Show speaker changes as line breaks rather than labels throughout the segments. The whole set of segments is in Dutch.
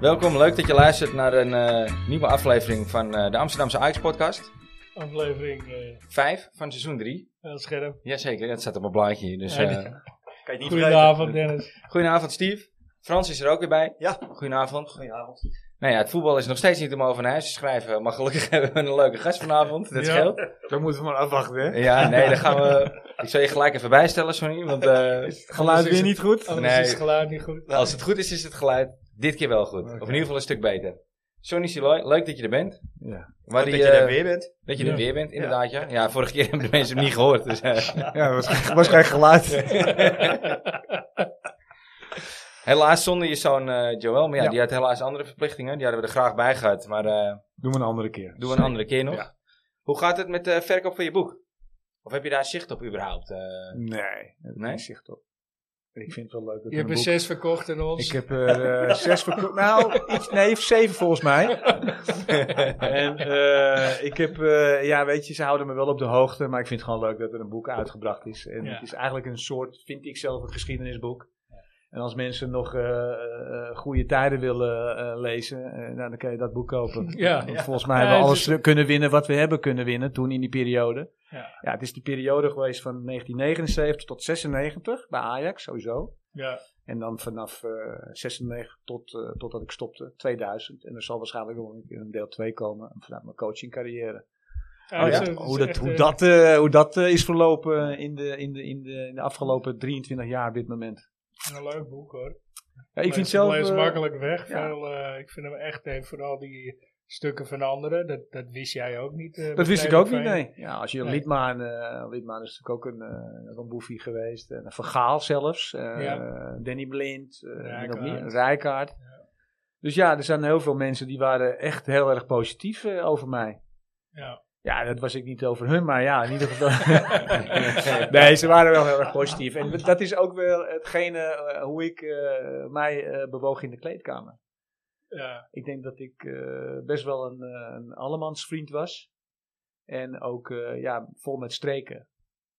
Welkom, leuk dat je luistert naar een eh, nieuwe aflevering van eh, de Amsterdamse Ajax podcast.
Aflevering eh
Vijf van seizoen drie.
aan het scherm.
Jazeker, dat staat op mijn blaadje hier. Dus,
Ja,
eh,
die-
Kan je niet
Goedenavond Dennis.
goedenavond Steve. Frans is er ook weer bij.
Ja.
Goedenavond.
Goedenavond. Nou,
Nou ja, het voetbal is nog steeds niet om over naar huis te schrijven. Maar gelukkig hebben we een leuke gast vanavond. Dat
Ja.
scheelt.
Dan moeten we maar afwachten, hè?
Ja, nee, dan gaan we... Ik zal je gelijk even bijstellen, sorry. Want eh,
Nou.
Het Oh. geluid
is
weer niet goed.
Anders
Nee.
is het geluid niet goed.
als het goed is, is het geluid dit keer wel goed. Of in ieder geval een stuk beter. Sonny Siloy, leuk dat je er bent.
Ja.
Waar
dat
die,
je er
eh,
weer bent.
Dat je er
Ja.
weer bent, inderdaad, ja. Ja, vorige keer hebben de mensen hem niet gehoord. Dus, eh,
Ja, was, was geen geluid.
helaas zonder je zoon eh, Joel. Maar ja,
Ja.
die had helaas andere verplichtingen. Die hadden we er graag bij gehad. Maar eh
Doe maar een andere keer.
doen we een andere keer nog.
Ja.
Hoe gaat het met de verkoop van je boek? Of heb je daar zicht op überhaupt? eh?
Nee, dat
Nee?
nee? zicht op. Ik vind het wel leuk dat
Je
er
hebt
een
er
boek...
zes verkocht en ons.
Ik heb er eh, zes verkocht. Nou, iets, nee, zeven volgens mij. En eh, ik heb, eh, ja, weet je, ze houden me wel op de hoogte. Maar ik vind het gewoon leuk dat er een boek uitgebracht is. En
Ja.
het is eigenlijk een soort, vind ik zelf, een geschiedenisboek. En als mensen nog eh, eh, goede tijden willen eh, lezen, eh, nou, dan kan je dat boek kopen.
Ja.
Want
Ja.
Volgens mij
Ja,
hebben we
het
alles kunnen winnen wat we hebben kunnen winnen toen in die periode.
Ja.
het is de periode geweest van 1979 tot 96 bij Ajax sowieso.
Ja.
En dan vanaf eh 96 tot, eh, totdat ik stopte, 2000. En er zal waarschijnlijk nog een keer een deel 2 komen vanuit mijn coachingcarrière.
Ja,
Oh ja,
het is- het is
Hoe dat,
echt,
hoe
eh,
dat, eh, hoe dat eh, is verlopen in de, in, de, in, de, in de afgelopen 23 jaar op dit moment.
Een leuk boek hoor.
Ja, ik vind
Lees-
zelf...
lees
eh,
makkelijk weg.
ja.
Veel, eh, ik vind hem echt, en vooral die stukken van anderen, dat, dat wist jij ook niet. eh,
Dat wist
bij
ik ook niet,
Heerenveen.
nee. Ja, als je
Nee.
Lidmaan, eh Lidmaan is natuurlijk ook een, eh een boefie geweest. En een Vergaal zelfs. eh,
Ja.
Danny Blind. eh, wie nog
Rijkaard.
meer? Rijkaard. Dus ja, er zijn heel veel mensen die waren echt heel erg positief eh, over mij.
Ja.
Ja, dat was ik niet over hun, maar ja, in ieder geval. nee, ze waren wel heel erg positief. En dat is ook wel hetgene eh, hoe ik eh, mij eh, bewoog in de kleedkamer.
Ja.
Ik denk dat ik eh, best wel een, eh, een allemansvriend was. En ook eh, ja, vol met streken.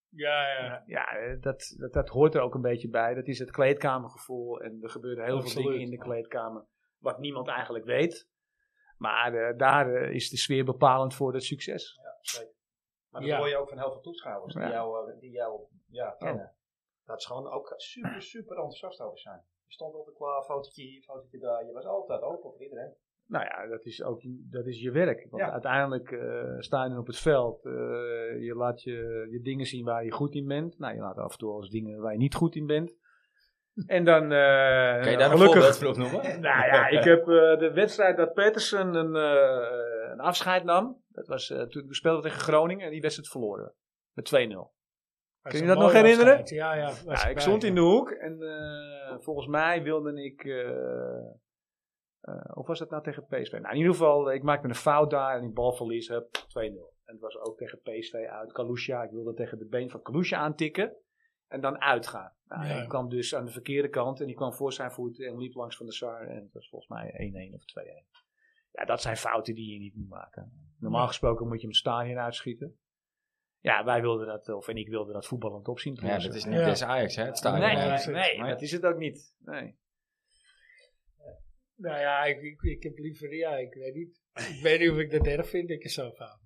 Ja, ja.
Ja, eh, dat, dat, dat hoort er ook een beetje bij. Dat is het kleedkamergevoel. En er gebeuren heel
Absoluut.
veel dingen in de kleedkamer wat niemand eigenlijk weet. Maar eh, daar eh, is de sfeer bepalend voor het succes.
Maar dat
Ja.
hoor je ook van heel veel toeschouwers die
Ja. Oh.
jou, eh, die jou ja, kennen. Dat ze gewoon ook super, super enthousiast over zijn. Je stond altijd klaar, fotootje hier, fotootje daar. Je was altijd open voor iedereen.
Nou ja, dat is ook dat is je werk. Want
Ja.
uiteindelijk eh, sta je dan op het veld. eh, je laat je, je dingen zien waar je goed in bent. Nou, je laat af en toe als dingen waar je niet goed in bent. En dan. eh,
Kan je daar een
gelukkig.
voorbeeld van opnoemen?
Nou ja, ik heb eh, de wedstrijd dat Petersen een, eh, een afscheid nam. Dat was eh, toen we speelden tegen Groningen en die wedstrijd verloren. Met 2-0.
Was
Kun je
een
dat nog
mooie
herinneren?
afscheid. Ja, ja. was
Ja, Nou, ik
erbij,
stond in
ja.
de hoek en eh, volgens mij wilde ik. eh, eh, of was dat nou tegen PSV? Nou, in ieder geval, ik maakte een fout daar en ik balverlies. Hup, 2-0. En het was ook tegen PSV uit. Kalusha, ik wilde tegen de been van Kalusha aantikken. En dan uitgaan. Nou,
Ja.
Ik kwam dus aan de verkeerde kant en die kwam voor zijn voet en liep langs van de Sar. En het was volgens mij 1-1 of 2-1. Ja, dat zijn fouten die je niet moet maken. Normaal gesproken moet je hem stadion uitschieten. Ja, wij wilden dat, of en ik wilde dat voetballend opzien. te
Ja,
lossen.
dat is niet
Ja.
des Ajax, hè? Het staat eh,
Nee,
Ja,
nee,
precies.
nee,
Maar ja.
dat is het ook niet. Nee.
Nou ja, ik, ik, ik heb liever, ja, ik weet niet. Ik weet niet of ik dat erg vind, ik is zo fout.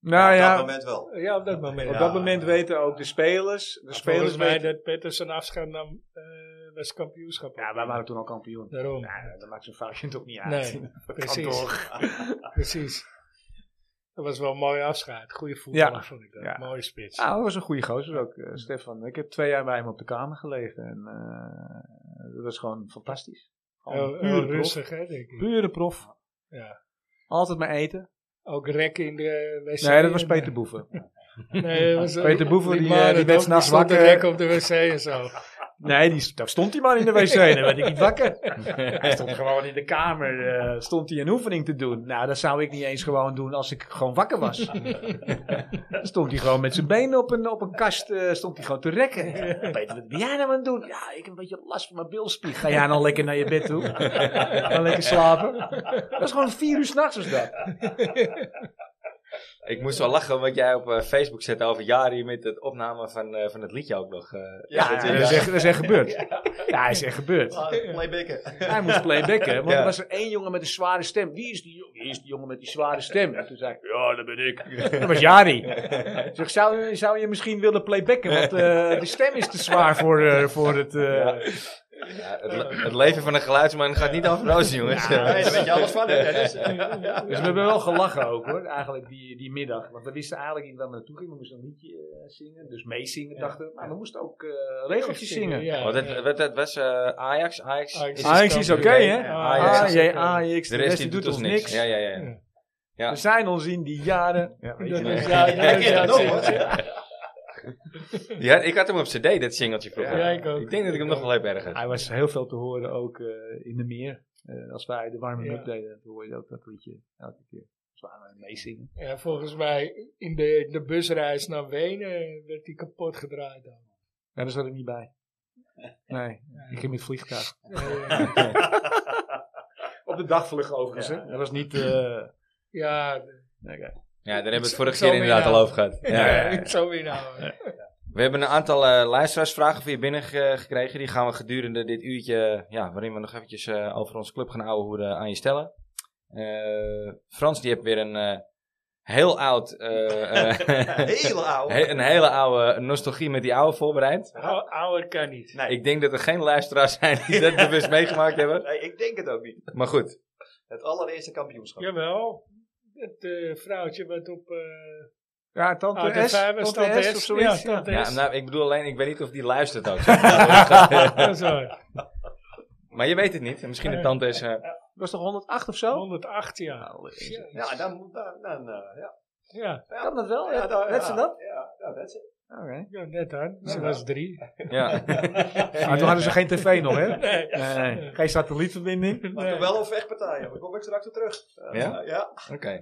Nou
Op dat
ja,
moment wel.
Ja, op dat moment.
op
Ja.
dat moment weten ook de spelers. De spelers
Volgens mij
weten.
dat Petters een afscheid nam, eh was kampioenschap.
Ja, wij waren toen al kampioen.
Daarom.
Nou, dat maakt zo'n foutje toch niet uit.
nee,
Dat kan
precies.
toch.
precies. Dat was wel een mooi afscheid. Goede voetballer
Ja.
vond ik dat.
Ja.
Mooie spits.
Nou, dat was een goede gozer ook, eh, Stefan. Ik heb twee jaar bij hem op de kamer gelegen. En eh, dat was gewoon fantastisch. Gewoon
Heel- heel
pure prof.
Oh, rustig, hè, denk ik.
Pure prof.
Ja.
Altijd maar eten.
Ook rek in de wc.
Nee, dat was
eh,
Peter Boeven.
Nee, dat was-
Peter Boeven, die, eh,
mannen
die werd
ook,
s'nachts
stond te
wakker.
rekken op de wc en zo.
Nee, die, daar stond hij maar in de wc. Dan werd ik niet wakker. Hij stond gewoon in de kamer. eh, stond hij een oefening te doen. Nou, dat zou ik niet eens gewoon doen als ik gewoon wakker was. Dan stond hij gewoon met zijn benen op een, op een kast. eh, stond hij gewoon te rekken. Peter, wat ben jij nou aan het doen? Ja, ik heb een beetje last van mijn bilspier. Ga jij nou lekker naar je bed toe? Ga lekker slapen? Dat was gewoon vier uur s'nachts was dat.
Ik moest wel lachen wat jij op eh, Facebook zette over Jari met het opname van, eh, van het liedje ook nog. eh.
Ja,
dat
dat,
je-
is echt, dat is echt gebeurd. Ja, is echt gebeurd.
Ah, playbacken.
Hij moest playbacken, want
Ja.
er was er één jongen met een zware stem. Wie is die, jongen? Wie is die jongen met die zware stem? En toen zei ik, ja, dat ben ik. Dat was Jari. Ik zeg, zou, zou je misschien willen playbacken? Want eh, de stem is te zwaar voor, eh, voor het... eh,
Ja. Ja, het, le- het leven van een geluidsman gaat niet over rozen, jongens.
Ja, daar weet je alles van. hè, Dennis.
Dus we hebben wel gelachen ook hoor, eigenlijk die, die middag. Want we wisten eigenlijk niet waar we naartoe gingen. We moesten een liedje eh, zingen, dus meezingen dachten we. Maar we moesten ook eh, regeltjes zingen.
Ja,
Want het,
ja.
het- het was eh, Ajax. Ajax,
Ajax
is-
Ah, Ajax is oké, hè?
Ajax
Ajax,
is oké.
Ajax,
de rest die doet ons niks. Ja, ja, ja.
Ja.
ja.
We zijn ons in die jaren. Ja, weet
Dat
je.
is, ja, dat is, ja,
Ja, nog,
dat is-
Ja, ik had hem op cd, dat singeltje vroeger.
Ja, ik ook.
denk dat ik hem nog wel heb ergens.
Hij was heel veel te horen ook eh, in de meer. Eh, als wij de warme up deden, dan hoor je ook dat liedje elke keer. Dus we aan het meezingen.
Ja, volgens mij in de, de busreis naar Wenen werd die kapot gedraaid dan.
Ja, daar zat ik niet bij. Nee, ik ging met het vliegtuig.
Eh,
Op de dagvlucht overigens. hè. Dat was niet... eh,
ja,
Ja, daar hebben we het
Ik
vorige
zal
keer
me
inderdaad al
inhouden.
over gehad. Ja, ja,
ja,
ja.
ik zou weer nou.
We hebben een aantal eh, luisteraarsvragen voor je binnengekregen. Die gaan we gedurende dit uurtje, eh, ja, waarin we nog eventjes eh, over ons club gaan ouwehoeren, aan je stellen. Eh, Frans, die heeft weer een eh, heel oud... eh, eh,
Heel oud.
he- een hele oude nostalgie met die oude voorbereid.
Ou- Ouder kan niet.
Nee.
Ik denk dat er geen luisteraars zijn die dat bewust meegemaakt hebben.
Nee, ik denk het ook niet.
Maar goed,
Het allereerste kampioenschap.
Jawel. Het eh, vrouwtje wat op eh
Ja, tante
oude
S,
vijf was,
Ah, tante S of
Ja,
zoiets.
tante
ja,
S.
nou, ik bedoel alleen, ik weet niet of die luistert ook.
Ja, zo.
maar je weet het niet. Misschien de tante is... eh,
was toch 108 of zo? Nou, eh,
108
Oh.
jaar. Ja,
Ja, dan moet dan, dan eh, ja.
ja,
Kan dat wel?
Ja, dan-
Net Oh, ze
ja,
dat?
Ja, ja, dat is het.
Ah, Oké.
ja, net aan. Ze was drie.
ja.
Maar toen hadden ze geen tv nog, hè?
Nee.
Nee, nee. Geen satellietverbinding.
Maar
Nee.
toen wel een vechtpartij. hoor. Daar kom ik straks op terug. Eh,
Ja?
Ja.
Oké.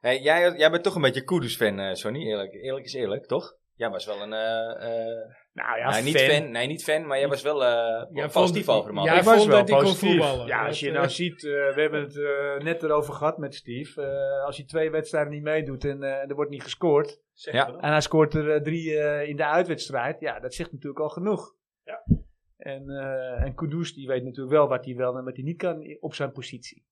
Hey, jij, jij bent toch een beetje Kudus-fan, eh, Sonny. Eerlijk, eerlijk is eerlijk, toch? Jij was wel een... eh, eh,
Nou ja,
nee, niet fan. Nee, niet fan, maar jij was wel eh
Jij
positief
vond-
over hem. altijd.
jij
ik was
vond
wel
dat hij kon
positief.
voetballen.
Ja, als
Dat,
je
eh,
nou ziet, eh, we hebben het eh, net erover gehad met Steve. Eh, als hij twee wedstrijden niet meedoet en eh, er wordt niet gescoord.
Zeg
Ja.
maar dan.
En hij scoort er eh, drie eh, in de uitwedstrijd. Ja, dat zegt natuurlijk al genoeg.
Ja.
En, eh en Kudus, die weet natuurlijk wel wat hij wel en wat hij niet kan i- op zijn positie.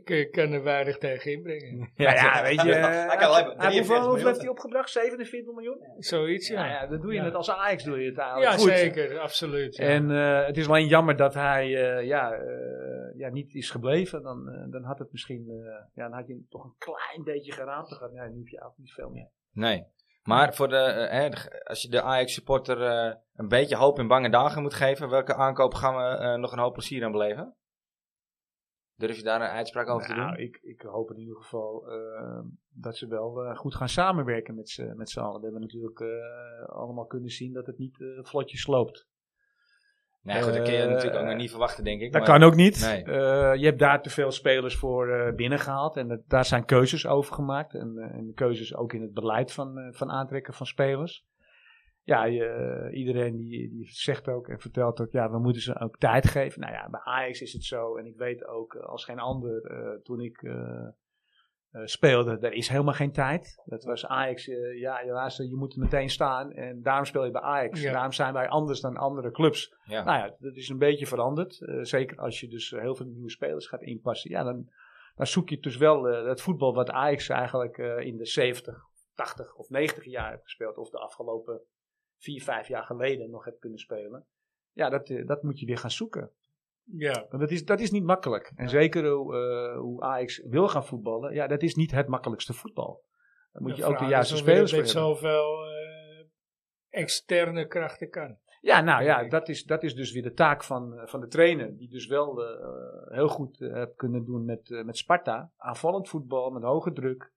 Ik eh, kan er weinig tegen inbrengen.
Ja, ja, weet je.
Hij kan
eh,
alleen maar
hij-
43
hoeveel, hoeveel
miljoen.
heeft hij opgebracht? 47 miljoen?
Zoiets,
Ja,
ja.
ja, dat doe je
Ja.
het als Ajax doe je het eigenlijk
Ja,
goed.
zeker. Absoluut. ja.
En eh, het is alleen jammer dat hij eh, ja, eh, ja, niet is gebleven. Dan, eh, dan had het misschien, eh, ja, dan had je toch een klein beetje geraamd gehad. Nee, nu heb je eigenlijk niet veel meer.
Nee. Maar voor de, eh, hè, de- als je de Ajax-supporter eh, een beetje hoop in bange dagen moet geven, welke aankoop gaan we eh, nog een hoop plezier aan beleven? Durf je daar een uitspraak over te
Nou,
doen?
ik, ik hoop in ieder geval eh, dat ze wel eh, goed gaan samenwerken met z'n met z'n allen. We hebben natuurlijk eh, allemaal kunnen zien dat het niet eh, vlotjes loopt.
Nee, goed, dat kun je
eh,
natuurlijk ook nog niet verwachten, denk ik.
Dat
maar-
kan ook niet.
Nee.
Eh, je hebt daar te veel spelers voor eh, binnengehaald. En dat- daar zijn keuzes over gemaakt. En, eh, en keuzes ook in het beleid van, eh, van aantrekken van spelers. Ja, je- eh, iedereen die, die zegt ook en vertelt ook, ja, we moeten ze ook tijd geven. Nou ja, bij Ajax is het zo. En ik weet ook eh, als geen ander, eh, toen ik eh, eh, speelde, er is helemaal geen tijd. Dat was Ajax, eh, ja, helaas, je moet er meteen staan. En daarom speel je bij Ajax.
Ja.
Daarom zijn wij anders dan andere clubs.
Ja.
Nou ja, dat is een beetje veranderd. Eh, zeker als je dus heel veel nieuwe spelers gaat inpassen. Ja, dan, dan zoek je dus wel eh het voetbal wat Ajax eigenlijk eh, in de 70, 80 of 90 jaar heeft gespeeld. Of de afgelopen 4, 5 jaar geleden nog hebt kunnen spelen. Ja, dat, eh, dat moet je weer gaan zoeken.
ja.
Want dat is, dat is niet makkelijk. En zeker hoe, eh, hoe Ajax wil gaan voetballen. Ja, dat is niet het makkelijkste voetbal. Dan moet je ook de
vraag
juiste
is of je dat
spelers voor hebben.
met zoveel eh, externe krachten kan.
Ja, nou ja, dat is, dat is dus weer de taak van, eh, van de trainer. Die dus wel eh, heel goed eh, heeft kunnen doen met, eh, met Sparta. Aanvallend voetbal, met hoge druk.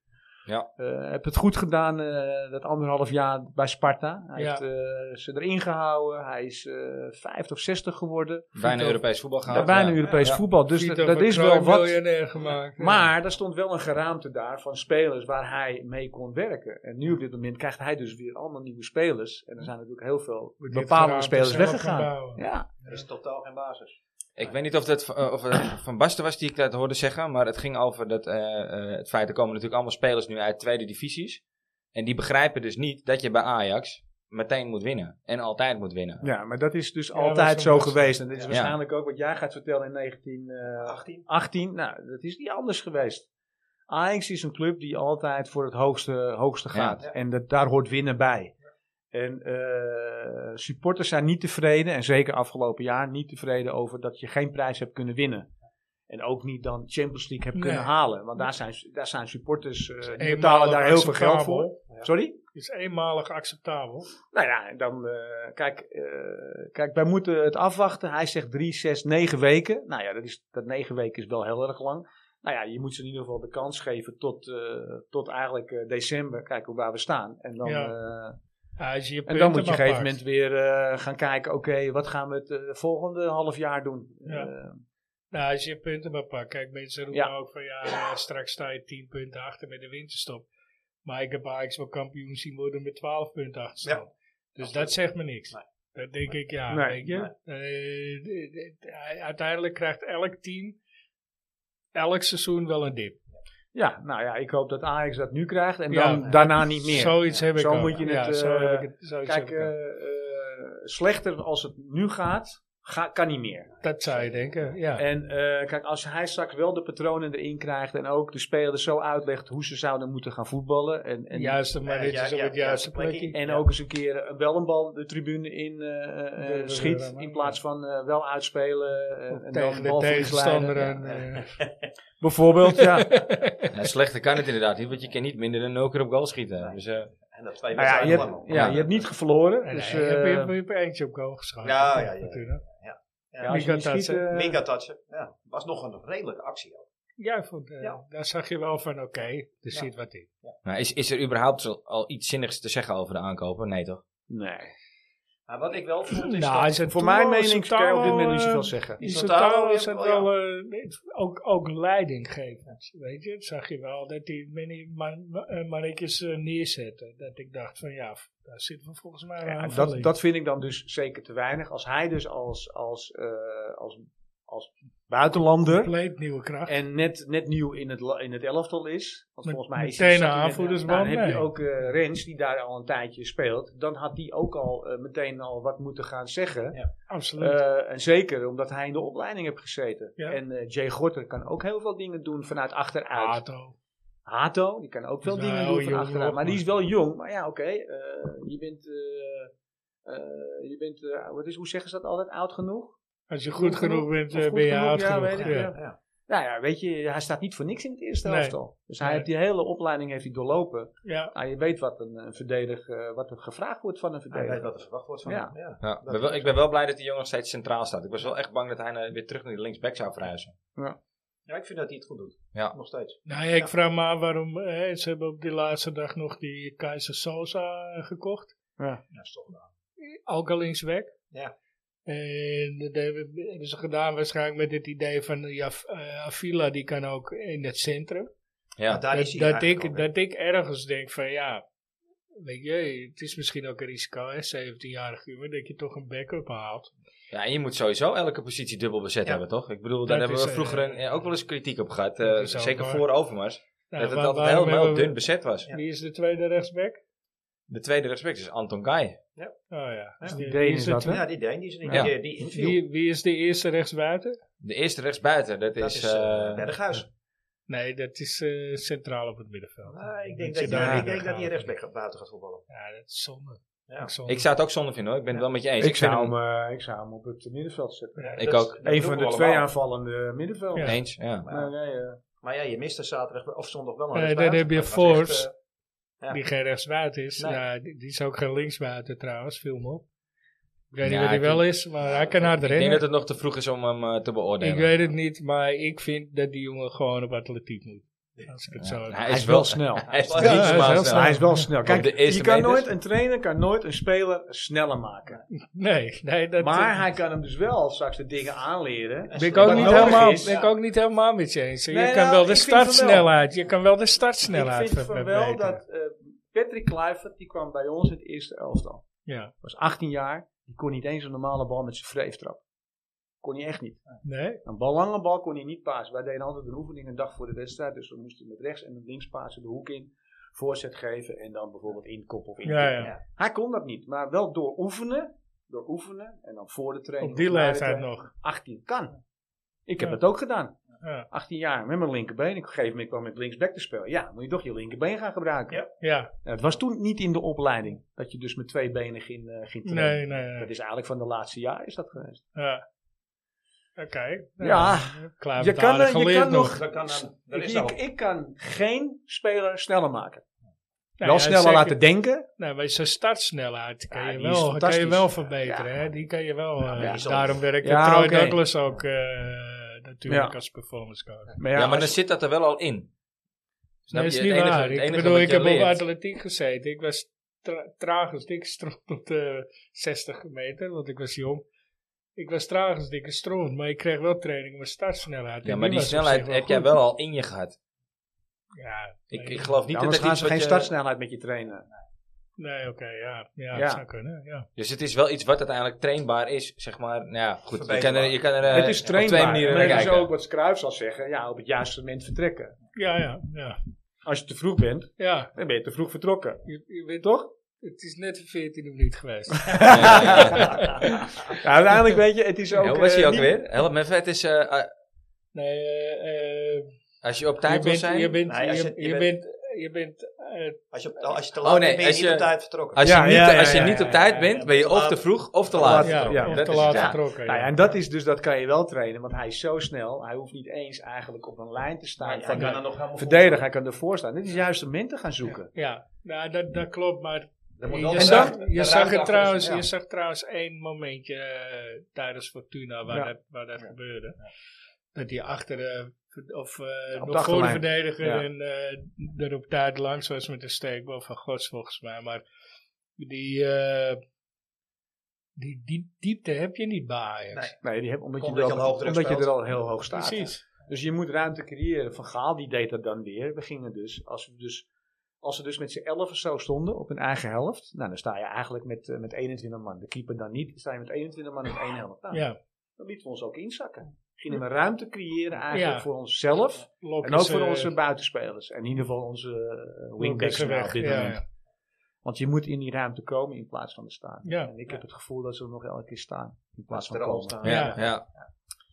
Ja.
Eh, heb het goed gedaan eh, dat anderhalf jaar bij Sparta. Hij
Ja.
heeft eh, ze erin gehouden. Hij is eh, vijftig 50 of 60 geworden.
Bijna Europees voetbal gaan.
Ja, bijna Europees
Ja.
voetbal. Dus
Vito
dat, dat
van
is
Krooi
wel wat.
miljonair gemaakt. ja.
Maar er stond wel een geraamte daar van spelers waar hij mee kon werken. En nu op dit moment krijgt hij dus weer allemaal nieuwe spelers. En er zijn natuurlijk heel veel
Moet dit
bepaalde
geraamte
spelers
zelf gaan
weggegaan.
bouwen.
Ja.
Er is totaal geen basis.
Ik weet niet of dat van- eh, of het Van Basten was die ik dat hoorde zeggen, maar het ging over dat, eh, eh, het feit, er komen natuurlijk allemaal spelers nu uit tweede divisies. En die begrijpen dus niet dat je bij Ajax meteen moet winnen. En altijd moet winnen.
Ja, maar dat is dus
Ja, dat
altijd
is
zo
een-
geweest. En dit is
Ja.
waarschijnlijk ook wat jij gaat vertellen in 1918.
18.
nou, dat is niet anders geweest. Ajax is een club die altijd voor het hoogste, hoogste
Ja.
gaat.
Ja.
En dat, daar hoort winnen bij. En eh, supporters zijn niet tevreden, en zeker afgelopen jaar niet tevreden over dat je geen prijs hebt kunnen winnen. En ook niet dan Champions League
Nee.
hebt kunnen halen. Want daar zijn, daar zijn supporters, eh die betalen
Eenmalig
daar heel veel geld
acceptabel.
voor. Sorry?
Is eenmalig acceptabel.
Nou ja, en dan, eh, kijk, eh, kijk, wij moeten het afwachten. Hij zegt drie, zes, negen weken. Nou ja, dat, is, dat negen weken is wel heel erg lang. Nou ja, je moet ze in ieder geval de kans geven tot, eh, tot eigenlijk eh, december. Kijken waar we staan. En dan,
Ja.
eh,
Ja, als je je
en dan
punten
moet je op een
maar
gegeven
pakt.
moment weer eh, gaan kijken. Oké, wat gaan we het eh, volgende half jaar doen?
Ja.
Eh,
Nou, als je je punten maar pakt. Kijk, mensen roepen
Ja.
ook van ja, eh, straks sta je 10 punten achter met de winterstop. Maar ik heb Ajax wel kampioen zien worden met 12 punten achterstand. Dus dat zegt me niks.
Nee.
Dat denk ik ja,
Nee,
weet je. Eh, d- d- d- uiteindelijk krijgt elk team elk seizoen wel een dip.
ja, nou ja, ik hoop dat Ajax dat nu krijgt. En
Ja.
dan daarna niet meer.
Zoiets heb ik
Zo
ook.
moet je
Ja,
het,
zo
eh,
heb ik het- zoiets
Kijk,
heb ik ook.
eh, eh, slechter als het nu gaat, ga, kan niet meer.
dat zou je denken, ja.
En eh, kijk, als hij straks wel de patronen erin krijgt en ook de spelers zo uitlegt hoe ze zouden moeten gaan voetballen. En, en,
En, juiste, maar
Ja,
dit
ja,
is op
ja,
het juiste
ja, plekje.
plekje.
en
Ja.
ook eens een keer eh, wel een bal de tribune in eh, eh,
Ja, dat is
schiet.
helemaal
In
niet.
plaats van eh, wel uitspelen eh, en
tegen
dan
de
balverlies
tegenstander.
leiden. Ja,
en,
ja.
eh,
Bijvoorbeeld, ja. Nou
Nou, slechter kan het inderdaad niet, want je kan niet minder dan nul keer op goal schieten. Dus, eh,
En dat twee
Nou ja, je
wedstrijden lang.
hebt, ja, je hebt niet gescoren.
Nee,
Dus,
nee, je, hebt, je, hebt,
eh
je hebt eentje op goal geschoten.
Ja, ja, ja.
natuurlijk.
ja, als je niet
Mika
schiet,
Tatsen.
eh,
Mega touchen. Ja, was nog een redelijke actie. ook.
Ja, ik vond, eh,
Ja.
daar zag je wel van, oké, er
Ja.
zit wat in.
maar is, is er überhaupt zo- al iets zinnigs te zeggen over de aankopen? Nee toch?
nee.
Maar wat ik wel vond is
Nou,
dat...
is het
Voor mijn
Toulon,
mening kan je op dit moment niet zoveel zeggen.
eh,
oh
Die
Isotalo
Sotaro
heeft
is het
wel,
wel eh, nee, ook, ook leidinggevend, weet je. Dat zag je wel, dat die mini man- eh, mannetjes eh, neerzetten. Dat ik dacht van, ja, f- daar zitten we volgens mij wel
Ja,
aan
dat, dat vind ik dan dus zeker te weinig. Als hij dus als, als, eh, als, als buitenlander
Compleet nieuwe kracht.
En net, net nieuw in het, la- in het elftal is. Want
Met-
volgens mij is
meteen
zat
een
hij net-
aanvoerdersband,
nou, Dan heb je
nee.
ook eh, Rens, die daar al een tijdje speelt. Dan had die ook al eh, meteen al wat moeten gaan zeggen.
Absoluut.
Eh, en zeker omdat hij in de opleiding heeft gezeten.
Ja.
En eh, Jay Gorter kan ook heel veel dingen doen vanuit achteruit.
Ato.
Hato, die kan ook veel
Is
dingen
wel
doen
heel
van
jong
achteruit.
nog,
Maar die
maar-
is wel jong. Maar ja, oké. eh, je bent, eh, eh, je bent eh, wat is, hoe zeggen ze dat altijd, oud genoeg?
Als je goed genoeg bent,
Of
eh,
goed
ben je
genoeg,
oud
ja,
genoeg.
weet ik,
ja.
ja. Nou ja, weet je, hij staat niet voor niks in het eerste
Nee.
elftal. Dus hij
Nee.
heeft die hele opleiding heeft hij doorlopen.
Ja.
Nou, je weet wat een, een verdediger, eh, wat er gevraagd wordt van een
Hij weet
verdediger.
wat er verwacht wordt van
Ja.
hem. Ja.
Ja, ben wel- ik ben wel blij dat die jongen nog steeds centraal staat. Ik was wel echt bang dat hij eh, weer terug naar die linksback zou verhuizen.
ja, ik vind dat hij het goed doet.
Ja.
Nog steeds.
Nou ja, ik vraag me af waarom hè, ze hebben op die laatste dag nog die Keizer Sosa eh, gekocht.
Ja, is toch wel.
Ook al linksback.
Ja.
En dat hebben hebben ze gedaan waarschijnlijk met het idee van ja, F- eh, Avila die kan ook in het centrum.
Ja,
Maar daar is
Dat,
hij
dat,
eigenlijk
ik,
alweer.
dat ik ergens denk van ja, weet je, het is misschien ook een risico hè, 17-jarig uur, dat je toch een backup haalt.
ja, en je moet sowieso elke positie dubbel bezet
Ja.
hebben, toch? Ik bedoel,
Dat
daar hebben
is,
we vroeger
eh,
een, eh, ook wel eens kritiek op gehad.
dat
eh,
is ook
zeker
waar.
voor Overmars.
Nou,
dat het
waar-
altijd
waarom
helemaal
hebben we-
dun bezet was.
Wie is de tweede rechtsback?
De tweede respect is Anton Guy.
Oh ja. Dus
Die
die-
Deen
wie
is
de
dat,
twe-
hè?
Ja, die Deen, die is een
Ja.
die, die inviel.
Wie, wie is de eerste rechtsbuiten?
De eerste rechtsbuiten, dat,
dat
is...
is
eh,
eh, Berghuis.
Nee, dat is eh, centraal op het middenveld.
Nou, ik denk
je
dat, die-
daar
ik denk
gaat.
dat hij rechtsback gaat- buiten gaat voetballen.
Ja, dat is zonde.
Ja.
zonde.
ik zou het ook zonde vinden, hoor. Ik ben het wel met je eens.
Ik
vind
zou, hem, eh, ik zou hem op het middenveld zetten.
Ja,
Ik
Dat-
ook.
dat
Een
doen
van
we
de twee
allemaal.
aanvallende middenvelders.
Ja.
Eens, ja.
Maar,
Maar,
nee, eh,
maar ja, je mist er zaterdag of zondag wel een
Nee,
rechtsbuiten.
dan heb je
Dat was echt,
Forbes.
eh, Ja.
Die geen rechtsbuiten is.
Nee.
Ja, die, die is ook geen linksbuiten trouwens, viel me op. Ik weet
Ja,
niet wat hij
ik
wel is, maar hij kan hard
Ik denk
rennen.
dat het nog te vroeg is om hem eh, te beoordelen.
ik weet het niet, maar ik vind dat die jongen gewoon op atletiek moet. Als ik het zo
hij,
heb.
hij
is wel...
snel.
Hij is
Ja,
drie
hij is
maal
heel
snel.
snel.
hij is wel snel. Kijk,
eh, de eerste
je kan
meters.
nooit, een trainer kan nooit een speler sneller maken.
Nee, nee, dat
Maar
eh,
hij kan hem dus wel straks de dingen aanleren.
ben ik ook,
wat
niet
nodig
helemaal,
is.
ben ik ook niet helemaal met je eens.
Nee,
je kan
nou,
wel de
ik vind van wel.
startsnelheid. Je kan wel de
Ik
startsnelheid
vind van wel
verbeteren.
dat eh, Patrick Kluivert, die kwam bij ons in het eerste elftal.
Ja.
was 18 jaar. Die kon niet eens een normale bal met zijn vreeftrap. Kon hij echt niet.
Nee?
Een bal, lange bal kon hij niet pasen. Wij deden altijd een oefening een dag voor de wedstrijd. Dus we moesten met rechts en met links pasen de hoek in. Voorzet geven en dan bijvoorbeeld inkoppen of inkoppen.
Ja, ja.
Hij kon dat niet. Maar wel door oefenen. Door oefenen. En dan voor de training.
Op die
of na de
leeftijd
training.
nog.
18 kan. Ik heb
Ja.
dat ook gedaan.
Ja.
18 jaar met mijn linkerbeen. Ik op een gegeven moment kwam met linksback te spelen. Ja, dan moet je toch je linkerbeen gaan gebruiken.
Ja.
Ja.
Nou, het was toen niet in de opleiding dat je dus met twee benen ging, eh, ging trainen.
Nee, nee,
Dat
nee.
is eigenlijk van de laatste jaar is dat geweest.
Ja. Oké. Nou,
Ja.
Klaar
Je
met
kan,
aardig
eh, je
geleerd
kan nog-
Dat kan dan, dat
Ik,
is
ik,
dat.
ik kan geen speler sneller maken.
Nou,
wel
ja,
sneller
zeker.
laten denken.
Nou, maar zijn startsnelheid kan,
Ja,
je,
die is
wel, kan je
fantastisch.
wel verbeteren.
Ja.
hè? Die kan je wel. eh,
die
is al-
daarom werkt
Ja,
Troy
oké.
Douglas ook eh, natuurlijk
Ja.
als performance coach.
Maar
Ja,
ja,
maar dan
als-
zit dat er wel al in. Snap
Nee,
je?
is
Het
niet
enige-
waar.
het
Ik
enige
bedoel,
wat
ik
je
heb op
leert-
atletiek gezeten. Ik was tra traag als dikke stroom op de 60 meter, want ik was jong. Ik was traag als dikke stroom, maar ik kreeg wel training met startsnelheid.
Ja,
En
maar die
was op
snelheid
zich wel
heb jij
goed.
wel al in je gehad.
Ja,
Ik,
nee,
ik geloof niet
ja,
dat
anders
dat
gaan
iets
ze
wat
geen
je-
startsnelheid met je trainen.
Nee, oké, ja. Ja,
Ja.
dat zou kunnen, ja.
Dus het is wel iets wat uiteindelijk trainbaar is, zeg maar. Nou ja, goed. Je kan er, je kan er eh,
het is
op twee
trainbaar.
manieren
Maar
naar
het is
kijken.
ook wat Cruijff zal zeggen. Ja, op het juiste moment vertrekken.
Ja, ja, ja.
Als je te vroeg bent,
Ja,
dan ben je te vroeg vertrokken.
je, je weet
Toch?
Het is net een 14e minuut geweest.
Ja, ja, ja.
Ja, uiteindelijk weet je, het is ook...
Ja, Hoe was hij
eh,
ook
niet-
weer? Help me even. Het is, eh, eh,
Nee, eh, eh,
als je op
je
tijd wil
bent,
zijn...
je bent,
Nee, als
je,
je- je
je
bent-
bent, je bent, eh,
Als je, als je te
Oh,
laat
nee,
bent, ben je
als
niet
je-
op tijd vertrokken.
Als je,
Ja,
niet,
ja, ja,
als je
ja,
niet
ja,
op tijd
ja,
bent,
ja.
ben je
Te
of
laat.
te vroeg of te
laat.
laat.
Ja,
ja, of
dat
te
is
laat
het, ja.
vertrokken.
Nou ja,
ja.
en dat is dus, dat kan je wel trainen, want hij is zo snel. Hij hoeft niet eens eigenlijk op een lijn te staan.
hij
van
kan
de
dan nog helemaal
verdediger, hij kan ervoor staan. Dit is juist om mensen gaan zoeken.
Ja, nou, dat, dat klopt, maar
Dat moet
je,
wel
je
de
zag,
ruimte- de
je, zag
ruimte
het
achter
trouwens,
zijn,
je
ja.
zag trouwens één momentje eh, tijdens Fortuna waar
Ja.
dat, waar dat gebeurde. Dat die achter de, of eh,
op de
nog voor de
achterlijn.
verdediger
Ja.
en eh, er op tijd langs was met een steekbal van gods volgens mij. Maar die, eh, die, die diepte heb je niet bij Ajax.
Nee.
Nee, die heb, omdat, je
Omdat
er,
je
al,
al hoog druk
omdat je er
speelt.
al heel hoog staat.
Precies.
Dus je moet ruimte creëren. Van Gaal die deed dat dan weer. We gingen dus, als we dus, als we dus met z'n elf of zo stonden op een eigen helft. Nou, dan sta je eigenlijk met, eh, met 21 man. De keeper dan niet. Sta je met 21 man op één helft. Nou,
Ja,
Dan lieten we ons ook inzakken. Gingen we ruimte creëren eigenlijk
Ja. eh,
voor onszelf. En
Lokken
ook
ze-
voor onze buitenspelers. En in ieder geval onze eh, wingbacks
Lokken ze
nou
weg,
op dit
ja,
moment.
ja.
Want je moet in die ruimte komen in plaats van te staan.
Ja.
En ik heb het gevoel dat ze nog elke keer staan. In plaats
Als
van
er al
komen.
staan.
Ja, ja.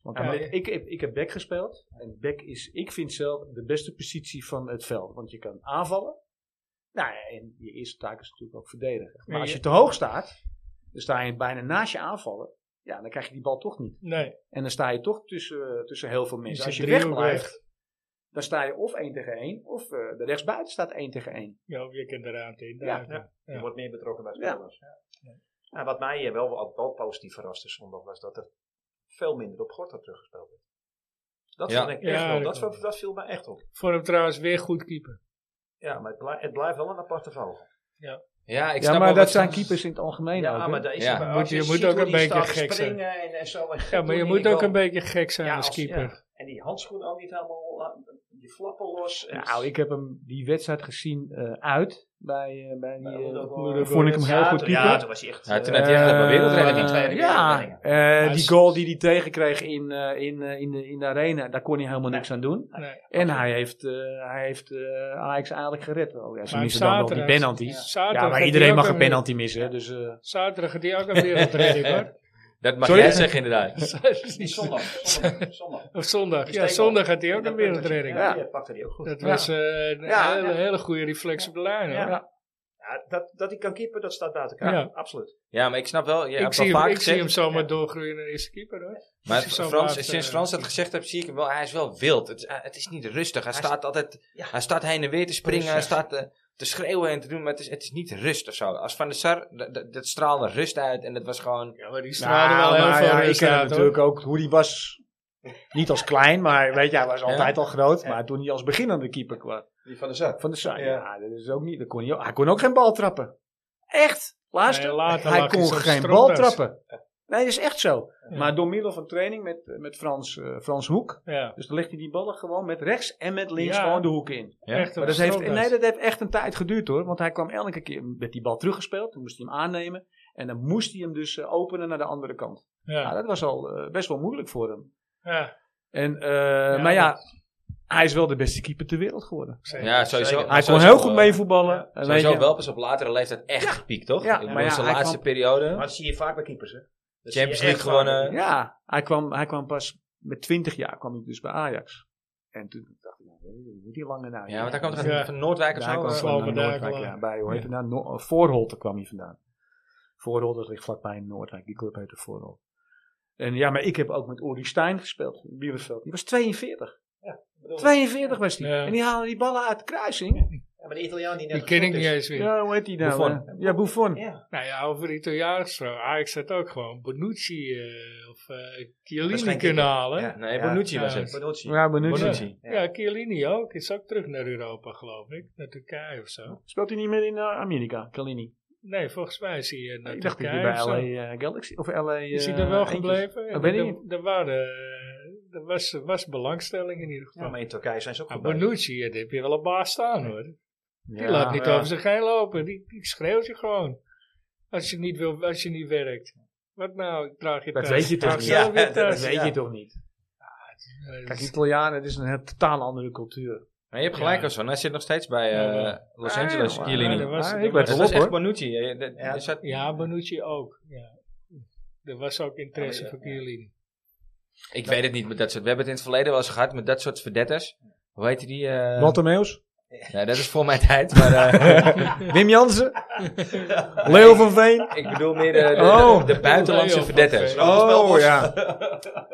Want
Ja,
eh,
maar-
ik, heb, ik heb back gespeeld. En back is, ik vind zelf, de beste positie van het veld. Want je kan aanvallen. Nou ja, en je eerste taak is natuurlijk ook verdedigen. Maar
Ja,
als
je-
je te hoog staat, dan sta je bijna naast je aanvallen. Ja, dan krijg je die bal toch niet.
Nee,
En dan sta je toch tussen, tussen heel veel mensen.
zit
Als je
driehoek
weg blijft,
weg.
dan sta je of 1 tegen 1, of eh de rechtsbuiten staat 1 tegen 1.
ja, of je kunt de ruimte in.
Ja.
Ja.
Je wordt meer betrokken bij
Ja.
spelers. Ja. En wat mij eh, wel, ook wel positief verraste zondag was dat er veel minder op Gorta teruggespeeld werd. Dat,
Ja.
vond ik echt
Ja,
wel,
dat
dat,
kan.
vond- dat viel mij echt op.
Voor hem trouwens weer goed keeper.
Ja, maar het, blij- het blijft wel een aparte vogel.
Ja, ik snap
Ja,
wel
maar
wat
dat
ze-
zijn keepers in het algemeen
Ja,
ook. hè.
maar daar is
Ja.
hij bij-
Moet
als
je- moet
ziet
ook
hoe
een
die
beetje
staat te
gek zijn.
springen En, en zo, en
Ja, maar je
toen
moet
die
ook
bal-
een beetje gek zijn
Ja,
als
als- eh,
keeper.
ja. En die handschoenen ook niet helemaal, eh, die flappen los. En
Nou,
Dus-
ik heb hem die wedstrijd gezien eh, uit. Bij, eh, bij die,
Bij
eh,
Rodogo-
toen vond ik hem heel
Ja,
goed
toen-
keeper.
Ja, toen was hij echt...
Ja, toen
eh,
had hij echt wel wereldredding in
Eh,
tweede
Ja,
wereldredding.
eh,
Hij
die
is-
goal die hij tegenkreeg in, eh, in, eh, in, de, in de arena, daar kon hij helemaal niks aan doen.
Nee.
En hij heeft, eh, hij heeft eh, Ajax eigenlijk gered. wel. ja, ze
Maar
missen dan nog die
zaterdag-
penalty. Ja,
Zaterdag had
maar
hij
iedereen
ook
mag een
weer-
penalty missen. hè, Dus, eh,
Zaterdag had hij ook een wereldredding hoor.
Dat mag
Sorry?
jij zeggen inderdaad.
Die zondag, zondag, zondag.
Of zondag. Ja,
steekbal.
zondag had hij ook
Dat
een
punt dat-
wereldredding.
Ja,
Ja.
die pakte die ook goed.
Dat
Ja.
was eh, een
Ja,
hele,
ja.
hele goede reflex op de lijn hoor.
Ja.
ja.
Ja, dat, dat hij kan keeper, dat staat buiten elkaar.
Ja.
Absoluut.
Ja, maar ik snap wel. Je
Ik,
hebt
zie
wel
hem,
vaak
ik zie hem
gezegd.
zomaar doorgroeien naar eerste keeper hoor.
Maar
zie hem
Frans,
zomaar,
sinds
eh,
Frans dat gezegd heeft, zie ik hem wel. Hij is wel wild. Het, is- eh, het is niet rustig. Hij,
Hij
staat altijd.
Ja.
Hij staat heen en weer te springen. Hij
Rustig.
staat eh, te schreeuwen en te doen. Maar het is, het is niet rustig zo. Als Van der Sar, dat- dat dat straalde rust uit. En dat was gewoon.
Ja, maar die straalde
Nou,
wel heel
maar
veel
ja, ik
rust
ken hem
uit hoor.
natuurlijk ook hoe die was. Niet als klein, maar weet je, hij was altijd al groot.
Ja.
Maar toen hij als beginnende keeper kwam
Die van de zak.
van de Sai,
Ja.
ja. dat is ook niet. Dat kon hij, ook- hij kon ook geen bal trappen. Echt? Luister,
Nee, later
hij
lag
kon
zo'n
geen
stropdas.
bal trappen. Nee, dat is echt zo. Maar door middel van training met, met Frans, eh, Frans Hoek.
Ja,
Dus dan legt hij die ballen gewoon met rechts en met links
Ja.
gewoon de hoek in.
Ja.
echt een
Maar dat heeft,
stropdas.
nee, dat heeft echt een tijd geduurd hoor. Want hij kwam elke keer met die bal teruggespeeld. Toen moest hij hem aannemen. En dan moest hij hem dus eh, openen naar de andere kant. Nou,
Ja.
dat was al eh, best wel moeilijk voor hem.
Ja.
En, eh, maar ja, hij is wel de beste keeper ter wereld geworden.
zeker.
Ja, sowieso.
Zeker.
maar
Hij kon
sowieso
heel goed
wel-
meevoetballen.
Ja.
En weet
Sowieso
je-
wel pas op latere leeftijd echt gepiekt, toch?
Ja,
Ik bedoel,
maar ja,
zijn
hij
laatste
kwam-
periode.
Maar dat zie je vaak bij keepers, hè? Dat zie je
Champions
echt
League gewoon,
vaak.
eh,
Ja, hij kwam, hij kwam pas met 20 jaar kwam hij dus bij Ajax. En toen dacht ik, nou, hoe moet die lange nou?
Ja, want daar kwam toch
Ja.
uit van Noordwijk of
Ja, hij
zo?
kwam
eh?
van-
van
Slobodan
Noordwijk,
kwam.
ja, bij, hoe heet het nou? No- eh, Voorholte kwam hij vandaan. Voorholte ligt vlakbij Noordwijk, die club heette Voorholte. En ja, maar ik heb ook met Uri Stein gespeeld in Bieberveld. Die was 42.
Ik bedoel,
42 was die.
Ja.
En die haalde die ballen uit de kruising.
ja, maar de Italiaan die net
Die ken ik
gestopt
niet
is.
eens meer.
Ja, hoe heet die nou?
Buffon.
eh? Ja, Buffon.
Ja,
Nou ja, over Italiaans. zo. Ajax had ook gewoon Bonucci eh, of eh Chiellini
Waarschijnlijk
kunnen
niet.
halen. Ja,
Ja.
Nee,
Ja.
Bonucci was
Ja.
het.
Bonucci.
Ja, Bonucci.
Bonucci.
Chiellini ook. Is ook terug naar Europa, geloof ik. Naar Turkije of zo.
Speelt hij niet meer in eh, Amerika, Kalini?
Nee, volgens mij is hij eh, naar
Ik dacht dat hij
Turkije of
bij
zo.
LA eh, Galaxy of LA...
Is hij
eh,
daar wel
Eentjes.
gebleven?
Dat weet ik
Er-
niet.
Er, waren, eh, er was, er was belangstelling in ieder geval.
Ja, maar in Turkije zijn ze ook
Ah,
goed bij.
Bonucci, eh, daar heb je wel een baas staan hoor. Die
Ja,
laat niet
ja.
over zich heen lopen. Die, die schreeuwt je gewoon. Als je niet, wil, als je niet werkt. Wat nou, ik draag je
Dat
thuis.
weet je
Ik
toch
draag
niet?
zelf
Ja,
je
dat
thuis.
Dat weet
Ja.
je toch niet?
Eh,
Kijk, Italianen, het is een heel- totaal andere cultuur.
Maar je hebt gelijk,
Ja.
Osman. Hij zit nog steeds bij eh,
Ja, maar-
Los Angeles,
Ah,
Chiellini.
ja, dat was-
Ah,
dat
ik werd
Dat
wel op
was echt
hoor.
Bonucci. Je- dat-
Ja.
is dat-
ja, Bonucci ook. Ja. Er was ook interesse
Oh,
Ja, maar
voor Chiellini.
Ik
Nou.
weet het niet met dat soort. We hebben het in het verleden wel eens gehad met dat soort verdetters. Hoe heet die? eh
Bartomeus,
nou, dat is voor mijn tijd. Maar eh,
Wim Jansen, Leo van Veen,
ik bedoel meer eh, de, de,
Oh.
de buitenlandse
Leo van
verdetters.
Veen.
Oh ja.
De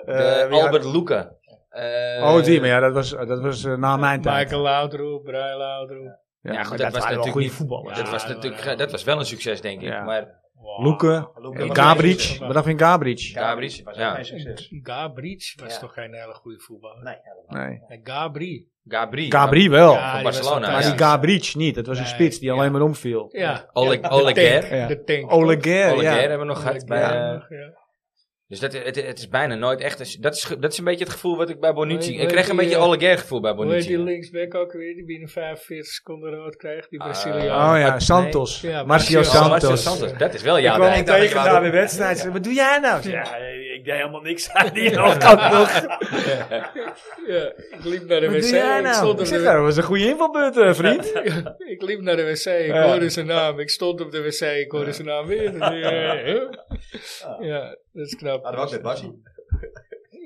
Eh, wie
Albert Loeken. Eh,
had- Oh die, maar ja, dat was, dat was eh, na mijn tijd.
Michael Laudroep, Brian Laudroep.
Ja,
Ja,
maar
goed,
dat, was natuurlijk goede
niet-
voetballers.
dat,
Ja,
was
dat
natuurlijk,
waren-
dat was wel een succes, denk ik.
Ja.
Maar
Wow.
Loeken,
Luka
en
was
Gabric,
geen
wat
succes.
dacht je van Gabric?
Gabric,
was
ja.
ook geen succes.
Gabriel was
Ja.
toch geen hele goede voetballer?
Nee, helemaal niet.
Nee.
En Gabri.
Gabri.
Gabri wel,
Ja, die was
Oh, Barcelona,
maar
fantastisch.
die Gabric niet. Dat was een
Nee,
spits die
ja.
alleen maar omviel.
Ja.
Oleg-
De tank,
Oleguer.
Ja.
De tank.
Oleguer,
Oleguer
ja.
hebben we nog gehad.
Oleguer
Bij, eh,
nog, ja.
Dus dat, het, het is bijna nooit echt. een- dat, is, ge- dat is een beetje het gevoel wat ik bij Bonucci.
Hoe
ik
heet-
kreeg een
hoe heet
beetje
die, eh,
Allegair gevoel bij
Hoe heet die
Bonucci.
linksback ook weer? Die binnen 45 seconden rood krijgt. Die
Ah,
Braziliaan.
Oh ja,
Nee.
Santos.
Ja,
Marcio
Marcio
Oh, Marcel
Santos.
Santos. Dat is wel jouw
kwam
ding.
hem
dat je
tegen
wou
na de
doen.
wedstrijd. Ze, Wat doe jij nou? Ja, ik deed helemaal niks aan die nog.
Ja, ik liep naar de
Wat
wc.
doe jij
Ik
nou?
stond
Ik
op
zeg,
de,
dat was een goede invalbeurt, eh, vriend.
ik liep naar de wc. Ik
Ja.
hoorde zijn naam. Ik stond op de wc. Ik hoorde zijn naam weer. Dus, eh, eh, Ja, dat is knap.
Ah,
Maar dat was met Bassi.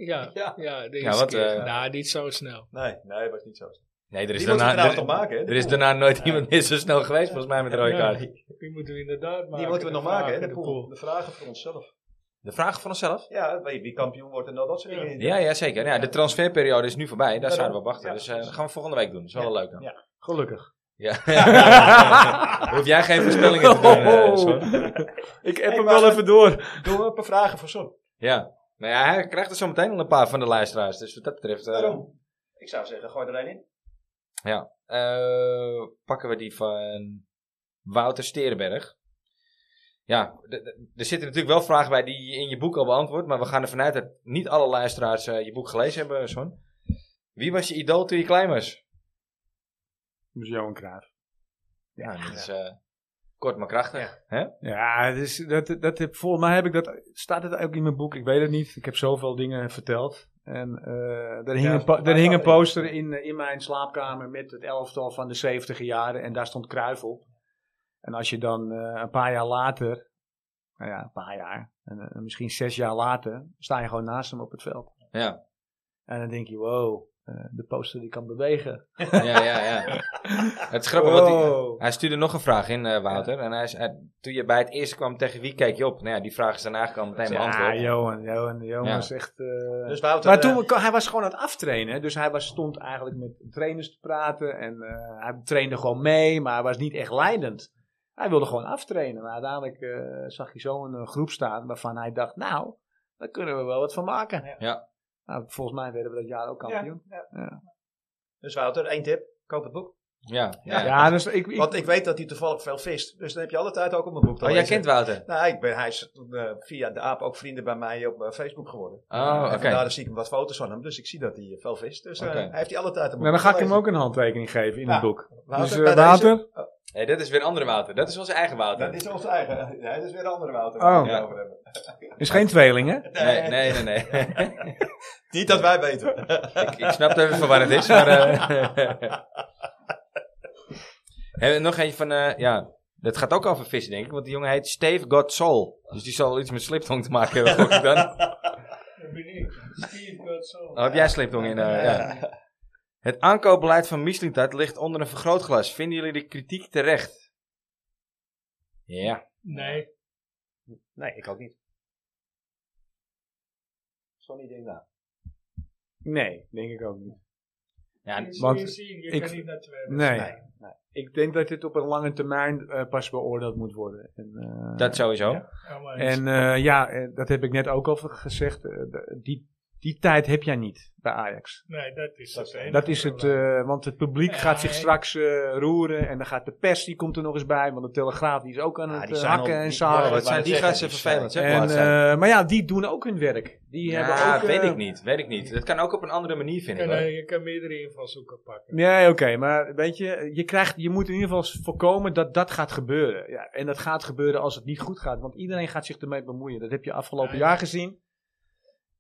Ja,
Ja.
ja, de
Ja,
eerste
wat,
keer.
eh,
nou, niet zo snel.
Nee, nee, dat was niet zo.
Nee, er is,
Die moeten we
daarna,
trouwens
er,
nog maken, hè?
er is daarna nooit iemand meer zo snel geweest, volgens mij, met de rode
Ja.
kaart.
Die moeten we inderdaad maken.
Die moeten we nog
de
maken, hè?
vragen,
De pool. De vragen voor onszelf.
De vraag van onszelf?
Ja, wie wie kampioen wordt en dat, dat soort
Ja.
dingen.
Ja, ja zeker. Nou Ja, de transferperiode is nu voorbij. Daar
Daarom.
zouden we op wachten.
Ja.
Dus eh, dat gaan we volgende week doen. Dat is wel
Ja.
een leuke.
Ja.
Gelukkig.
Ja. Dan Hoef jij geen voorspellingen te doen, eh,
Oh.
Sven.
Oh. ik
Hey,
heb hem
maar-
wel even door.
Doen we een paar vragen voor Son.
Ja. Nou ja, hij krijgt er zo meteen al een paar van de luisteraars. Dus wat dat betreft... eh,
Daarom. Ik zou zeggen, gooi er een in.
Eh, pakken we die van Wouter Sterenberg. Ja, d- d- er zitten natuurlijk wel vragen bij die je in je boek al beantwoord. Maar we gaan ervan uit dat niet alle luisteraars eh, je boek gelezen hebben, Son. Wie was je idool toen je klein was?
Johan Cruijff.
Ja, dat is eh, kort maar krachtig. Hè?
Ja, dus dat, dat heb, volgens mij heb ik dat, staat het ook in mijn boek, ik weet het niet. Ik heb zoveel dingen verteld. En eh er, hing
Ja,
een po-
maar-
er hing een poster in, eh, in mijn slaapkamer met het elftal van de 70 jaren en daar stond Cruijff op. En als je dan eh, een paar jaar later, nou ja, een paar jaar, en, eh, misschien zes jaar later, sta je gewoon naast hem op het veld.
Ja.
En dan denk je, wow, eh, de poster die kan bewegen.
ja, ja, ja. Het is grappig, want die-
Wow.
hij stuurde nog een vraag in, eh, Wouter. En hij, is- hij- toen je bij het eerste kwam, tegen wie keek je op? Nou ja, die vraag is daarna eigenlijk al meteen
Ja,
beantwoord.
Johan, Johan, Johan
Ja.
was echt... eh,
Dus Wouter.
maar
eh,
toen, hij was gewoon aan het aftrainen. hè. Dus hij was, stond eigenlijk met trainers te praten. En eh, hij trainde gewoon mee, maar hij was niet echt leidend. Hij wilde gewoon aftrainen. Maar uiteindelijk eh, zag je zo'n een groep staan waarvan hij dacht, nou, daar kunnen we wel wat van maken.
Ja.
Nou, volgens mij werden we dat jaar ook kampioen.
Ja,
Ja.
Dus Wouter, één tip. Koop het boek.
Ja,
Ja,
ja.
dus ik, ik-
Want ik weet dat hij toevallig veel vist. Dus dan heb je alle tijd ook op mijn boek te
Oh, jij
lezen.
kent Wouter?
Nou, ik ben, hij is toen, eh, via de aap ook vrienden bij mij op eh, Facebook geworden.
Oh, oké.
En vandaar zie ik hem wat foto's van hem. Dus ik zie dat hij eh, veel vist. Dus eh,
Oké.
hij heeft die alle tijd op
nou,
mijn
dan
boek
ga ik
te
hem
lezen.
ook een handtekening geven in
Ja.
het boek.
Wouter,
dus eh,
bij deze-
Wouter,
Hé, dat is weer een andere Wouter. Dat is wel zijn eigen Wouter.
Dat is ons eigen. Ja, dat is weer een andere Wouter.
Oh.
waar we het
Ja.
over hebben.
Is geen tweeling, hè?
Nee, nee, nee. nee.
Niet dat wij weten.
ik, ik snap even van waar het is, maar... eh Hebben we nog eentje van... eh, ja, dat gaat ook over vissen, denk ik. Want die jongen heet Steve Got Soul. Dus die zal iets met sliptong te maken hebben, gok ik dan.
Dat ben ik. Steve Godzone.
Oh, heb jij sliptong in? eh, ja. Het aankoopbeleid van Mislintat ligt onder een vergrootglas. Vinden jullie de kritiek terecht? Ja.
Nee.
Nee, ik ook niet. Sonny denkt na.
Nee, denk ik ook niet.
ja
Je-
want
je ziet, je
ik-
kan niet naar twee.
Nee.
Nee,
Ik denk dat dit op een lange termijn eh, pas beoordeeld moet worden. En, eh,
dat sowieso.
Helemaal eens.
en eh, ja, eh, dat heb ik net ook al gezegd. eh, d- die, die tijd heb jij niet bij Ajax.
nee, dat is
Dat-
het enige
Dat is het,
probleem.
eh, want het publiek
Ja,
gaat zich
ik-
straks eh, roeren. En dan gaat de pers, die komt er nog eens bij. Want de Telegraaf die is ook aan
Ah,
het
die
eh,
zijn
hakken
al-
en
die-
Oh,
zagen.
ja,
wat zijn die
zeggen,
gasten
die
vervelend, zeg
En,
laatst zijn.
eh, maar ja, die doen ook hun werk. Die
Ja,
hebben ook, eh,
weet ik niet. Weet ik niet. Dat kan ook op een andere manier, vind
Je
ik.
kan,
hoor.
eh, je kan meerdere invalshoeken pakken.
Nee, oké, maar weet je, je, krijgt, je moet in ieder geval voorkomen dat dat gaat gebeuren. Ja, en dat gaat gebeuren als het niet goed gaat, want iedereen gaat zich ermee bemoeien. Dat heb je afgelopen
Ja, ja.
jaar gezien.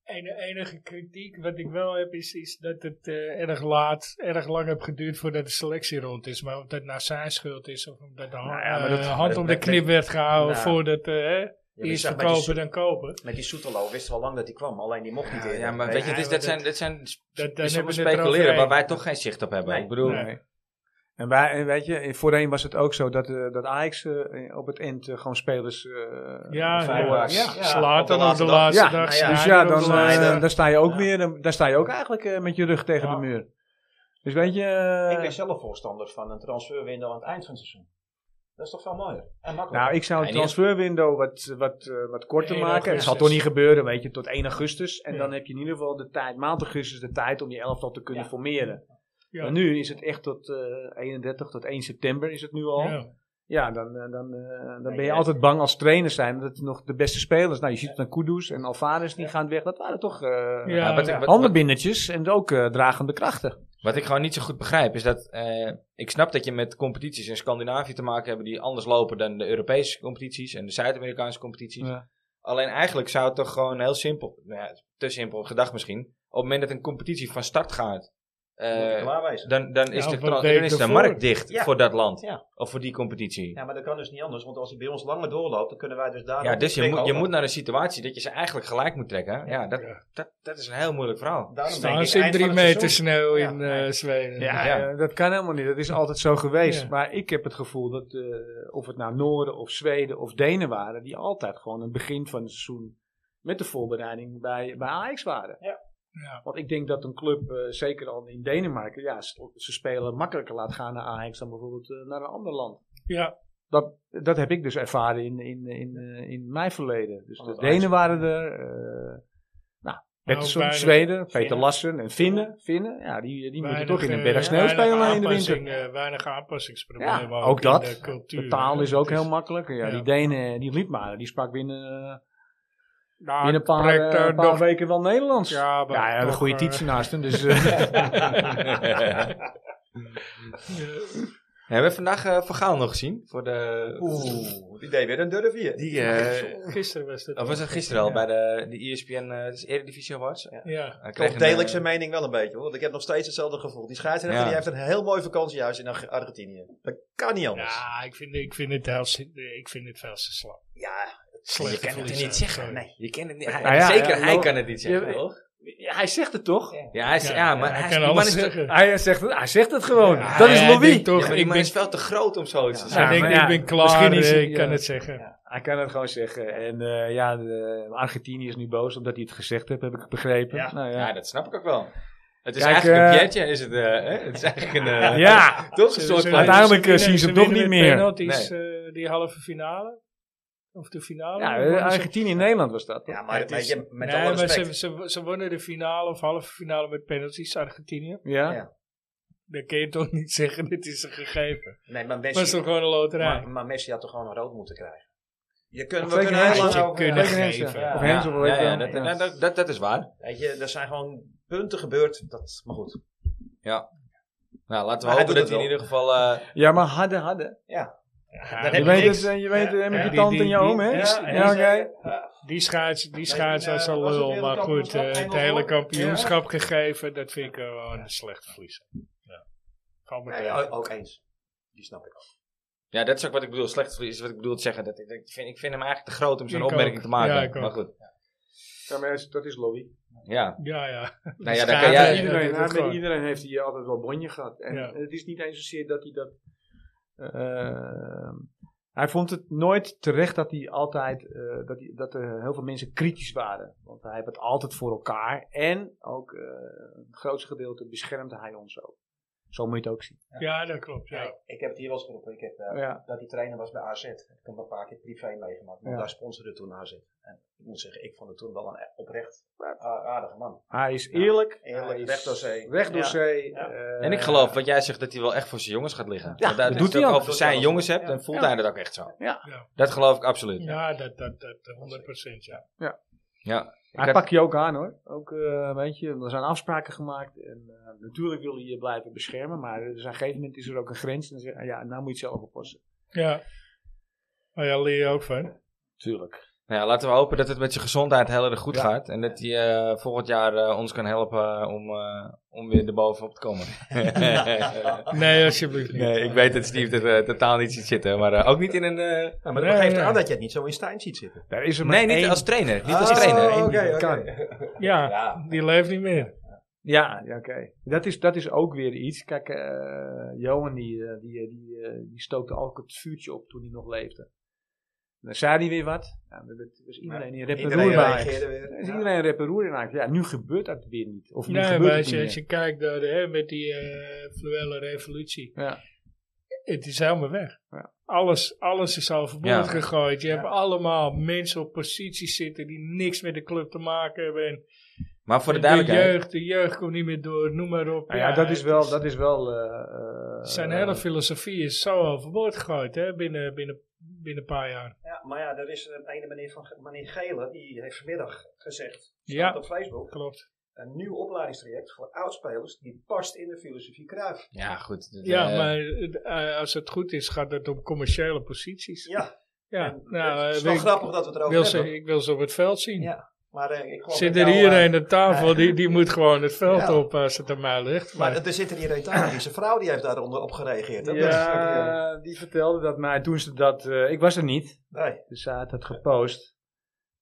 Ene, enige kritiek wat ik wel heb is, is dat het eh, erg laat, erg lang heeft geduurd voordat de selectie rond is. Maar of dat nou zijn schuld is of omdat de hand,
Nou ja, maar
eh,
dat-
hand
dat-
om de
dat-
knip werd gehouden
Nou.
voordat eh, hè,
Ja, maar je
eerst
zag met die
verkopen
Soet-
dan kopen.
Met die Soetelo wisten we al lang dat die kwam, alleen die mocht niet
Ja,
eerder.
ja, maar
Nee,
weet je, het is,
maar
dat,
dat-
zijn, dat zijn sp-
Dat,
is
hebben
op
we het
speculeren waar
eroverheen.
wij toch geen zicht op hebben.
Nee.
Ik bedoel,
Nee.
En, wij, en weet je, voorheen was het ook zo dat, eh, dat Ajax eh, op het eind eh, gewoon spelers eh,
Ja,
verloor.
ja.
ja.
Ja,
Slaat
op de
dan op de
laatste dag.
laatste dag.
Ja,
nou ja.
Dus
Snyder
ja,
op
dan,
de
eh,
laatste dag.
dan sta je ook
Ja.
weer, dan, dan sta je ook eigenlijk eh, met je rug tegen
Ja.
de muur. Dus weet je, eh,
Ik ben zelf voorstander van een transferwindow aan het eind van het seizoen. Dat is toch veel mooier en makkelijker.
nou, ik zou het
Ja, in ieder-
transferwindow wat, wat, eh, wat korter
1
maken. Het zal
augustus.
toch niet gebeuren, weet je, tot 1 augustus. En
Ja.
dan heb je in ieder geval de tijd, maand augustus, de tijd om die elftal te kunnen
Ja.
formeren.
Ja.
Maar nu is het echt tot eh, 31, tot 1 september is het nu al. Ja,
Ja.
dan, eh, dan, eh, dan ben je
ja.
altijd bang als trainer zijn dat nog de beste spelers, nou je ziet het aan Kudus en Alvarez, die gaan weg. Dat waren toch... eh,
Ja.
maar wat, ik- wat- wat,
Handenbindertjes en ook eh, dragende krachten.
wat ik gewoon niet zo goed begrijp is dat. eh, ik snap dat je met competities in Scandinavië te maken hebt die anders lopen dan de Europese competities en de Zuid-Amerikaanse competities.
Ja.
Alleen eigenlijk zou het toch gewoon heel simpel, nou ja, te simpel gedacht misschien. Op het moment dat een competitie van start gaat,
Moet je
eh,
klaarwijzen.
dan, dan is
Ja,
de,
of een
tra-
week
dan is de
ervoor.
markt dicht
Ja.
voor dat land
Ja.
of voor die competitie.
Ja, maar dat kan dus niet anders, want als hij bij ons langer doorloopt, dan kunnen wij dus daar.
Ja,
nog
dus je
niet
moet, je
prikken
moet naar een situatie dat je ze eigenlijk gelijk moet trekken. Ja, dat,
Ja.
dat, dat is een heel moeilijk verhaal.
Daarom denk
Staan
ik
ze in
eind
drie
van het
meter
seizoen.
sneeuw
Ja,
in
nee.
eh, Zweden.
Ja,
Ja.
eh, dat kan helemaal niet. Dat is altijd zo geweest.
Ja.
Maar ik heb het gevoel dat eh, of het nou Noorden of Zweden of Denen waren, die altijd gewoon aan het begin van het seizoen met de voorbereiding bij, bij Ajax waren.
Ja.
Ja.
Want ik denk dat een club, eh, zeker al in Denemarken, ja, ze ze spelen makkelijker laat gaan naar Ajax dan bijvoorbeeld eh, naar een ander land.
Ja,
Dat, dat heb ik dus ervaren in, in, in, eh, in mijn verleden. Dus de
Omdat
Denen waren er. eh nou, Pettersson,
weinig-
Zweden, Peter
Finnen.
Lassen en Finnen. Finnen ja, die, die moeten
weinig,
toch in een
eh,
berg sneeuw
weinig eh,
spelen in de winter.
aanpassing, eh, weinig aanpassingsproblemen.
Ja, ook dat.
in de cultuur. eh,
De taal is ook heel makkelijk. Ja,
Ja.
Die Denen, eh, die liep maar. Die sprak binnen, eh,
Nou,
binnen een paar,
trekt
eh,
er
een paar
nog-
weken wel Nederlands. Ja,
Ja, maar
ja, een
toch,
goede
eh,
tietje naast hem. Dus, eh,
eh,
We hebben we vandaag eh Van Gaal nog gezien. Voor de,
Oeh, die deed weer een durf hier.
die, eh,
Gisteren was het.
of was dat gisteren al bij de, de ESPN eh, dus Eredivisie Awards? Hij
Ja.
kreeg
Toch
een,
deel
eh,
ik zijn mening wel een beetje hoor. Want ik heb nog steeds hetzelfde gevoel. Die scheidsrechter
Ja.
die heeft een heel mooi vakantiehuis in Arg- Argentinië. Dat kan niet anders. Ja,
Ja, ik vind, ik vind het heel, eh, ik vind het veel te slap.
je kan het niet zeggen. Nee.
Je kent het niet. Hij-
Ah, ja,
zeker
ja,
hij
wel-
kan het niet zeggen,
Ja,
toch?
hij zegt het toch?
Ja, hij is, ja, maar hij, is-
kan
die man
alles
is te-
zeggen.
Hij, zegt het, hij zegt het gewoon.
Ja,
dat is
hij
Louis.
denkt toch,
Ja, maar die
ik
man
ben,
is wel te groot om zoiets te
Ja,
zeggen.
hij denkt,
maar ja,
ik ben klaar,
misschien is
eh,
hij,
ik kan
ja.
het zeggen.
Hij kan het gewoon zeggen. En eh, ja, de- Argentinië is nu boos omdat hij het gezegd heeft, heb ik begrepen.
Ja.
Nou,
Ja,
ja.
dat snap ik ook wel. Het is
Kijk,
eigenlijk een
eh,
pietje, is het, eh, hè? Het is eigenlijk een... eh,
ja.
Toch een soort van...
Uiteindelijk, eh, zien ze hem toch
winnen
niet
met
meer.
penalties, eh, die halve finale. Of de finale.
Ja,
wonnen
eh,
ze-
Argentinië in Nederland was dat. toch?
maar
Het
weet
is-
je, met
nee,
alle
maar
respect.
ze, ze, ze wonnen de finale of halve finale met penalties Argentinië.
Ja.
Ja.
Dan kun je toch niet zeggen, dit is een gegeven.
nee, maar
Dat is
Messi,
toch gewoon een loterij.
maar, maar Messi had toch gewoon een rood moeten krijgen. Je kunt, we
Zeker
kunnen heel
Hansen.
lang
Had je
over-
kunnen
Zeker Hansen.
geven.
Ja.
Of
Ja,
Hens of hoe heet
ja, ja,
dat?
dat, dat- dat, dat, dat is waar.
Weet je, er zijn gewoon punten gebeurd. Dat, maar goed.
Ja. Nou, laten we
Maar hij
hopen
doet
dat hij in
het
ieder geval... eh,
Ja, maar hadden, hadden.
dat
Je
heb
weet
niks.
het, eh, je weet het, hè, met
Ja,
je
die-
tante
die-
en je oom,
die-
hè?
die-
Ja,
die-
oké.
Die schaats, die
Nee,
schaats
die, eh,
als een
was het
lul. Maar
wereldkampioenschap
goed, eh, het
Engelse
hele
hoor.
kampioenschap gegeven, dat vind ik eh, wel een slechte verliezer. Ja. Gewoon meteen.
Nou
Nee,
oh.
o- ook eens. Die snap ik.
ja, dat is ook wat ik bedoel. Slecht verlies is wat ik bedoel te zeggen. Dat ik, ik, vind, ik vind hem eigenlijk te groot om zo'n
Ik ook.
opmerking te maken.
Ja, ik ook.
maar goed.
Ja, maar dat is Louis.
Ja,
Ja, ja.
nou ja,
Schaats,
dan kan
Ja,
Ja,
jij...
ja,
iedereen,
dat
hè,
is gewoon.
met iedereen heeft hij altijd wel bonje gehad. En
Ja.
het is niet eens zozeer dat hij dat. eh, hij vond het nooit terecht dat hij altijd. eh, dat, hij, dat er heel veel mensen kritisch waren. Want hij heeft het altijd voor elkaar. En ook eh het grootste gedeelte beschermde hij ons ook. Zo moet je het ook zien.
ja, dat klopt. Ja.
Ja, ik- Ik heb het hier wel eens geroepen. Ik heb, eh,
Ja.
dat die trainer was bij AZ. Ik heb hem een paar keer privé meegemaakt. Want
Ja.
daar sponsorde toen AZ. En ik moet zeggen, ik vond het toen wel een e- oprecht a- aardige man.
Hij is eerlijk.
Eerlijk,
hij is
recht door zee.
Recht door
Ja.
zee,
Ja.
eh,
En ik geloof wat jij zegt dat hij wel echt voor zijn jongens gaat liggen.
Ja,
Want daar-
dat
dat
doet
je
hij ook.
over zijn jongens hebt, dan voelt
Ja.
hij dat ook echt zo.
Ja.
Ja.
Dat geloof ik absoluut. Ja.
Ja, dat, dat, dat, 100% ja.
Ik
Hij
heb-
pakt je ook aan hoor. Ook, eh, weet je, er zijn afspraken gemaakt. En, eh, natuurlijk wil hij je blijven beschermen. Maar er is aan een gegeven moment is er ook een grens. En dan zeg je, ah ja, nou moet je het zelf oppassen.
Ja. Maar ja, leer je ook van.
Tuurlijk.
Nou ja, laten we hopen dat het met zijn gezondheid heel erg goed
Ja.
gaat. En dat hij eh, volgend jaar eh, ons kan helpen om, eh, om weer erbovenop te komen.
Oh.
Nee, alsjeblieft niet.
nee, ik weet dat Steve er eh, totaal niet ziet zitten. Maar eh, ook niet in een... eh,
Ja, maar
dat Nee,
dat
geeft
geeft
nee. aan
aan dat je het niet zo in Stijn ziet zitten.
Daar is er maar
Nee, niet
één.
als trainer. Niet als trainer.
Oh, oké, oké.
Ja,
Ja.
die leeft niet meer.
Ja, ja oké. Dat, is, dat is ook weer iets. Kijk, eh, Johan die, eh, die, eh, die, eh, die stookte ook het vuurtje op toen hij nog leefde. En Dan zei hij weer wat. Ja, dat dat was iedereen in rep en roer
Iedereen
bij.
reageerde
Dan
weer.
is
Ja.
iedereen rep en roer in eigenlijk. Ja, nu gebeurt dat weer niet. Of nu
Nee,
gebeurt
maar
het
als
niet
je, als
meer.
je kijkt naar de, hè, met die eh fluwele revolutie.
Ja.
Het is helemaal weg.
Ja.
Alles, alles is overboord
Ja.
gegooid. Je hebt allemaal mensen op posities zitten die niks met de club te maken hebben. En
Maar voor de
de
duidelijkheid.
jeugd, de jeugd komt niet meer door, noem maar op.
Nou ja, dat
het
is wel. Dat is wel eh, eh,
Zijn hele filosofie is zo overboord gegooid hè, binnen, binnen, binnen een paar jaar.
Ja, maar ja, er is een ene meneer van meneer Gele, die heeft vanmiddag gezegd,
Ja.
staat op Facebook,
Klopt.
een nieuw opleidingstraject voor oudspelers die past in de filosofie Cruijff.
Ja, goed. dat,
Ja,
eh,
maar eh, als het goed is, gaat het om commerciële posities. Ja,
Ja, en
nou,
het
eh,
is wel
wil-
grappig dat we het erover
wil
hebben.
ze, ik wil ze op het veld zien.
Ja, maar eh, ik geloof
Zit
dat
er
jou,
nou
hier
eh,
een aan tafel, die, die moet gewoon het veld
Ja.
op als het aan mij ligt. Maar,
Maar er zit er hier een tafel, die zijn vrouw die heeft daaronder op gereageerd. hè? Dat is ook, eh,
Ja, die vertelde dat mij toen ze dat. eh, ik was er niet,
nee.
dus ze had het gepost.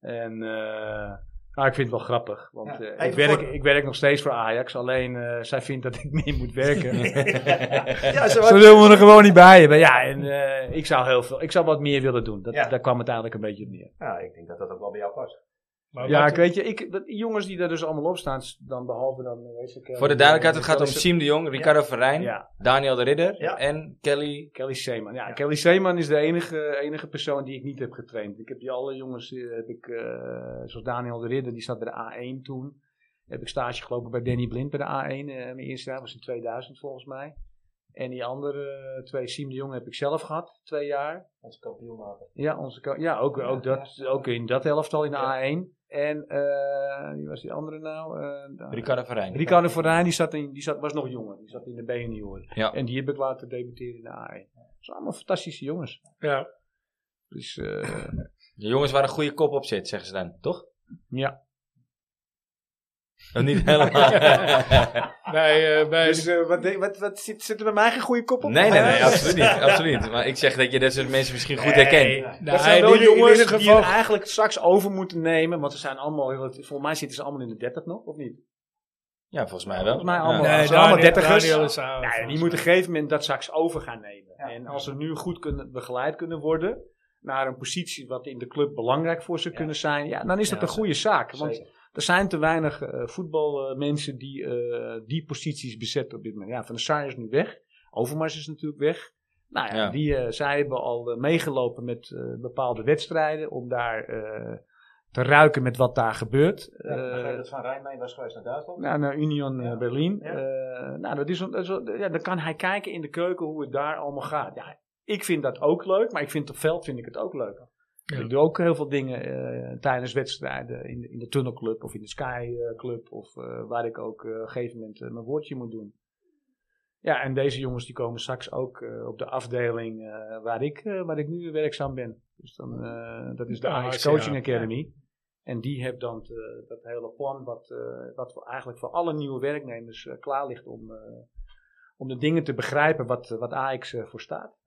En. eh, nou, ik vind het wel grappig. Want
Ja,
eh, ik,
even
werk,
voor-
ik werk nog steeds voor Ajax. Alleen eh, zij vindt dat ik meer moet werken.
Ja, ze
ze
was,
wil me er gewoon niet bij hebben. Ja, en eh, ik zou heel veel. Ik zou wat meer willen doen. Dat,
Ja.
Daar kwam het eigenlijk een beetje op neer.
ja, ik denk dat dat ook wel bij jou past.
maar
ja,
wat-
ik weet je, ik, dat- die jongens die daar dus allemaal op staan, dan behalve dan. eh, Weet ik, eh,
voor de duidelijkheid, het
eh,
gaat om
Kelly Se-
Siem de Jong, Ricardo Verijn,
Ja.
Daniel de Ridder
Ja.
en Kelly.
Kelly Seeman. Ja, Kelly Seeman is de enige, enige persoon die ik niet heb getraind. Ik heb die alle jongens, eh, heb ik, eh, zoals Daniel de Ridder, die zat bij de A1 toen. Heb ik stage gelopen bij Danny Blind bij de A1. eh, mijn eerste jaar was in 2000 volgens mij. En die andere eh, twee, Siem de Jong, heb ik zelf gehad. Twee jaar.
Onze kampioenmaker.
Ja, onze, ko- ja, ook, ook, dat, ook in dat elftal in de A1. En eh, wie was die andere nou? Eh, daar-
Ricardo Verijn.
Ricardo Forijn die zat in, die zat, was nog jonger. Die zat in de B-junioren.
Ja.
En die heb ik laten debuteren in de A1. Dat zijn allemaal fantastische jongens.
ja.
Dus eh,
De jongens waar een goede kop op zit, zeggen ze dan, toch?
ja.
Of niet helemaal.
Bij, eh, bij,
Dus, wat, wat, zit, er bij mij geen goede kop Eh,
nee, nee, nee, absoluut niet, absoluut niet. Maar ik zeg dat je dat soort mensen misschien goed herkent.
nou, die jongens
jongens die
geval,
het eigenlijk straks over moeten nemen. Want ze zijn allemaal, volgens mij zitten ze allemaal in de 30 nog, of niet?
Ja, volvolgens mij wel.
Volgens mij
Ja.
allemaal.
Nee,
ze
Daniel-
zijn allemaal dertigers.
Daniel is oud,
Nou ja, die
volgens
moeten op een gegeven moment dat straks over gaan nemen. En als ze nu goed kunnen, begeleid kunnen worden naar een positie wat in de club belangrijk voor ze kunnen zijn, ja, dan is dat een goede zaak. Want er zijn te weinig eh, voetbalmensen die eh, die posities bezetten op dit moment. Ja, Van der Sar is nu weg. Overmars is natuurlijk weg. Nou ja,
Ja.
Die, eh, zij hebben al eh, meegelopen met eh, bepaalde wedstrijden om daar eh, te ruiken met wat daar gebeurt.
Ja, ik
Eh,
begreep dat Van Rijn mee was geweest naar Duitsland.
nou, naar Union eh, Berlin.
Ja.
Eh, nou, dat is, een- dat is wel- ja, dan kan hij kijken in de keuken hoe het daar allemaal gaat. Ja, ik vind dat ook leuk, maar ik vind op veld vind ik het ook leuk.
Ja.
Ik doe ook heel veel dingen eh, tijdens wedstrijden in de, in de Tunnelclub of in de Sky eh, Club of eh, waar ik ook eh, op een gegeven moment eh, mijn woordje moet doen. Ja, en deze jongens die komen straks ook eh, op de afdeling eh, waar, ik, eh, waar ik nu werkzaam ben. Dus dan, eh, dat is de
Ah,
AX
ja.
Coaching Academy. En die heeft dan eh, dat hele plan wat, eh, wat voor eigenlijk voor alle nieuwe werknemers eh, klaar ligt om, eh, om de dingen te begrijpen wat, eh, wat AX eh, voor staat.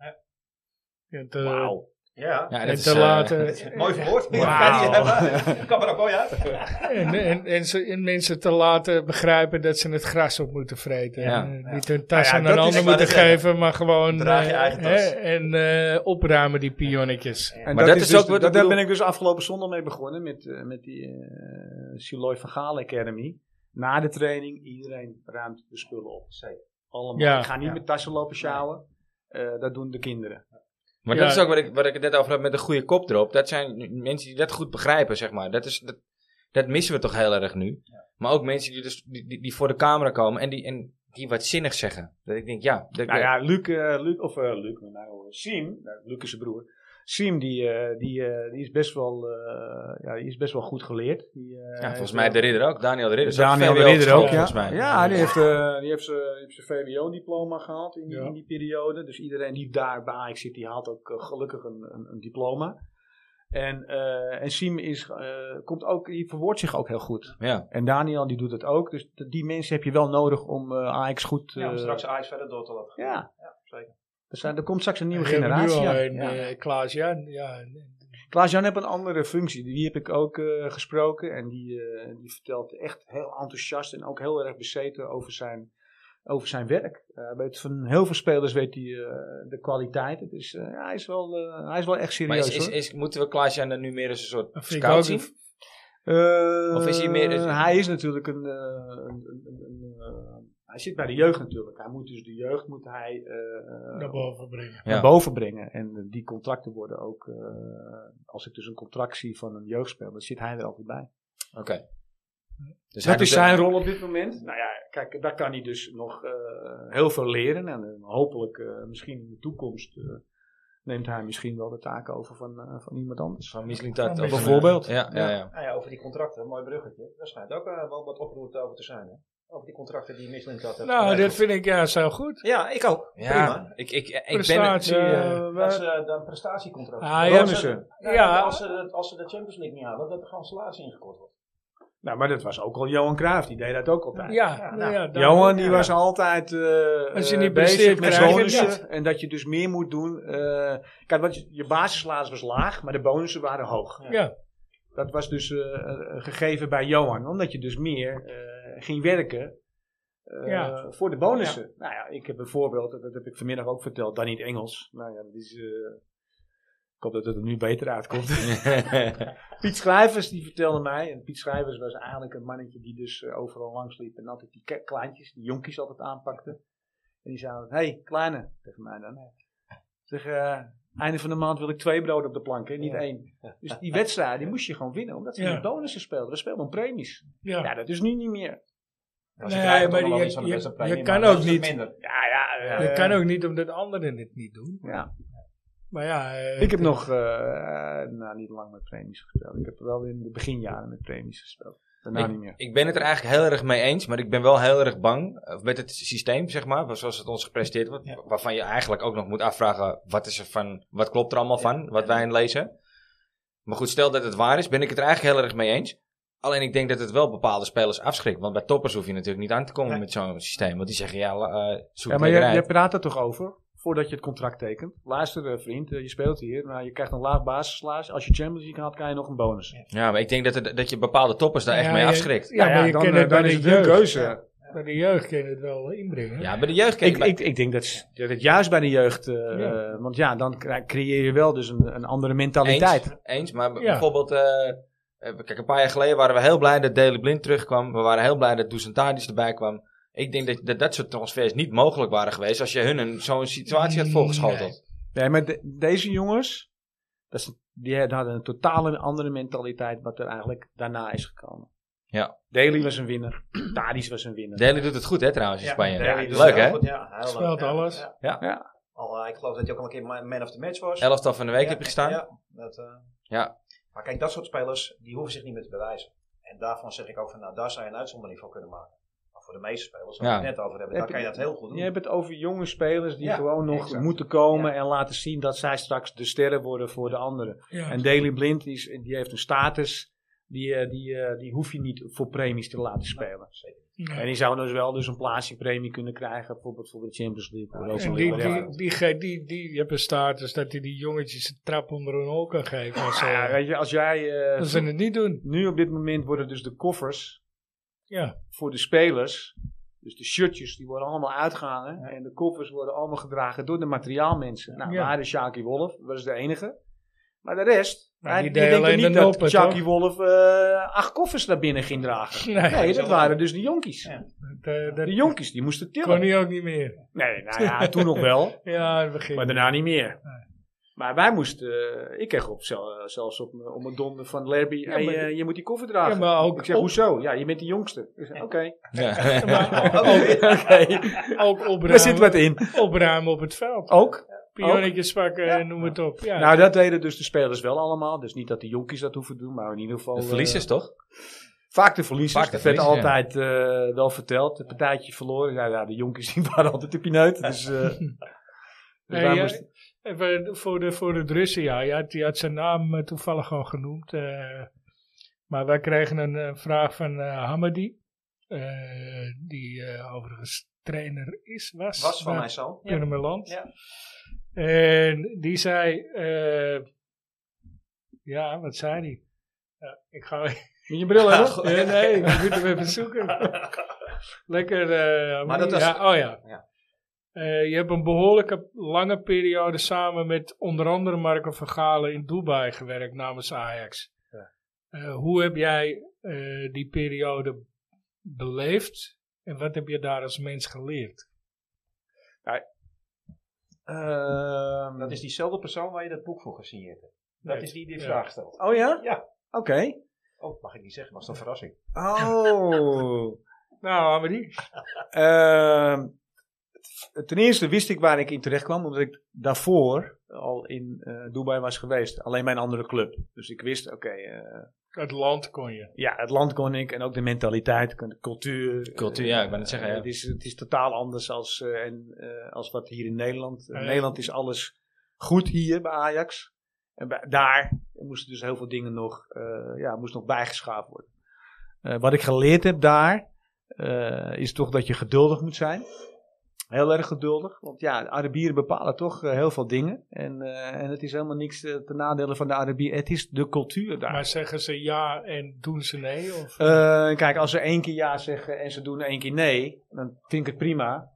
Ja, te-
Ja.
Ja,
En
dat is,
te
eh,
laten,
Mooi verwoord.
Wauw.
Ja, kan maar ook mooi uit.
en, en, en, ze- en mensen te laten begrijpen dat ze het gras op moeten vreten.
Ja.
En, eh, Niet hun tas
Nou ja,
aan een
dat is-
ander
ik wou
moeten
net zeggen,
geven, maar gewoon...
draag je
eh,
eigen
hè,
tas.
En eh, opruimen die pionnetjes.
En
Maar dat is
dus
ook wat
de-
ik
dat- Daar
bedoel.
ben ik dus afgelopen zondag mee begonnen met, eh, met die eh Siloy van Gaal Academy. Na de training, iedereen ruimt de spullen op. Allemaal.
Ja.
Ik ga niet
Ja.
met tassen lopen sjouwen. Eh, dat doen de kinderen.
Maar
Ja.
dat is ook wat ik, wat ik het net over had met de goede kop erop. Dat zijn mensen die dat goed begrijpen, zeg maar. Dat, is, dat, dat missen we toch heel erg nu. Maar ook mensen die, dus, die, die, die voor de camera komen en die, en die wat zinnig zeggen. Dat ik denk, ja. Dat,
Nou ja, Luc, eh, Luc of eh, Luc, nou, eh, Siem, nou, Luc is zijn broer. Siem, die, eh, die, eh, die, is best wel, eh, ja, die is best wel goed geleerd. Die, eh,
ja,
heeft
volgens mij
wel-
de ridder ook. Daniel de ridder. is ook
Daniel de
VWO
Ridder ook,
geschoten,
ja.
Volgens mij.
Ja, die heeft, eh, die heeft zijn VWO-diploma gehaald in die,
Ja.
in die periode. Dus iedereen die daar bij Ajax zit, die haalt ook eh, gelukkig een, een, een diploma. En, eh, en Siem is, eh, komt ook, die verwoordt zich ook heel goed.
Ja.
En Daniel die doet het ook. Dus d- die mensen heb je wel nodig om eh Ajax goed...
Ja, om
eh,
straks Ajax verder door te laten gaan.
ja.
zeker.
Er, zijn, er komt straks een nieuwe
We hebben
generatie
Nu al
aan.
een,
Ja.
eh, Klaas-Jan. Ja, en-
Klaas-Jan heeft een andere functie. Die heb ik ook eh, gesproken. En die, eh, die vertelt echt heel enthousiast en ook heel erg bezeten over zijn, over zijn werk. Eh, Hij weet van heel veel spelers weet hij eh, de kwaliteit. Het is, eh, ja, hij, is wel, eh, hij is wel echt
Maar
serieus
is, is,
hoor.
is- moeten we Klaasje dan nu meer als een soort
Dat vind ik
scout
ook
zien?
een-
Eh,
of is hij meer- is-
hij is natuurlijk een... eh, een- een- een- een, eh, hij zit bij de jeugd natuurlijk. Hij moet dus de jeugd moet hij, eh,
naar boven brengen.
Ja.
naar boven brengen. En eh, die contracten worden ook, eh, als ik dus een contract zie van een jeugdspeler, dan zit hij er altijd bij.
Oké. Dus hij
dat
doet
is zijn rol op dit moment. Nou ja, kijk, daar kan hij dus nog eh, heel veel leren. En eh, hopelijk, eh, misschien in de toekomst, eh, neemt hij misschien wel de taken over van, eh, van iemand anders.
Van Michelin Tat.
Van Michelin.
Bijvoorbeeld.
Ja, ja, ja.
Nou ja, over die contracten, mooi bruggetje. Daar schijnt ook eh, wel wat oproer over te zijn. Hè? Over die contracten die Michelin had.
Nou, dat vind ik ja, zo goed.
Ja, ik ook.
Ja, ik, ik, ik ben...
Prestatie. eh,
Dat is eh, dan prestatiecontract.
Ah, ja.
Als ze- nou,
Ja.
Als, ze, de- als ze de Champions League niet halen, dat er gewoon salaris ingekort wordt.
Nou, maar dat was ook al Johan Cruijff, die deed dat ook altijd.
ja, nou
nou,
ja, dan-
Johan die was altijd eh,
Als je
eh,
niet presteert,
bezig met
krijg je het niet.
bonussen. En dat je dus meer moet doen. eh, kijk, want je, je basissalaris was laag, maar de bonussen waren hoog.
Ja,
Dat was dus eh, eh, gegeven bij Johan, omdat je dus meer eh, ging werken eh,
Ja.
voor de bonussen. Nou ja, ik heb een voorbeeld, dat, dat heb ik vanmiddag ook verteld, dan niet Engels. Nou ja, dat is, eh, ik hoop dat het er nu beter uitkomt. Piet Schrijvers die vertelde mij, en Piet Schrijvers was eigenlijk een mannetje die dus eh, overal langs liep en altijd die ke- kleintjes, die jonkies altijd aanpakte. En die zei, altijd, hey, kleine, tegen mij dan. Zeg, eh, einde van de maand wil ik twee broden op de plank, hè, niet
Ja.
één. Dus die wedstrijd, die moest je gewoon winnen, omdat ze
Ja.
met bonussen speelden. We speelden om premies.
ja.
Ja, dat is nu niet meer.
Nou, ze
Nee,
krijgen
maar
toch nog wel
je-
iets van de
je-
beste premie,
je
maar
kan
dat
ook
is
niet-
Minder.
Ja, ja. eh,
Dat kan ook niet omdat anderen het niet doen.
Ja.
Maar ja, eh,
Ik heb nog, eh, nou niet lang met premies gespeeld. Ik heb wel in de beginjaren met premies gespeeld. Daarna niet meer.
Ik ben het er eigenlijk heel erg mee eens, maar ik ben wel heel erg bang eh, met het systeem, zeg maar, zoals het ons gepresenteerd wordt.
Ja.
Waarvan je eigenlijk ook nog moet afvragen, wat, is er van, wat klopt er allemaal van, wat wij in lezen. Maar goed, stel dat het waar is, ben ik het er eigenlijk heel erg mee eens. Alleen ik denk dat het wel bepaalde spelers afschrikt. Want bij toppers hoef je natuurlijk niet aan te komen
Nee.
met zo'n systeem. Want die zeggen, ja, la- eh zoek
Ja,
het
maar
lekker
je, je
uit.
praat er toch over voordat je het contract tekent. Luister eh, vriend, eh, je speelt hier, maar je krijgt een laag basisslaas. Als je Champions League haalt, krijg je nog een bonus.
Ja, maar ik denk dat, het- dat je bepaalde toppers daar echt
Ja,
mee
je-
afschrikt.
Ja, maar je
dan,
kan
eh,
het bij
dan
de
is het een
jeugd.
keuze.
bij de jeugd kun je het wel inbrengen.
Ja, bij de jeugd kijk
Ik, ik, ik denk dat, s- dat het juist bij de jeugd, eh,
Ja.
want ja, dan kri- creëer je wel dus een, een andere mentaliteit.
Eens, eens maar b-
Ja.
bijvoorbeeld... eh, eh, kijk, een paar jaar geleden waren we heel blij dat Daley Blind terugkwam. We waren heel blij dat Dusan Tadic erbij kwam. Ik denk dat, dat dat soort transfers niet mogelijk waren geweest... als je hun een- zo'n situatie had voorgeschoteld.
Nee, maar de- deze jongens, dat is, die hadden een totale andere mentaliteit wat er eigenlijk daarna is gekomen.
Ja.
Daly was een winnaar, Tadic was een winnaar.
Daley doet het goed, hè, trouwens, in Spanje.
nee,
Ja,
dus
leuk,
heel
hè?
goed, Ja, heel leuk.
Speelt
Ja,
alles.
ja.
Ja.
Ja.
Al, eh, ik geloof dat je ook al een keer ma- man of the match was.
Elftal van de week
Ja,
heb je gestaan.
Ja, dat, eh.
Ja.
Maar kijk, dat soort spelers, die hoeven zich niet meer te bewijzen. En daarvan zeg ik ook van, nou, daar zou je een uitzondering voor kunnen maken. Maar voor de meeste spelers,
Ja.
waar we het net over hebben,
Heb
daar kan je
je-
dat heel goed doen.
Je hebt het over jonge spelers die
Ja,
gewoon nog
exact.
moeten komen en laten zien dat zij straks de sterren worden voor de anderen.
Ja.
En Daley Blind die, is- die heeft een status, die, eh, die, eh, die hoef je niet voor premies te laten spelen. En die zou dus wel dus een plaatsingpremie kunnen krijgen, bijvoorbeeld voor de Champions League. Of Europa
En
League,
die,
whatever.
die, die, ge- die, die, die hebben status dat hij die jongetjes een trap onder hun oor kan geven. Als,
Ja,
eh,
weet je, als jij eh,
dat ze het niet doen.
nu op dit moment worden dus de koffers
Ja.
voor de spelers. Dus de shirtjes die worden allemaal uitgehangen. En de koffers worden allemaal gedragen door de materiaalmensen. Nou,
Ja.
waar de Shaki Wolf, dat is de enige. Maar de rest,
Maar
hij-
die
die
deed
denken
alleen
niet
de
dat
noppen,
Shaki
toch?
Wolf eh, acht koffers naar binnen ging dragen.
Nee,
Nee, dat waren dus de jonkies.
Ja.
dat, eh, dat
De jonkies, die moesten
kon
tillen.
hij ook niet meer.
Nee, nou ja, toen nog wel.
Ja, in het begin.
Maar daarna niet meer. Maar wij moesten, eh, ik kreeg op, zel- zelfs op, m- op mijn donder van Lerby, hey,
maar-
eh, je moet die koffer dragen.
Ja, maar ook-
ik zeg,
ook-
hoezo? Ja, je bent de jongste. Ik zeg, Oké,
Oh,
Maar
Oh,
ook-
Oh.
ook opruimen,
er zit wat in.
opruimen op het veld.
Ook?
Pionnetjes pakken, en noem het op. Ja,
Nou, dat deden dus de spelers wel allemaal. Dus niet dat de jonkies dat hoeven te doen, maar in ieder geval...
De
eh,
verliezers toch?
vaak de verliezers.
Vaak de
dat werd
verliezers, ja.
altijd eh, wel verteld. Het partijtje verloren. Ja, ja, de jonkies die waren altijd de pineut. Dus, eh dus
Dus
Nee,
wij
ja,
moesten-
even voor, de, voor het Russen, ja. Je had, je had zijn naam eh, toevallig gewoon genoemd. eh. maar wij kregen een eh, vraag van eh Hamadi. eh, die eh, overigens trainer is, was.
was van
bij
mijn zoon. Ja.
Purmerland.
Ja.
En die zei... eh, ja, wat zei die? Ja, ik ga...
Moet je bril hebben?
nee, nee, ik moet hem even zoeken. Lekker... eh,
Maar dat was-
ja, oh ja.
Ja.
Eh, je hebt een behoorlijke lange periode samen met onder andere Marco van Galen in Dubai gewerkt namens Ajax. Eh, hoe heb jij eh, die periode beleefd en wat heb je daar als mens geleerd?
Ehm,
Dat is diezelfde persoon waar je dat boek voor gesigneerd hebt. Dat
Nee.
is die die
Ja.
vraag stelt.
Oh ja?
Ja.
Oké.
Oh, mag ik niet zeggen, was dat een verrassing.
Oh.
Nou, Amelie.
Ehm, t- ten eerste wist ik waar ik in terecht kwam, omdat ik daarvoor al in eh, Dubai was geweest. Alleen mijn andere club. Dus ik wist, oké, eh,
Het land kon je.
ja, het land kon ik en ook de mentaliteit, de cultuur.
Cultuur,
eh,
ja, ik wou net zeggen,
eh,
ja.
het, is, het is totaal anders als, eh, en, eh, als wat hier in Nederland. In
Ja, ja.
Nederland is alles goed hier bij Ajax. En bij- daar moesten dus heel veel dingen nog, eh, ja, moest nog bijgeschaafd worden. Eh, wat ik geleerd heb daar, eh, is toch dat je geduldig moet zijn. Heel erg geduldig. Want ja, de Arabieren bepalen toch eh, heel veel dingen. En, eh, en het is helemaal niks eh, ten nadele van de Arabieren. Het is de cultuur daar.
Maar zeggen ze ja en doen ze nee? Of?
Eh, kijk, als ze één keer ja zeggen en ze doen één keer nee, dan vind ik het prima.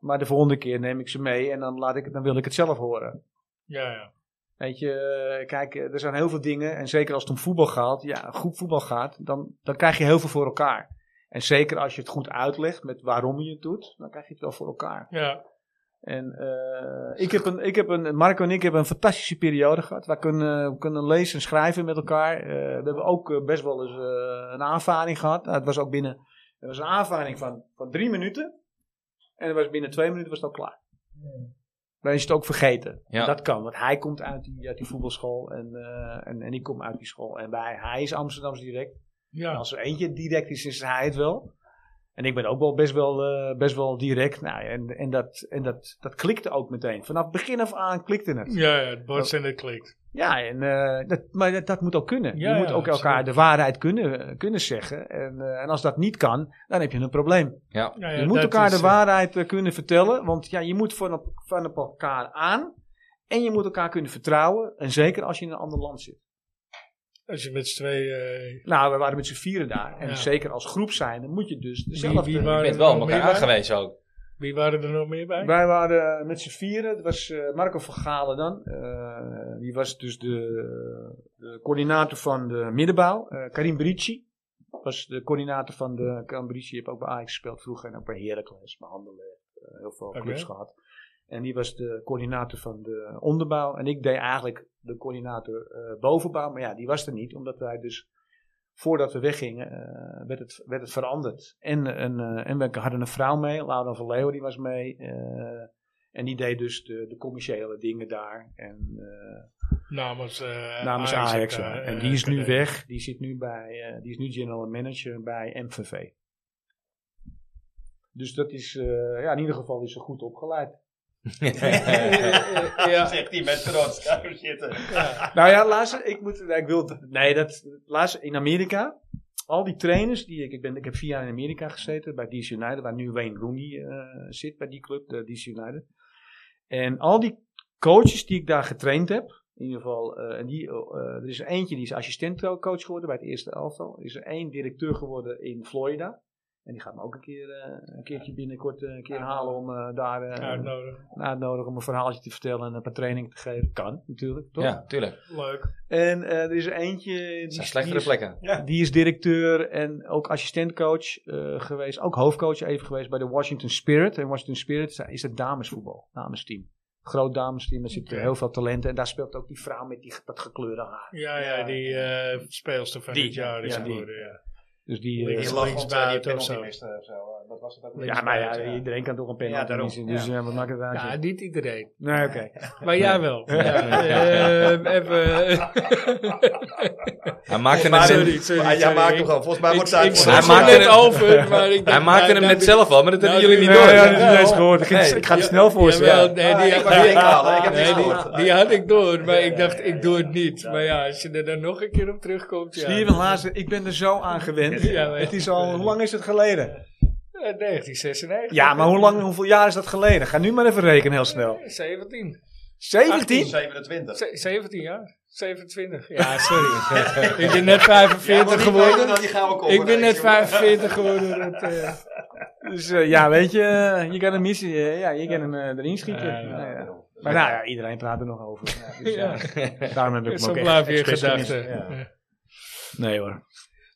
Maar de volgende keer neem ik ze mee en dan, laat ik, het- dan wil ik het zelf horen.
Ja, ja.
Weet je, eh, kijk, eh, er zijn heel veel dingen. En zeker als het om voetbal gaat, ja, goed voetbal gaat, dan, dan krijg je heel veel voor elkaar. En zeker als je het goed uitlegt met waarom je het doet, dan krijg je het wel voor elkaar.
ja.
En eh, ik heb een, ik heb een, Marco en ik hebben een fantastische periode gehad. Wij kunnen, we kunnen lezen en schrijven met elkaar. Eh, we hebben ook eh, best wel eens eh, een aanvaring gehad. Nou, het was ook binnen, het was een aanvaring van, van drie minuten. En het was binnen twee minuten was het al klaar. Dan is het ook vergeten.
Ja.
Dat kan, want hij komt uit die, uit die voetbalschool en, eh, en, en ik kom uit die school. En wij, hij is Amsterdams direct. En
ja.
als er eentje direct is, is hij het wel. En ik ben ook wel best wel, eh, best wel direct. Nou, en en, dat, en dat, dat klikte ook meteen. Vanaf begin af aan klikte het.
Ja, ja, het botst en het klikt.
Ja, en, eh, dat, maar dat, dat moet ook kunnen.
Ja,
je moet
ja,
ook elkaar
absoluut.
de waarheid kunnen, eh, kunnen zeggen. En, eh, en als dat niet kan, dan heb je een probleem.
Ja.
Ja, ja,
je moet
dat
elkaar
is,
de
eh,
waarheid eh, kunnen vertellen. Want ja, je moet van, op- van op elkaar aan. En je moet elkaar kunnen vertrouwen. En zeker als je in een ander land zit.
Als je met z'n tweeën... eh,
Nou, we waren met z'n vieren daar. En
Ja.
zeker als groep zijn, dan moet je dus
wie,
dezelfde...
wie
Je
waren
bent
er
wel op
nog
elkaar
meer bij?
aangewezen ook.
Wie waren er nog meer bij?
Wij waren eh, met z'n vieren. Het was eh, Marco van Galen dan. Eh, die was dus de, de coördinator van de middenbouw. Eh, Karim Brici was de coördinator van de... Karim Brici heeft ook bij Ajax gespeeld vroeger. En ook bij Heracles, bij Handelen. eh, heel veel
Oké.
clubs gehad. En die was de coördinator van de onderbouw. En ik deed eigenlijk de coördinator eh, bovenbouw. Maar ja, die was er niet. Omdat wij dus... Voordat we weggingen, eh, werd, het, werd het veranderd. En, een, eh, en we hadden een vrouw mee, Laura van Leeuwen, die was mee. eh, en die deed dus de, de commerciële dingen daar. En, eh,
Namens, eh
namens Ajax.
eh,
en die is nu
eh,
weg. Die, zit nu bij, eh, die is nu general manager bij MVV. Dus dat is, eh, ja, in ieder geval is ze goed opgeleid.
Zegt hij met trots. Daar zitten.
Nou ja, laatst, ik moet, nou, ik wil, nee, dat, laatst in Amerika, al die trainers die ik, ik ben, ik heb vier jaar in Amerika gezeten bij DC United, waar nu Wayne Rooney eh, zit bij die club, de DC United. En al die coaches die ik daar getraind heb, in ieder geval, eh, en die, eh, er is er eentje die is assistentcoach geworden bij het eerste elftal. Er is er één directeur geworden in Florida. En die gaat me ook een keer, eh, een keertje binnenkort eh, een keer halen om eh, daar eh,
Uitnodigen.
uitnodigen om een verhaaltje te vertellen en een paar trainingen te geven. Kan natuurlijk, toch?
ja, tuurlijk.
Leuk.
En eh, er is er eentje.
Het
Die,
zijn
is-
slechtere
die is,
plekken.
die is directeur en ook assistentcoach eh, geweest. Ook hoofdcoach even geweest bij de Washington Spirit. En Washington Spirit is- is het damesvoetbal, damesteam. Groot damesteam, daar zitten
Oké.
heel veel talenten. En daar speelt ook die vrouw met die, dat gekleurde haar.
Ja, ja, die eh speelster van
Die,
dit jaar is
ja, die.
geworden. Ja.
Dus die, eh,
Links-
Die lag
buiten
onder die
of
penalty
zo.
miste of zo. eh, Dat was het ook.
ja, maar ja,
linksbuiten,
iedereen kan toch een penalty
Ja, daarom.
missen. Dus ja. wat maakt het uit?
Ja,
joh?
niet iedereen.
Nee, oké.
Maar jij wel. Ja. eh, even...
Hij maakte het,
Sorry,
net,
sorry,
Ah, jij
sorry.
maakt toch al. Volgens mij
Ik,
wordt het
ik
uit. voor-
Hij
zag het
maakte
net
het-
over, maar ik
hij
dacht,
maakte
nou,
hem
nou,
net
dit-
zelf al, maar dat
nou,
hebben jullie niet
dit-
door.
ja,
Ja,
ja,
dat is ineens gehoord. Ik,
Nee.
ik ga het snel voor ze.
Jawel,
Ja.
nee,
Ah,
die,
ik wou het inhalen, ik heb
nee,
niks
die-
gehoord.
die had ik door, maar ik dacht, ik doe het niet. Maar ja, als je er dan nog een keer op terugkomt, ja.
Steven Hazen, ik ben er zo aan gewend.
Ja, maar-
het is al, hoe lang is het geleden?
Eh, 1996.
Ja, maar hoe lang, hoeveel jaar is dat geleden? Ga nu maar even rekenen heel snel.
17.
17?
27.
Eh, Ze- 17 jaar? 27. Ja, sorry. ik ben net 45 geworden.
nou, Die gaan we
Ik ben net 45 geworden. Dat, eh,
Dus eh, ja, weet je, eh, je kan hem missen. eh, ja, je kan hem eh, erin schieten.
Ja, ja.
Nou ja. Maar nou ja, iedereen praat er nog over. Ja, dus,
ja,
eh, daarom heb ik hem
dus zo
ook echt
blijf je in
expres
gedachten.
gemist.
Ja.
Ja. Nee hoor.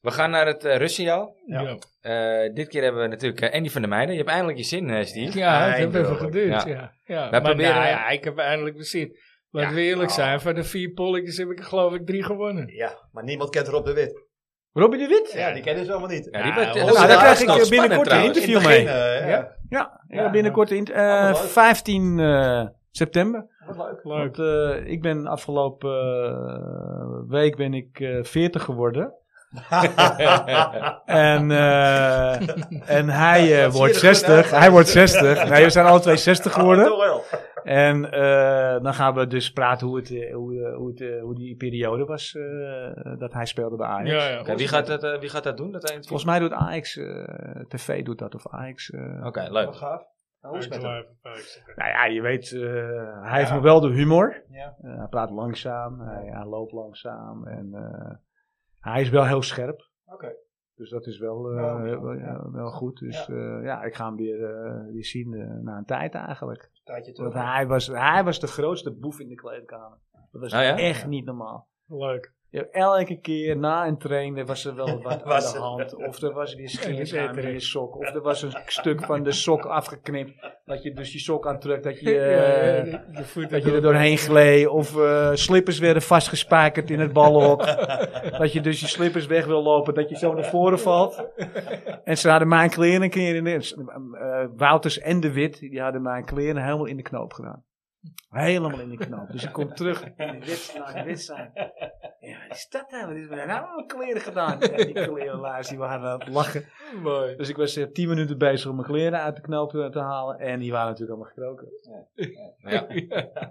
We gaan naar het eh, rustsignaal.
Ja.
Eh, dit keer hebben we natuurlijk eh, Andy van der Meijden. Je hebt eindelijk je zin, eh, Steve.
Ja, het heeft even
Eindelijk,
geduurd.
ja.
Ja. Ja.
Wij
Maar
proberen-
nou ja, ik heb eindelijk weer zin. Laten we eerlijk zijn, van de vier polletjes heb ik er geloof ik drie gewonnen.
Ja, maar niemand kent Rob de Wit.
Robbie de Wit?
Ja, die kennen ze allemaal niet.
Ja, die
Ja,
werd, eh,
nou,
dat
daar
was
krijg ik
nog
binnenkort
spannend
een
trouwens.
interview.
In het
mee.
begin, eh, ja.
Ja, ja,
Ja.
binnenkort in, eh,
leuk.
15 eh, september.
Wat leuk.
Leuk.
Want eh, ik ben afgelopen eh, week ben ik eh 40 geworden. en, eh, en hij eh,
dat
wordt
zie je er goed
60.
uit.
Hij wordt 60. Nee, we zijn alle twee 60 geworden.
Toch wel.
En eh, dan gaan we dus praten hoe, het, eh, hoe, eh, hoe, het, eh, hoe die periode was eh, dat hij speelde bij Ajax.
Ja, ja.
Oké, wie, gaat dat, eh, wie gaat dat doen? Dat eindview?
Volgens mij doet Ajax eh, TV doet dat of Ajax. eh,
Oké, leuk.
Wat gaaf. Nou, hoe is het met hem?
Nou ja, je weet, eh, hij heeft nog wel de humor.
Ja.
Eh, hij praat langzaam, hij, hij loopt langzaam en eh, hij is wel heel scherp.
Oké.
Dus dat is wel, eh,
Ja,
wel, ja, wel goed. Dus eh, ja, ik ga hem weer, eh, weer zien eh, na een tijd eigenlijk.
Tijdje
Want
terug.
hij was, hij was de grootste boef in de kleedkamer. Dat was
Oh ja?
echt niet normaal.
Leuk.
Ja, elke keer na een trainen was er wel wat
Was
aan de
er-
hand. Of er was weer schiers
Ja, je weet
aan
het.
in je sok. Of er was een stuk van de sok afgeknipt. Dat je dus je sok aantrekt. Dat je...
Ja, ja,
eh,
de- de voet
dat je er doorheen gleed. Of eh, slippers werden vastgespijkerd in het ballenhok. dat je dus je slippers weg wil lopen. Dat je zo naar voren valt. En ze hadden mijn kleren een keer in de... eh, Wouters en De Wit, die hadden mijn kleren helemaal in de knoop gedaan. Helemaal in de knoop. Dus ik kom terug in de wit, naar de wedstrijd. Ja, wat is dat nou? Wat is er nou met mijn kleren gedaan? Ja, die klerenlaars, die waren aan het lachen.
Mooi.
Dus ik was eh, tien minuten bezig om mijn kleren uit de knoop eh, te halen. En die waren natuurlijk allemaal gekroken.
Ja. Ja,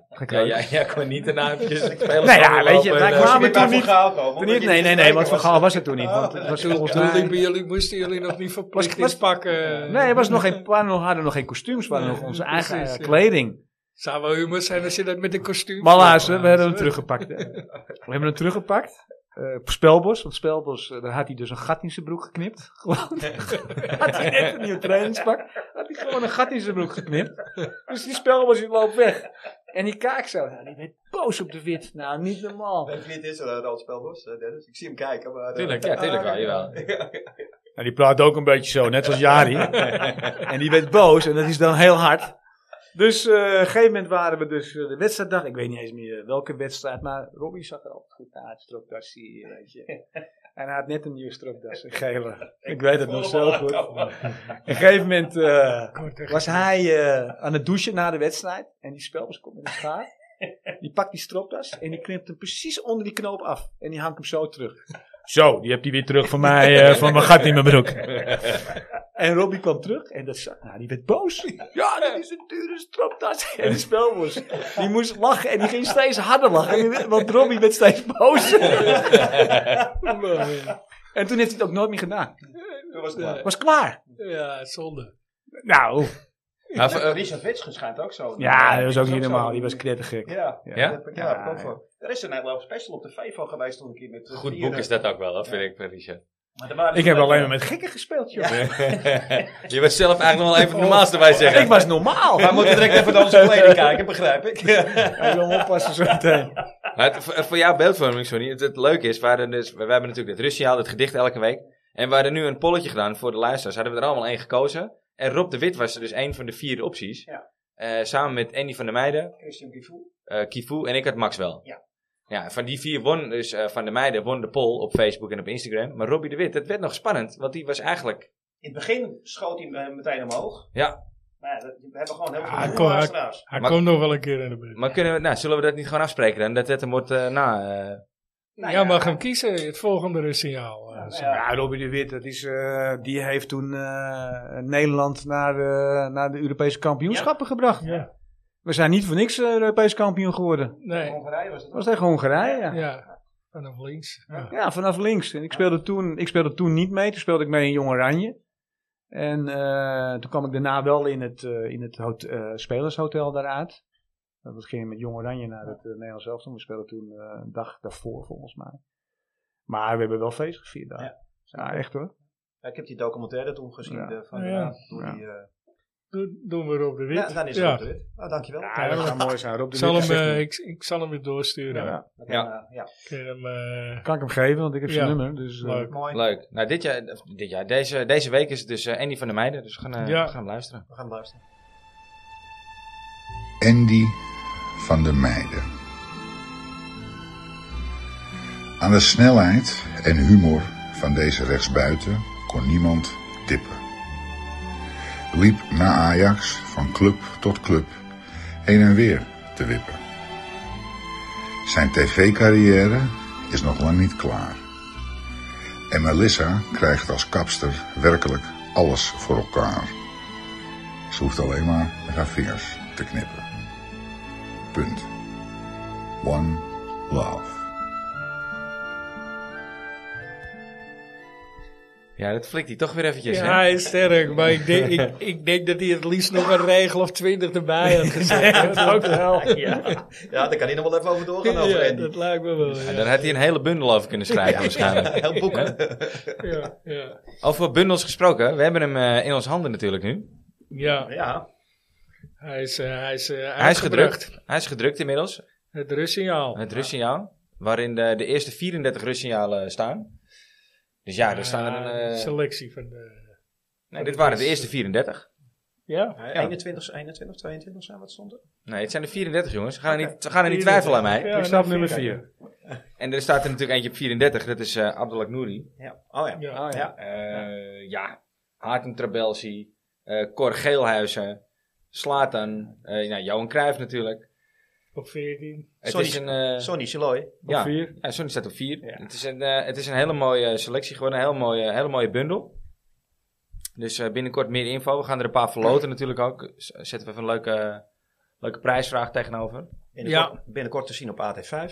Gekroken.
ja, jij kon niet daarna eventjes spelen.
Nou ja, weet je, wij
wij
Misschien
kwamen- toen
bij Van
niet-
Gaal komen,
Toen
want
niet,
die-
nee, nee, nee, want Van Gaal was het toen niet. Want het
Oh,
was
Toen,
volgens
toen
mij-
liepen jullie, moesten jullie nog niet verplicht
was-
iets pakken.
Nee, er was nog geen, we hadden nog geen kostuums, we hadden nog onze eigen
Precies,
eh,
ja.
kleding.
Zou wel humor zijn als je dat met een kostuum...
Maar luister, we hebben hem teruggepakt. hè. We hebben hem teruggepakt. Eh, op Spelbos, want Spelbos, eh, daar had hij dus een gat in zijn broek geknipt. Gewoon, had hij net een nieuw trainingspak, had hij gewoon een gat in zijn broek geknipt. Dus die Spelbos, die loopt weg. En die kaak zo, nou, die werd boos op de wit. Nou, niet normaal.
Weet je wie het is, eh, dat spelbos, eh, Dennis? Ik zie hem kijken, maar... eh,
Tuurlijk, ja, tuurlijk wel, jawel.
Nou, die praat ook een beetje zo, net als Jari. en die werd boos en dat is dan heel hard. Dus eh, op een gegeven moment waren we dus eh, de wedstrijddag. Ik weet niet eens meer eh, welke wedstrijd, maar Robbie zag er altijd goed uit. Stropdasje, hier, weet je. En hij had net een nieuwe stropdas, een gele. Ik weet het nog zo goed. Op een gegeven moment eh, was hij eh, aan het douchen na de wedstrijd. En die spelers komt met een schaar. Die pakt die stropdas en die knipt hem precies onder die knoop af. En die hangt hem zo terug. Zo, die heb je weer terug van mij, eh, van mijn gat in mijn broek. En Robbie kwam terug en dat, za- nou, die werd boos. Ja, dat is een dure stropdas. En de spelbos. Die moest lachen en die ging steeds harder lachen. Want Robbie werd steeds boos. En toen heeft hij het ook nooit meer gedaan.
Toen was het klaar.
Was klaar.
Ja, zonde.
Nou,
Maar, v- eh,
Richard Wits schijnt ook zo.
ja, dat was ook
zo.
niet normaal. Die was knettergek.
Ja,
Ja.
ja, dat- ja,
Ja,
klopt wel. Er is een Nederlands special op de Vevo geweest toen een keer met eh,
goed
vieren.
boek is dat ook wel, dat vind ik, eh, Richard.
Maar er waren
Ik
dus
heb
wel-
alleen maar met gekken gespeeld, joh.
Je was zelf eigenlijk nog wel even het normaalste bij zeggen.
Ik was normaal.
Wij moeten direct even naar onze kleding kijken, begrijp ik.
Ja, Ik wil hem oppassen zo meteen.
Maar het- voor, voor jouw beeldvorming, sorry. Het, het leuke is, we, hadden dus, we, we hebben natuurlijk het Russiaal, het gedicht elke week. En we hadden nu een polletje gedaan voor de luisteraars. Hadden we er allemaal één gekozen. En Rob de Wit was er dus één van de vier opties.
Ja.
Eh, samen met Andy van der Meijden,
Christian Givoux.
eh Kifu en ik had Max wel.
Ja.
Ja, van die vier won dus eh, van der Meijden won de poll op Facebook en op Instagram. Maar Robbie de Wit, dat werd nog spannend, want die was eigenlijk...
In het begin schoot hij eh, meteen omhoog.
Ja.
Maar ja, dat- we hebben gewoon heel
Ah,
veel
kon-
eh,
goede luisteraars.
Hij
Maar-
komt nog wel een keer in de buurt.
Maar kunnen we, nou, zullen we dat niet gewoon afspreken dan? Dat het hem wordt eh, na... eh,
Nou
ja, mag hem kiezen. Het volgende is signaal. eh, zo.
Ja.
Ja, Robbie de Wit, dat is, eh, die heeft toen eh, Nederland naar, eh, naar de Europese kampioenschappen gebracht.
Ja.
We zijn niet voor niks eh, Europees kampioen geworden.
In
Nee.
Hongarije was het
Dat was tegen Hongarije. Ja.
Ja. Vanaf links. Ja.
Ja, vanaf links. En ik speelde, toen, ik speelde toen niet mee. Toen speelde ik mee in Jong Oranje. En eh, toen kwam ik daarna wel in het, eh, in het hot- eh, spelershotel daaruit. Dat ging met Jong Oranje naar het eh, Nederlands elftal. We speelden toen eh, een dag daarvoor volgens mij. Maar we hebben wel feest gevierd daar. Ja, echt hoor.
Ja, ik heb die documentaire toen gezien
Ja.
eh, van
Ja.
ja. door
Ja.
die... eh,
Doen, doen we Rob de Wit.
ja, dan is het
Ja.
op de wit. Nou, dankjewel.
Ja, dat zou mooi zijn. Rob
Ik
de
zal
Wit
hem,
zegt
eh,
nu.
ik, ik zal hem weer doorsturen.
Ja. nou,
Dan,
Ja.
eh, ja.
Ik kan hem, eh,
Kan ik hem geven, want ik heb zijn
Ja.
nummer. Dus, eh,
leuk.
Mooi.
Leuk. Nou, dit jaar, of dit jaar deze, deze week is het dus eh, Andy van der Meijden. Dus we gaan, eh,
Ja.
we gaan hem luisteren.
We gaan luisteren.
Andy van der Meijden. Aan de snelheid en humor van deze rechtsbuiten kon niemand tippen. Liep na Ajax van club tot club heen en weer te wippen. Zijn tv-carrière is nog lang niet klaar. En Melissa krijgt als kapster werkelijk alles voor elkaar. Ze hoeft alleen maar met haar vingers te knippen. Punt. One love.
Ja, dat flikt hij toch weer eventjes,
Ja,
hè?
hij is sterk, maar ik denk, ik, ik denk dat hij het liefst nog een regel of twintig erbij had gezet.
Ja, dat ook wel.
Ja, daar kan hij nog wel even over doorgaan over
Ja,
Andy.
dat lijkt me wel.
Ja,
Ja,
daar had hij een hele bundel over kunnen schrijven waarschijnlijk.
Heel boek.
ja, ja.
Over bundels gesproken, we hebben hem eh, in onze handen natuurlijk nu.
Ja,
Ja,
hij is, eh, hij is, eh,
Hij is
uitgebracht.
gedrukt. Hij is gedrukt inmiddels.
Het rustsignaal.
Het rustsignaal, waarin de, de eerste 34 rustsignalen staan. Dus ja, er staan er een... eh,
selectie van de...
nee, dit waren de eerste 34.
Ja,
21, 21, 22 zijn wat stond er.
Nee, het zijn er 34 jongens. Ze gaan, er niet, ze gaan er niet twijfelen aan mij.
Ja,
ik sta op
nou,
nummer
vind ik
4.
En er staat er natuurlijk eentje op 34, dat is eh Abdelak Nouri.
Ja. Oh ja.
Ja.
ja.
Eh, ja, Haartem Trabelsi, eh, Cor Geelhuizen, Slatan, eh nou, Johan Cruijff natuurlijk.
Op 14.
Het
Sonny-
is een, eh,
Sonny Siloy.
ja,
4.
ja, Sonny staat op 4. Het, is een, eh, het is een hele mooie selectie, gewoon een hele mooie, hele mooie bundel. Dus eh, binnenkort meer info. We gaan er een paar verloten natuurlijk ook. Z- Zetten we even een leuke, leuke prijsvraag tegenover.
Binnenkort,
Ja.
binnenkort te zien op AT5.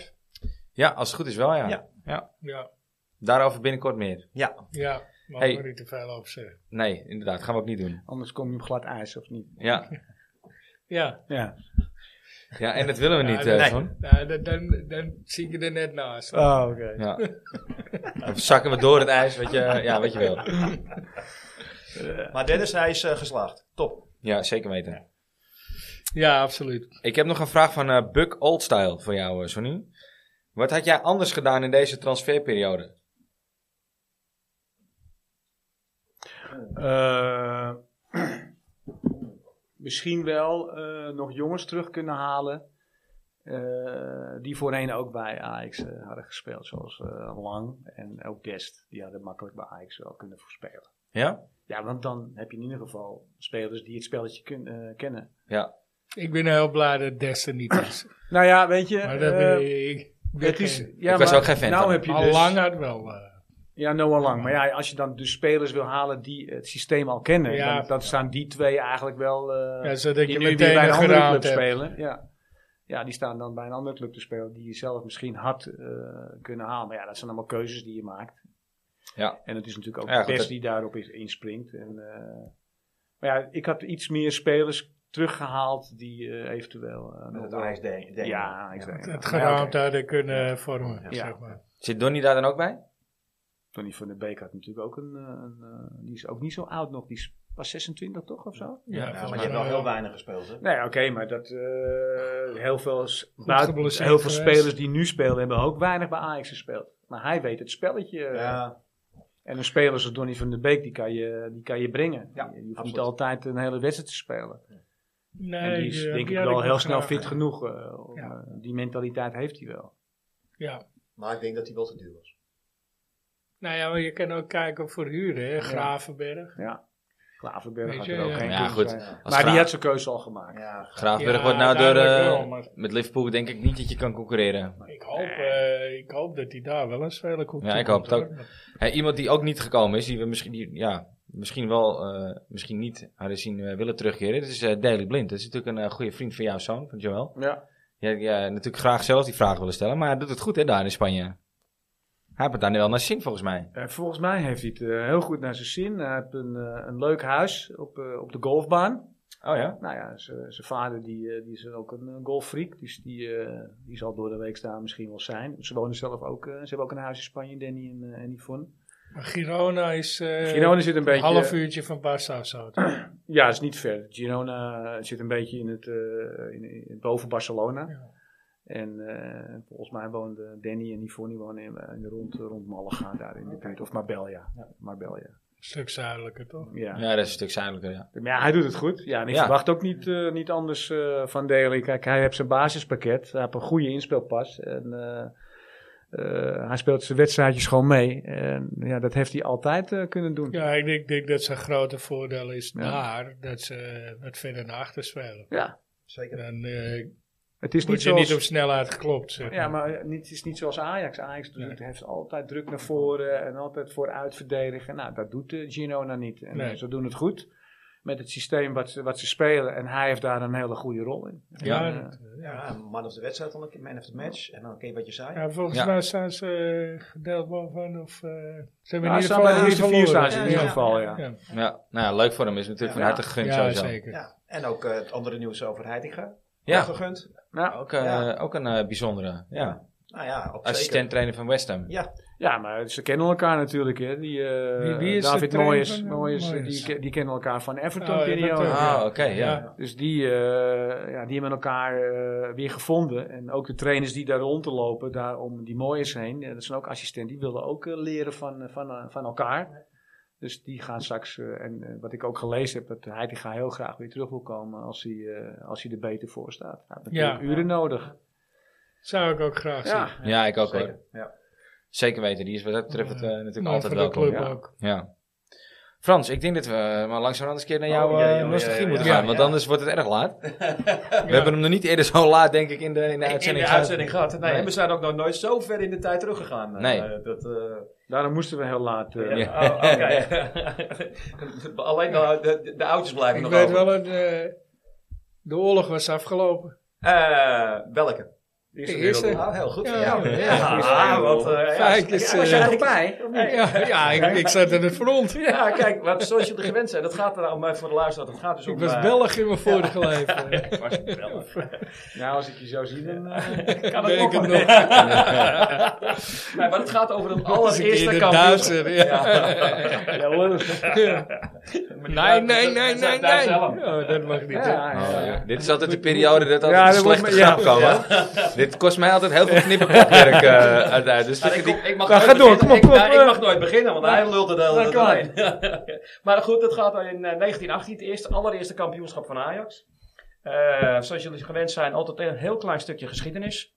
Ja, als het goed is wel, ja.
Ja.
Ja,
Daarover binnenkort meer.
Ja.
ja. Maar
Hey.
we er niet te veel over zeggen.
Nee, inderdaad, gaan we ook niet doen.
Anders kom je op glad ijs, of niet?
Ja,
Ja,
Ja.
ja en dat willen we niet, eh,
nee.
Ton.
nou, dan, dan, dan zie ik je er net naast.
Oh, oké.
Ja. Of zakken we door het ijs, wat je, ja, wat je wil.
Maar Dennis, hij is eh, geslaagd. Top.
Ja, zeker weten.
Ja, absoluut.
Ik heb nog een vraag van eh Buck Oldstyle voor jou, eh, Sonny. Wat had jij anders gedaan in deze transferperiode?
Eh, misschien wel eh, nog jongens terug kunnen halen. eh, die voorheen ook bij Ajax eh, hadden gespeeld. Zoals eh, Lang en ook Dest. Die hadden makkelijk bij Ajax wel kunnen voorspelen.
Ja?
Ja, want dan heb je in ieder geval spelers die het spelletje kun- eh, kennen.
Ja.
Ik ben heel blij dat Des er niet is.
Nou ja, weet je.
Maar dat
eh,
ben ik. ik ben
het is
geen-
ja,
Ik was
maar
ook geen fan
Nou
van
heb je
al
dus,
lang had wel. eh,
Ja, Noah Lang. Maar ja, als je dan dus spelers wil halen die het systeem al kennen,
Ja.
dan, dan staan die twee eigenlijk wel. eh,
Ja, zodat
die
je
nu weer
meteen
bij een
een
andere club
geraamd hebt.
spelen. Ja. ja, die staan dan bij een andere club te spelen die je zelf misschien had eh, kunnen halen. Maar ja, dat zijn allemaal keuzes die je maakt.
Ja.
En het is natuurlijk ook
Ja,
de
goed,
pers
dat-
die daarop is- inspringt. En, eh, maar ja, ik had iets meer spelers teruggehaald die eh, eventueel. eh, nog
Met het
wel-
ijs denk denk-
ja, ik zei.
Het
Ja, oké.
geraamd hadden kunnen vormen,
Ja.
zeg maar.
Zit Donny daar dan ook bij?
Tony van der Beek had natuurlijk ook een, eh, een, eh, die is ook niet zo oud nog. Die is pas 26 toch of zo?
Ja,
Ja,
volgens
maar
mij
je hebt wel heel
wel.
weinig gespeeld, hè?
Nee, oké, maar dat eh, heel veel, s- buiten-
geblesseerd
heel veel
geweest.
spelers die nu spelen hebben ook weinig bij Ajax gespeeld. Maar hij weet het spelletje. eh.
Ja.
En een speler zoals Donny van der Beek, die kan je, die kan je brengen.
Ja,
je hoeft niet
absoluut.
altijd een hele wedstrijd te spelen.
Nee,
en die is
eh,
denk
die
ik
had
wel heel
nog
snel
graag.
fit genoeg. eh, om,
Ja.
eh, die mentaliteit heeft hij wel.
Ja.
Maar ik denk dat hij wel te duur was.
Nou ja, maar je kan ook kijken voor huren, hè. Gravenberg.
Ja. Klaverberg
Weet
had
je,
er ook
ja.
geen
Ja,
kunnen
goed.
zijn.
Als
Maar die
Graaf-
had zijn keuze al gemaakt.
Ja.
Graafberg
Ja,
wordt nou door,
duidelijk
eh,
wel, maar-
met Liverpool denk ik niet dat je kan concurreren.
Ik hoop, eh, ik hoop dat hij daar wel een speler komt.
Ja, ik hoop het ook. Hè, iemand die ook niet gekomen is, die we misschien, die, ja, misschien wel, eh, misschien niet hadden zien eh, willen terugkeren. Dat is eh Daley Blind. Dat is natuurlijk een eh, goede vriend van jouw zoon, van Joel.
Ja.
Ja, ja, natuurlijk graag zelf die vraag willen stellen, maar hij doet het goed hè, daar in Spanje. Hij heeft het daar nu wel naar zin volgens mij.
Eh, volgens mij heeft hij het eh, heel goed naar zijn zin. Hij heeft een, eh, een leuk huis op, eh, op de golfbaan.
Oh ja?
Nou ja, zijn vader die, eh, die is ook een eh, golffreak. Dus die, eh, die zal door de week daar misschien wel zijn. Ze wonen zelf ook. eh, ze hebben ook een huis in Spanje, Danny en, eh, en Yvonne.
Maar Girona is eh,
Girona zit een
een
beetje...
half uurtje van Barca of zo. toch?
Ja, is niet ver. Girona zit een beetje in het, eh, in, in- boven Barcelona.
Ja.
En eh, volgens mij woonden Danny en Yvonne die wonen in, in de rond, rond Malaga daar in de buurt. Of Marbella. Marbella.
stuk zuidelijker, toch?
Ja.
Ja, dat is een stuk zuidelijker, ja.
Maar ja, hij doet het goed. Ja, en ik
Ja.
verwacht ook niet, eh, niet anders eh, van Daley. Kijk, hij heeft zijn basispakket. Hij heeft een goede inspeelpas. En eh, eh, hij speelt zijn wedstrijdjes gewoon mee. En ja, dat heeft hij altijd eh, kunnen doen.
Ja, ik denk, denk dat zijn grote voordeel is
Ja.
daar dat ze eh, wat verder naar achter spelen.
Ja.
Zeker.
Dan eh
Het is
word
niet
je
zoals...
niet op snelheid geklopt. Zeg
ja, maar niet- het is niet zoals Ajax. Ajax doet,
Nee.
heeft altijd druk naar voren en altijd vooruit verdedigen. Nou, dat doet eh, Girona niet. En
Nee.
ze doen het goed met het systeem wat ze, wat ze spelen. En hij heeft daar een hele goede rol in.
Ja.
En, eh,
dat- ja.
Ja, man of de wedstrijd dan een keer, man of the match. En dan een keer wat je zei.
Ja, volgens
Ja.
mij staan ze eh, gedeeld bovenaan. Of, eh, ze hebben
nou,
in
ze
ieder
staan bij
geval
de
niet
eerste vier staan
verloren.
ze in
Ja,
ieder
ja.
geval, ja.
Ja,
ja. Nou ja, leuk voor hem is natuurlijk van
Ja.
harte gegund
ja,
sowieso.
zeker.
Ja. En ook eh, het andere nieuws over Heitinga.
Ja.
Ook Gegund.
Nou,
Ook, eh,
Ja.
ook een eh, bijzondere, ja.
Nou ja, ook
Assistent trainer van West Ham.
zeker.
Ja, maar ze kennen elkaar natuurlijk, hè. Die, eh,
Wie- wie is de
David
trainer
Moyes,
van, eh,
Moyes, eh,
Moyes?
die, ke- die kennen elkaar van Everton.
Oh, ja,
kennen die
dat
al.
ook,
Ah,
Ja.
oké, ja.
Ja.
Dus die, eh, ja, die hebben elkaar eh, weer gevonden. En ook de trainers die daar rond te lopen, daar om die Moyes heen. eh, dat zijn ook assistenten, die willen ook eh, leren van, eh, van, eh, van elkaar. Dus die gaan straks, eh, en eh, wat ik ook gelezen heb, dat hij die gaat heel graag weer terug wil komen als hij, eh, als hij er beter voor staat. Hij heeft natuurlijk
Ja.
uren nodig.
Zou ik ook graag zien.
Ja,
Ja, ik ook hoor.
Zeker. Ja.
Zeker weten, die is wat dat betreft eh, natuurlijk
Maar
altijd
Nou, voor de
welkom.
club
Ja.
ook.
Ja. Frans, ik denk dat we eh, maar langzamerhand eens een keer naar
Oh,
jouw
ja,
eh,
ja, ja,
nostalgie
ja,
moeten
ja,
gaan,
ja.
want anders wordt het erg laat.
Ja.
We hebben hem nog niet eerder zo laat, denk ik, in de, in de
In
uitzending
de
gehad.
uitzending gehad. Nee,
Nee.
En we zijn ook nog nooit zo ver in de tijd teruggegaan. Eh,
Nee.
dat, eh,
daarom moesten we heel laat. eh,
Ja.
Oh, oké. Alleen de, de, de, oudjes blijven
Ik
nog
weet
over.
wel, dat, eh, de oorlog was afgelopen.
Eh, welke?
De eerste.
Ah, heel goed.
Ja,
van jou.
ja.
Ah, wat... eh, ja,
Kijk, is,
ja, was jij
eh,
er nog bij?
Ja, ja ik, ik zat aan het front.
Ja, kijk, wat, zoals jullie gewend zijn, dat gaat er om, eh, voor de luisteraar, dat gaat dus om...
Ik was
eh,
Belg in mijn eh. vorige leven.
ik was Belg.
Nou, als ik je zo zie, dan... eh,
Kan
Weet
ook
ik
nog.
het
Nee,
nog.
maar het gaat over een
Als ik
allereerste
in de
kampioen.
Duitser. Ja.
ja, lullig.
Nee, nee, nee, nee, nee.
Zelf.
Oh, dat mag niet. hè?
Ja,
Oh,
ja.
ja. Dit is altijd de periode dat altijd
Ja,
de
dat
slechte
moet me- ja.
grap komen. Dit kost mij altijd heel veel knipperkopwerk eh uit. Dus
Maar
dit-
ik,
dit-
ik mag
Nou,
nooit
ga door,
beginnen.
kom op,
Ik-
kom op,
nou,
eh.
ik mag nooit beginnen, want hij lult het de hele
Nou, klaar.
tijd doorheen. maar goed, het gaat in eh, 1918, het eerste, allereerste kampioenschap van Ajax. Eh, zoals jullie gewend zijn, altijd een heel klein stukje geschiedenis.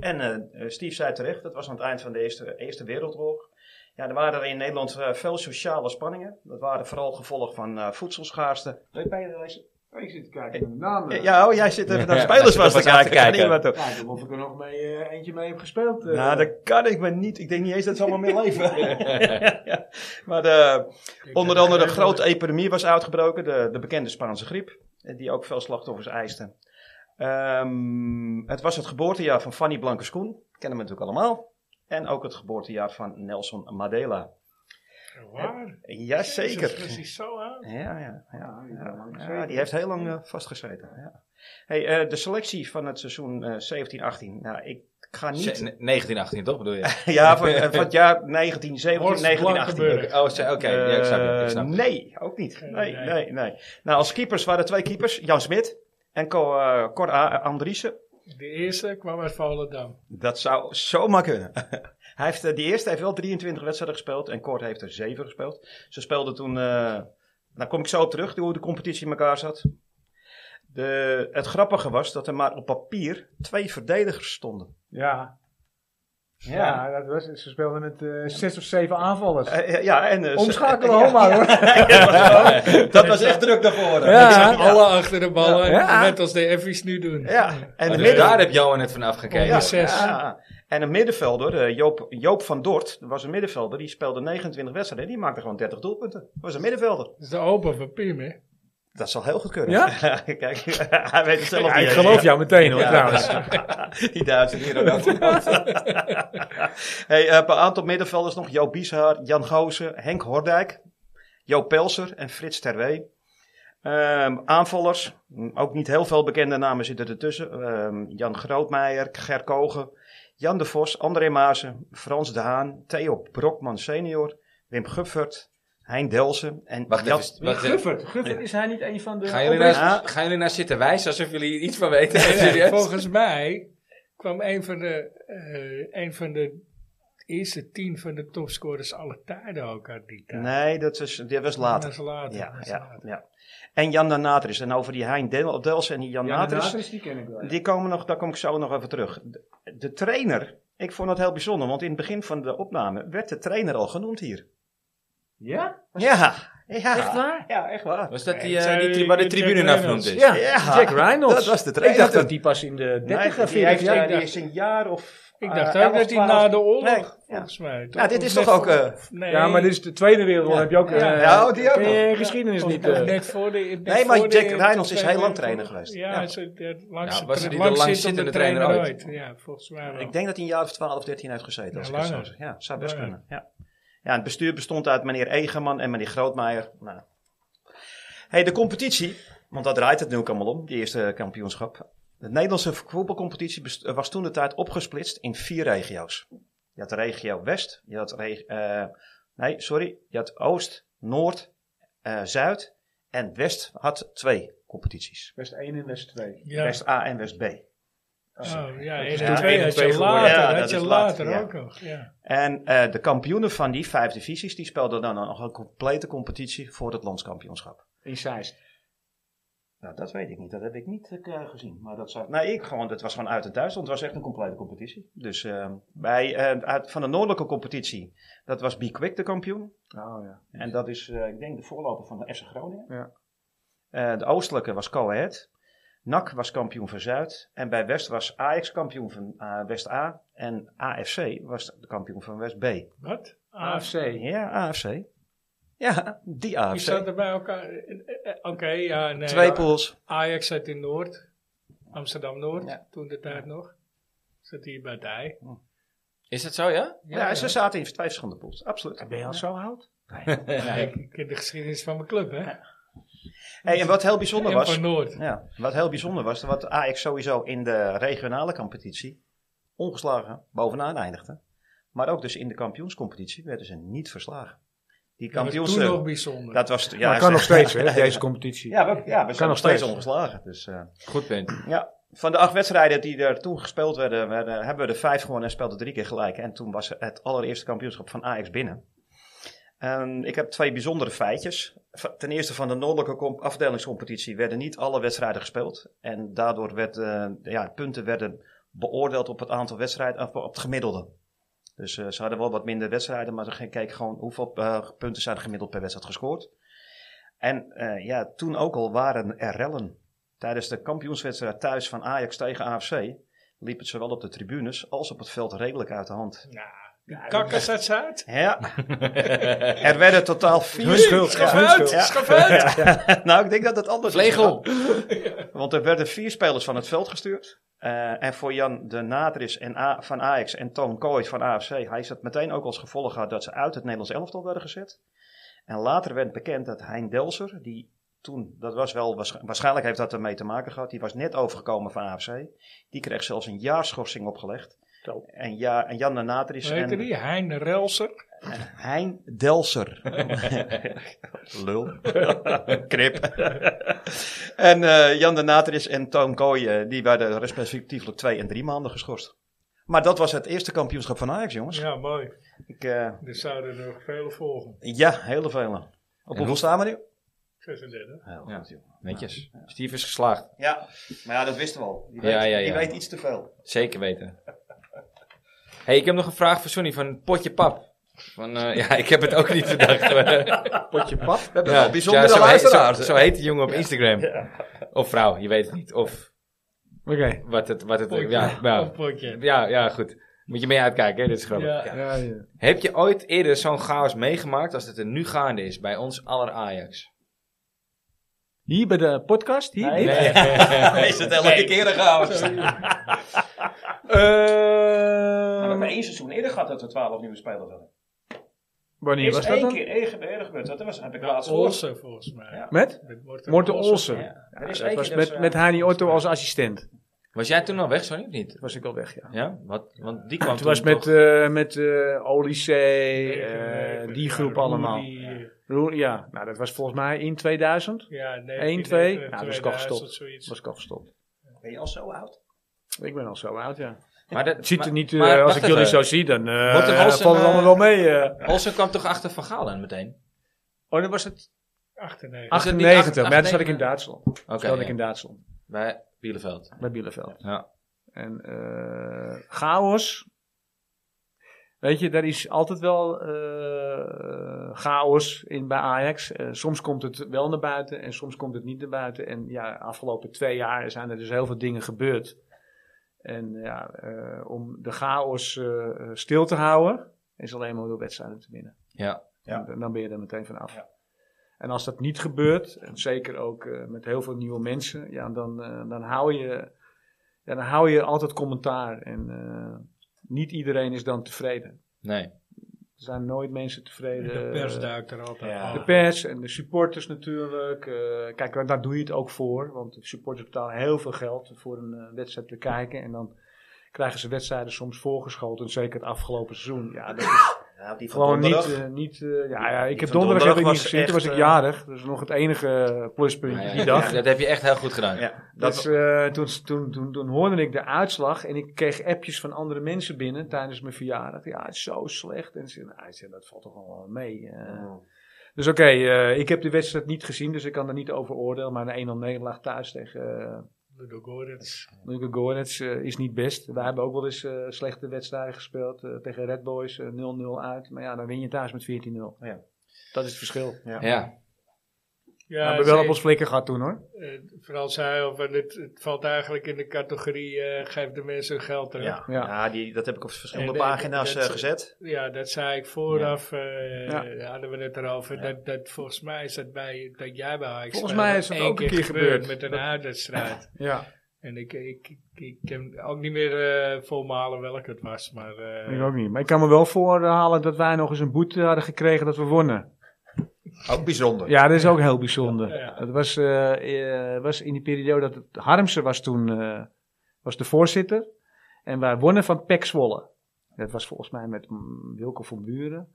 En eh, eh, Steve zei terecht, dat was aan het eind van de Eerste, eerste Wereldoorlog. Ja, er waren er in Nederland eh, veel sociale spanningen. Dat waren vooral gevolg van eh voedselschaarste. Ben je bij de lijstje?
Oh, ik zit te kijken
nou,
naar de namen.
Ja, oh, jij zit even naar de
Ja,
spelers
hij
was
zit
te
even aan
kijken.
te
Kan
kijken.
niemand toch?
Ja, ik denk of ik er nog mee, eh, eentje mee heb gespeeld. eh.
Nou, dat kan ik me niet. Ik denk niet eens dat ze allemaal meer leven. Ja, ja. Maar de, onder andere de grote epidemie was uitgebroken, de, de bekende Spaanse griep, eh, die ook veel slachtoffers eiste. Ehm, het was het geboortejaar van Fanny Blankers-Koen, kennen we natuurlijk allemaal. En ook het geboortejaar van Nelson Mandela.
Waar? Jezus,
Jazeker.
was hij zo aan?
Ja, ja, ja.
Ja, die hebben lang
Ja,
gezeten.
die heeft heel lang eh, vastgezeten. Ja. Hey, eh, de selectie van het seizoen eh 17-18. Nou, ik ga niet.
1918 toch bedoel je?
Ja, van, eh, van het jaar 1917,
Horst
1918.
Blankenburg.
Oh, ze- oké. ja, ik snap het. Ik
Eh,
snap het.
nee, ook niet. Nee,
nee.
nee, nee. Nou, als keepers waren er twee keepers. Jan Smit en Co, eh, Cor A- Andriessen.
De eerste kwam uit Volendam.
Dat zou zomaar kunnen. Hij heeft, eh, die eerste heeft wel 23 wedstrijden gespeeld. En Cor heeft er 7 gespeeld. Ze speelden toen... eh daar kom ik zo op terug, hoe de competitie in elkaar zat. De, het grappige was dat er maar op papier twee verdedigers stonden.
Ja. Ja, dat was, ze speelden met eh, zes of zeven aanvallers.
Eh, eh, ja, en, eh, ze-
Omschakelen,
eh, ja.
hoor maar hoor.
Dat was echt druk daarvoor.
Ja.
Alle achter de ballen,
Ja.
net als de Effies nu doen.
Ja, en de
Dus
midden-
daar heb Johan het vanaf gekeken.
Ja. zes.
Ja. En een middenvelder, eh, Joop, Joop van Dort, dat was een middenvelder, die speelde 29 wedstrijden. Die maakte gewoon 30 doelpunten. Dat was een middenvelder.
Dat is de opa van Pim, hè?
Dat zal heel goed kunnen.
Ja?
Kijk, hij weet het zelf
Ja,
niet.
ik
eens.
geloof jou meteen hoor
Ja.
trouwens.
Die Duitsers hier ook hey, eh, Een aantal middenvelders nog. Joop Bieshaar, Jan Goosen, Henk Hordijk, Joop Pelser en Frits Terwee. Ehm, aanvallers, mm, ook niet heel veel bekende namen zitten ertussen. Ehm, Jan Grootmeijer, Ger Kogen, Jan de Vos, André Maasen, Frans de Haan, Theo Brokman senior, Wim Guffert, Hein Delsen en
Wacht
Jan...
even. Wacht even.
Guffert, Guffert is hij niet een van de...
Gaan jullie,
oprichters?
naar, gaan jullie naar zitten wijzen alsof jullie hier iets van weten?
Ja,
Serieus?
volgens mij kwam een van de, eh, een van de eerste tien van de topscorers alle tijden ook uit die tijd.
Nee, dat was, dat was
Dat
later.
is later.
Ja,
dat is
ja,
later.
ja. En Jan de Natris. En over die Hein Del- Delsen en die Jan
Ja, de
Natris.
Natris, die ken ik wel. ja.
Die komen nog, daar kom ik zo nog even terug. De, de trainer, ik vond het heel bijzonder, want in het begin van de opname werd de trainer al genoemd hier.
Ja?
Ja, ja.
Echt waar?
Ja, echt waar.
Was dat die,
Nee,
eh,
zei
die tri- waar de
Jack
tribune naar
Reynolds.
genoemd is?
Ja,
Ja.
Jack Reynolds.
Dat was de
Ik dacht
trainer.
dat die pas in de 30
Nee,
of
die,
40
heeft,
jaar...
eh, die is een jaar of.
Ik
eh,
dacht ook
11,
dat hij
12.
na de oorlog,
Nee, ja.
volgens mij.
Ja, dit
Of
is
net
toch ook,
voor-
eh,
nee,
Ja, maar dit is de Tweede Wereldoorlog. Heb je ook...
Ja.
eh,
Ja, die ook
ken je
nog.
geschiedenis
of-
niet...
of
eh,
Oh, net voor de, net
Nee, maar
voor de
Jack Reynolds is heel
Wereldoorlog.
lang trainer geweest.
Ja,
Ja.
hij is het- het langste
Ja, Nou, was
tra-
hij de
langst
langzittende
zittende
trainer
ooit. Ja, volgens mij wel.
Ik denk dat hij een jaar of 12, 13 heeft gezeten. Als
Ja,
ik het zo
langer.
zeg. Ja, zou best
Langer.
kunnen. Ja. ja, het bestuur bestond uit meneer Egeman en meneer Grootmeijer. Nou. Hey, de competitie, want daar draait het nu ook allemaal om, die eerste kampioenschap. De Nederlandse voetbalcompetitie best- eh, was toen de tijd opgesplitst in vier regio's. Je had de regio West, je had, reg- eh, nee, sorry, je had Oost, Noord, eh, Zuid en West had twee competities.
West 1 en West 2.
ja.
West A en West B.
Oh, ja, en
Ja,
de twee had
twee
je
geworden.
later,
Ja,
had
dat
je
is
later
later,
ook nog. Ja.
En eh, de kampioenen van die vijf divisies, die speelden dan nog een complete competitie voor het landskampioenschap.
In Zeist.
Nou, dat weet ik niet. Dat heb ik niet eh, gezien. Maar dat zou... Nee, ik gewoon, het was gewoon uit en thuis, want het was echt een complete competitie. Dus eh, bij, eh, uit, van de noordelijke competitie, dat was Be Quick de kampioen.
Oh ja.
En dat is, eh, ik denk, de voorloper van de FC Groningen.
Ja.
Eh, de oostelijke was Go Ahead. NAC was kampioen van Zuid. En bij West was Ajax kampioen van eh, West A. En AFC was de kampioen van West B.
Wat? AFC.
AFC.
Ja, AFC. Ja, die AFC.
Die zaten bij elkaar. eh, eh, eh, Oké, ja, nee.
Twee pools.
Ajax zat in Noord, Amsterdam Noord,
Ja.
toen de tijd nog. Zat hier bij het ei.
Is dat zo, ja?
Ja, ze zaten in twee verschillende pools. Absoluut.
Ben je al zo oud?
Kijk, ik ken de geschiedenis van mijn club, hè?
Hey, en wat heel bijzonder
En
was...
van Noord.
Ja, wat heel bijzonder was, wat Ajax sowieso in de regionale competitie ongeslagen bovenaan eindigde. Maar ook dus in de kampioenscompetitie werden ze niet verslagen. Die
Dat was
kampioens...
Toen nog bijzonder.
dat was... Ja,
Ja, maar kan nog
ze-
steeds, hè, deze competitie.
Ja, we, ja, we zijn nog
nog
steeds
steeds.
ongeslagen. Dus, eh,
Goed punt.
ja. Van de acht wedstrijden die er toen gespeeld werden, werden- hebben we er vijf gewonnen en speelden drie keer gelijk. En toen was het allereerste kampioenschap van Ajax binnen. En ik heb twee bijzondere feitjes. Va- Ten eerste van de noordelijke comp- afdelingscompetitie werden niet alle wedstrijden gespeeld. En daardoor werd, eh, ja, punten werden beoordeeld op het aantal wedstrijden, of op het gemiddelde. Dus eh, ze hadden wel wat minder wedstrijden, maar ze keken gewoon hoeveel eh, punten zijn gemiddeld per wedstrijd gescoord. En eh, ja, toen ook al waren er rellen. Tijdens de kampioenswedstrijd thuis van Ajax tegen AFC liep het zowel op de tribunes als op het veld redelijk uit de hand.
Kakkers uit Zuid.
Ja, er werden totaal
Hun
vier...
schuld.
Schaf
hun
uit,
schuld.
schaf uit.
nou, ik denk dat dat anders is.
Vlegel.
Want er werden vier spelers van het veld gestuurd. Eh, en voor Jan de Natris en A van Ajax en Toon Kooi van AFC, hij is dat meteen ook als gevolg gehad dat ze uit het Nederlands elftal werden gezet. En later werd bekend dat Hein Delser, die toen, dat was wel, waarsch- waarschijnlijk heeft dat ermee te maken gehad, die was net overgekomen van AFC, die kreeg zelfs een jaarschorsing opgelegd.
Zo.
En, ja, en Jan de Natris
Hoe heette
en
die? Hein Relser.
Hein Delser. Lul. Krip. en eh, Jan de Natris en Toon Kooi, eh, die werden respectievelijk twee en drie maanden geschorst. Maar dat was het eerste kampioenschap van Ajax, jongens. Ja,
Ja, mooi.
Ik, eh,
Er zouden er nog vele volgen.
ja hele vele. Op hoeveel staan we nu?
36.
Ja. Netjes. Steve is geslaagd.
Ja, maar ja, dat wisten we al. Die
Ja, ja, ja.
iets te veel.
Zeker weten. hey, ik heb nog een vraag voor Sonny van Potje Pap. Van, eh, ja, ik heb het ook niet bedacht.
Potje pap.
ja,
wel bijzondere
zo, heet, zo,
luisteraars.
zo heet die jongen op Instagram. Of vrouw, je weet het niet. Of
Oké.
wat het... Wat het
Potje.
ja, nou. ja,
Een potje.
ja, ja, goed. Moet je mee uitkijken, hè? dit is grappig.
Ja.
Ja, ja.
Heb je ooit eerder zo'n chaos meegemaakt als het er nu gaande is bij ons aller Ajax?
Hier bij de podcast. Hier.
Nee.
dit?
Is het elke keer een chaos? We hebben één seizoen eerder gehad dat we twaalf nieuwe spelers hadden.
Wanneer
Is
was dat
één
dan?
keer eerder eerder gebeurd. Dat was, heb ik laatst gehoord.
Olsen volgens mij.
Ja.
Met?
Met
Morten Olsen.
Ja, er is
Dat
één
was
keer
met,
ze-
met Hani Otto als assistent.
Was jij toen al weg, Sonny, of niet?
Dat was ik al weg, ja.
Ja, wat, want die kwam
Het was
toen
met,
toch-
eh met eh Olysee, eh, die groep allemaal. Roer- ja, nou dat was volgens mij in 2000.
eh, Ja, nee.
Eén, twee. Nou, dus ik al gestopt.
Zoiets.
Was ik al gestopt.
Ben je al zo oud?
Ik ben al zo oud, ja.
Maar dat,
Het ziet er
maar-
niet, eh,
maar
als
wacht
ik jullie
even.
zo zie, dan eh,
Wordt er als een,
valt het allemaal
eh,
wel mee. eh.
Olsen kwam toch achter Van Gaal aan meteen?
Oh, dan was het Ah,
98.
Was het niet
98, maar toen
98?
zat ik in Duitsland.
Oké,
Toen zat ik
ja.
in Duitsland,
bij Bieleveld.
bij Bielefeld.
Ja.
En eh, chaos. Weet je, daar is altijd wel eh, chaos in bij Ajax. Eh, soms komt het wel naar buiten en soms komt het niet naar buiten. En ja, afgelopen twee jaar zijn er dus heel veel dingen gebeurd. En ja, eh, om de chaos eh, eh, stil te houden, is alleen maar door wedstrijden te winnen.
Ja.
Ja.
En dan ben je er meteen van af. En als dat niet gebeurt, en zeker ook eh, met heel veel nieuwe mensen, ja, dan, eh, dan, hou je, ja, dan hou je altijd commentaar. En eh, niet iedereen is dan tevreden.
Nee.
Er zijn nooit mensen tevreden.
De pers duikt er altijd
Ja.
aan.
De pers en de supporters natuurlijk. Eh, kijk, want daar doe je het ook voor. Want de supporters betalen heel veel geld voor een eh, wedstrijd te kijken. En dan krijgen ze wedstrijden soms voorgeschoten. Zeker het afgelopen seizoen. Ja, dat is
Nou, die van
gewoon niet...
donderdag.
eh, niet eh, ja, ja, ik
Die
heb
van
donderdag, heb ik
donderdag
niet
was
gezien. Toen
echt,
was ik
eh,
jarig. Dat is nog het enige pluspuntje
Nee,
die
ja,
dag.
Dat heb je echt heel goed gedaan.
ja, dat
Dat is, eh, toen, toen, toen, toen hoorde ik de uitslag en ik kreeg appjes van andere mensen binnen tijdens mijn verjaardag. Ja, het is zo slecht. En ze nou, ik zei, dat valt toch allemaal wel mee. eh. Dus oké, eh, ik heb de wedstrijd niet gezien, dus ik kan er niet over oordelen. Maar een 1-0 nederlaag thuis tegen eh
De Gorets.
Luka Gorets eh, is niet best. Wij hebben ook wel eens eh, slechte wedstrijden gespeeld eh, tegen Red Boys, eh, 0-0 uit. Maar ja, dan win je thuis met 14-0.
Ja.
Dat is het verschil.
Ja.
we
Ja,
hebben Nou, wel
ze-
op ons flikker gehad toen hoor.
eh, Vooral zei al van het, het valt eigenlijk in de categorie eh geef de mensen hun geld terug. Ja,
ja.
Ja.
Ja, die, dat heb ik op verschillende
En, eh,
pagina's
dat-
eh, gezet.
dat zei ik vooraf. eh,
Ja.
Hadden we het erover. Dat, dat, volgens mij is dat, bij, dat jij bij Ajax
Volgens
speelde
mij is dat
één
ook een keer gebeurd.
Met een
Dat-
uitwedstrijd.
Ja,
En ik, ik, ik, ik kan ook niet meer eh volmalen welke het was. Maar eh,
ik ook niet. Maar ik kan me wel voorhalen dat wij nog eens een boete hadden gekregen dat we wonnen.
Ook bijzonder.
Ja, dat is ook heel bijzonder.
Ja, ja.
Het was, eh, eh, was in die periode dat het Harmsen was toen eh, was de voorzitter. En wij wonnen van Pek Zwolle. Dat was volgens mij met mm, Wilco van Buren.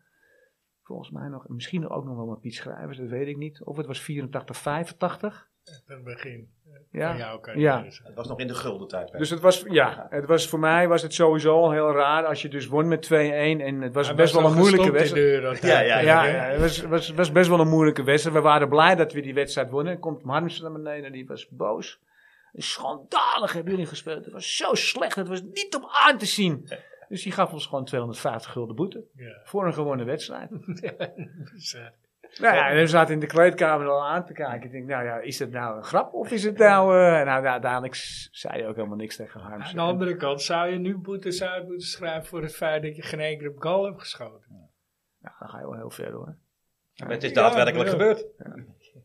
Volgens mij nog, misschien ook nog wel met Piet Schrijvers, dat weet ik niet. Of het was 84, 85.
het begin.
Ja.
Van jou kan
Ja.
je niet
Het was nog in de gulden tijd.
Dus het was, ja, het was, voor mij was het sowieso al heel raar als je dus won met 2-1. En het was
Hij
best
was
wel een
al
moeilijke
gestopt
wedstrijd.
in de Euro.
Ja, ja,
Ja,
hè?
ja, het was, was, was best wel een moeilijke wedstrijd. We waren blij dat we die wedstrijd wonnen. Komt Harmsen naar beneden en die was boos. Schandalig hebben jullie gespeeld. Het was zo slecht. Het was niet om aan te zien. Dus die gaf ons gewoon 250 gulden boete.
Ja.
Voor een gewonnen wedstrijd.
Dus, eh,
Nou ja, en we zaten in de kleedkamer al aan te kijken. Ik denk, nou ja, is dat nou een grap of is het nou... eh nou, nou, uiteindelijk s- zei je ook helemaal niks tegen
Aan
Harms.
de andere kant zou je nu boetes uit moeten schrijven voor het feit dat je geen enkele goal hebt geschoten.
Nou, dan ga je wel heel ver hoor.
Maar het is
Ja,
daadwerkelijk
ja.
gebeurd.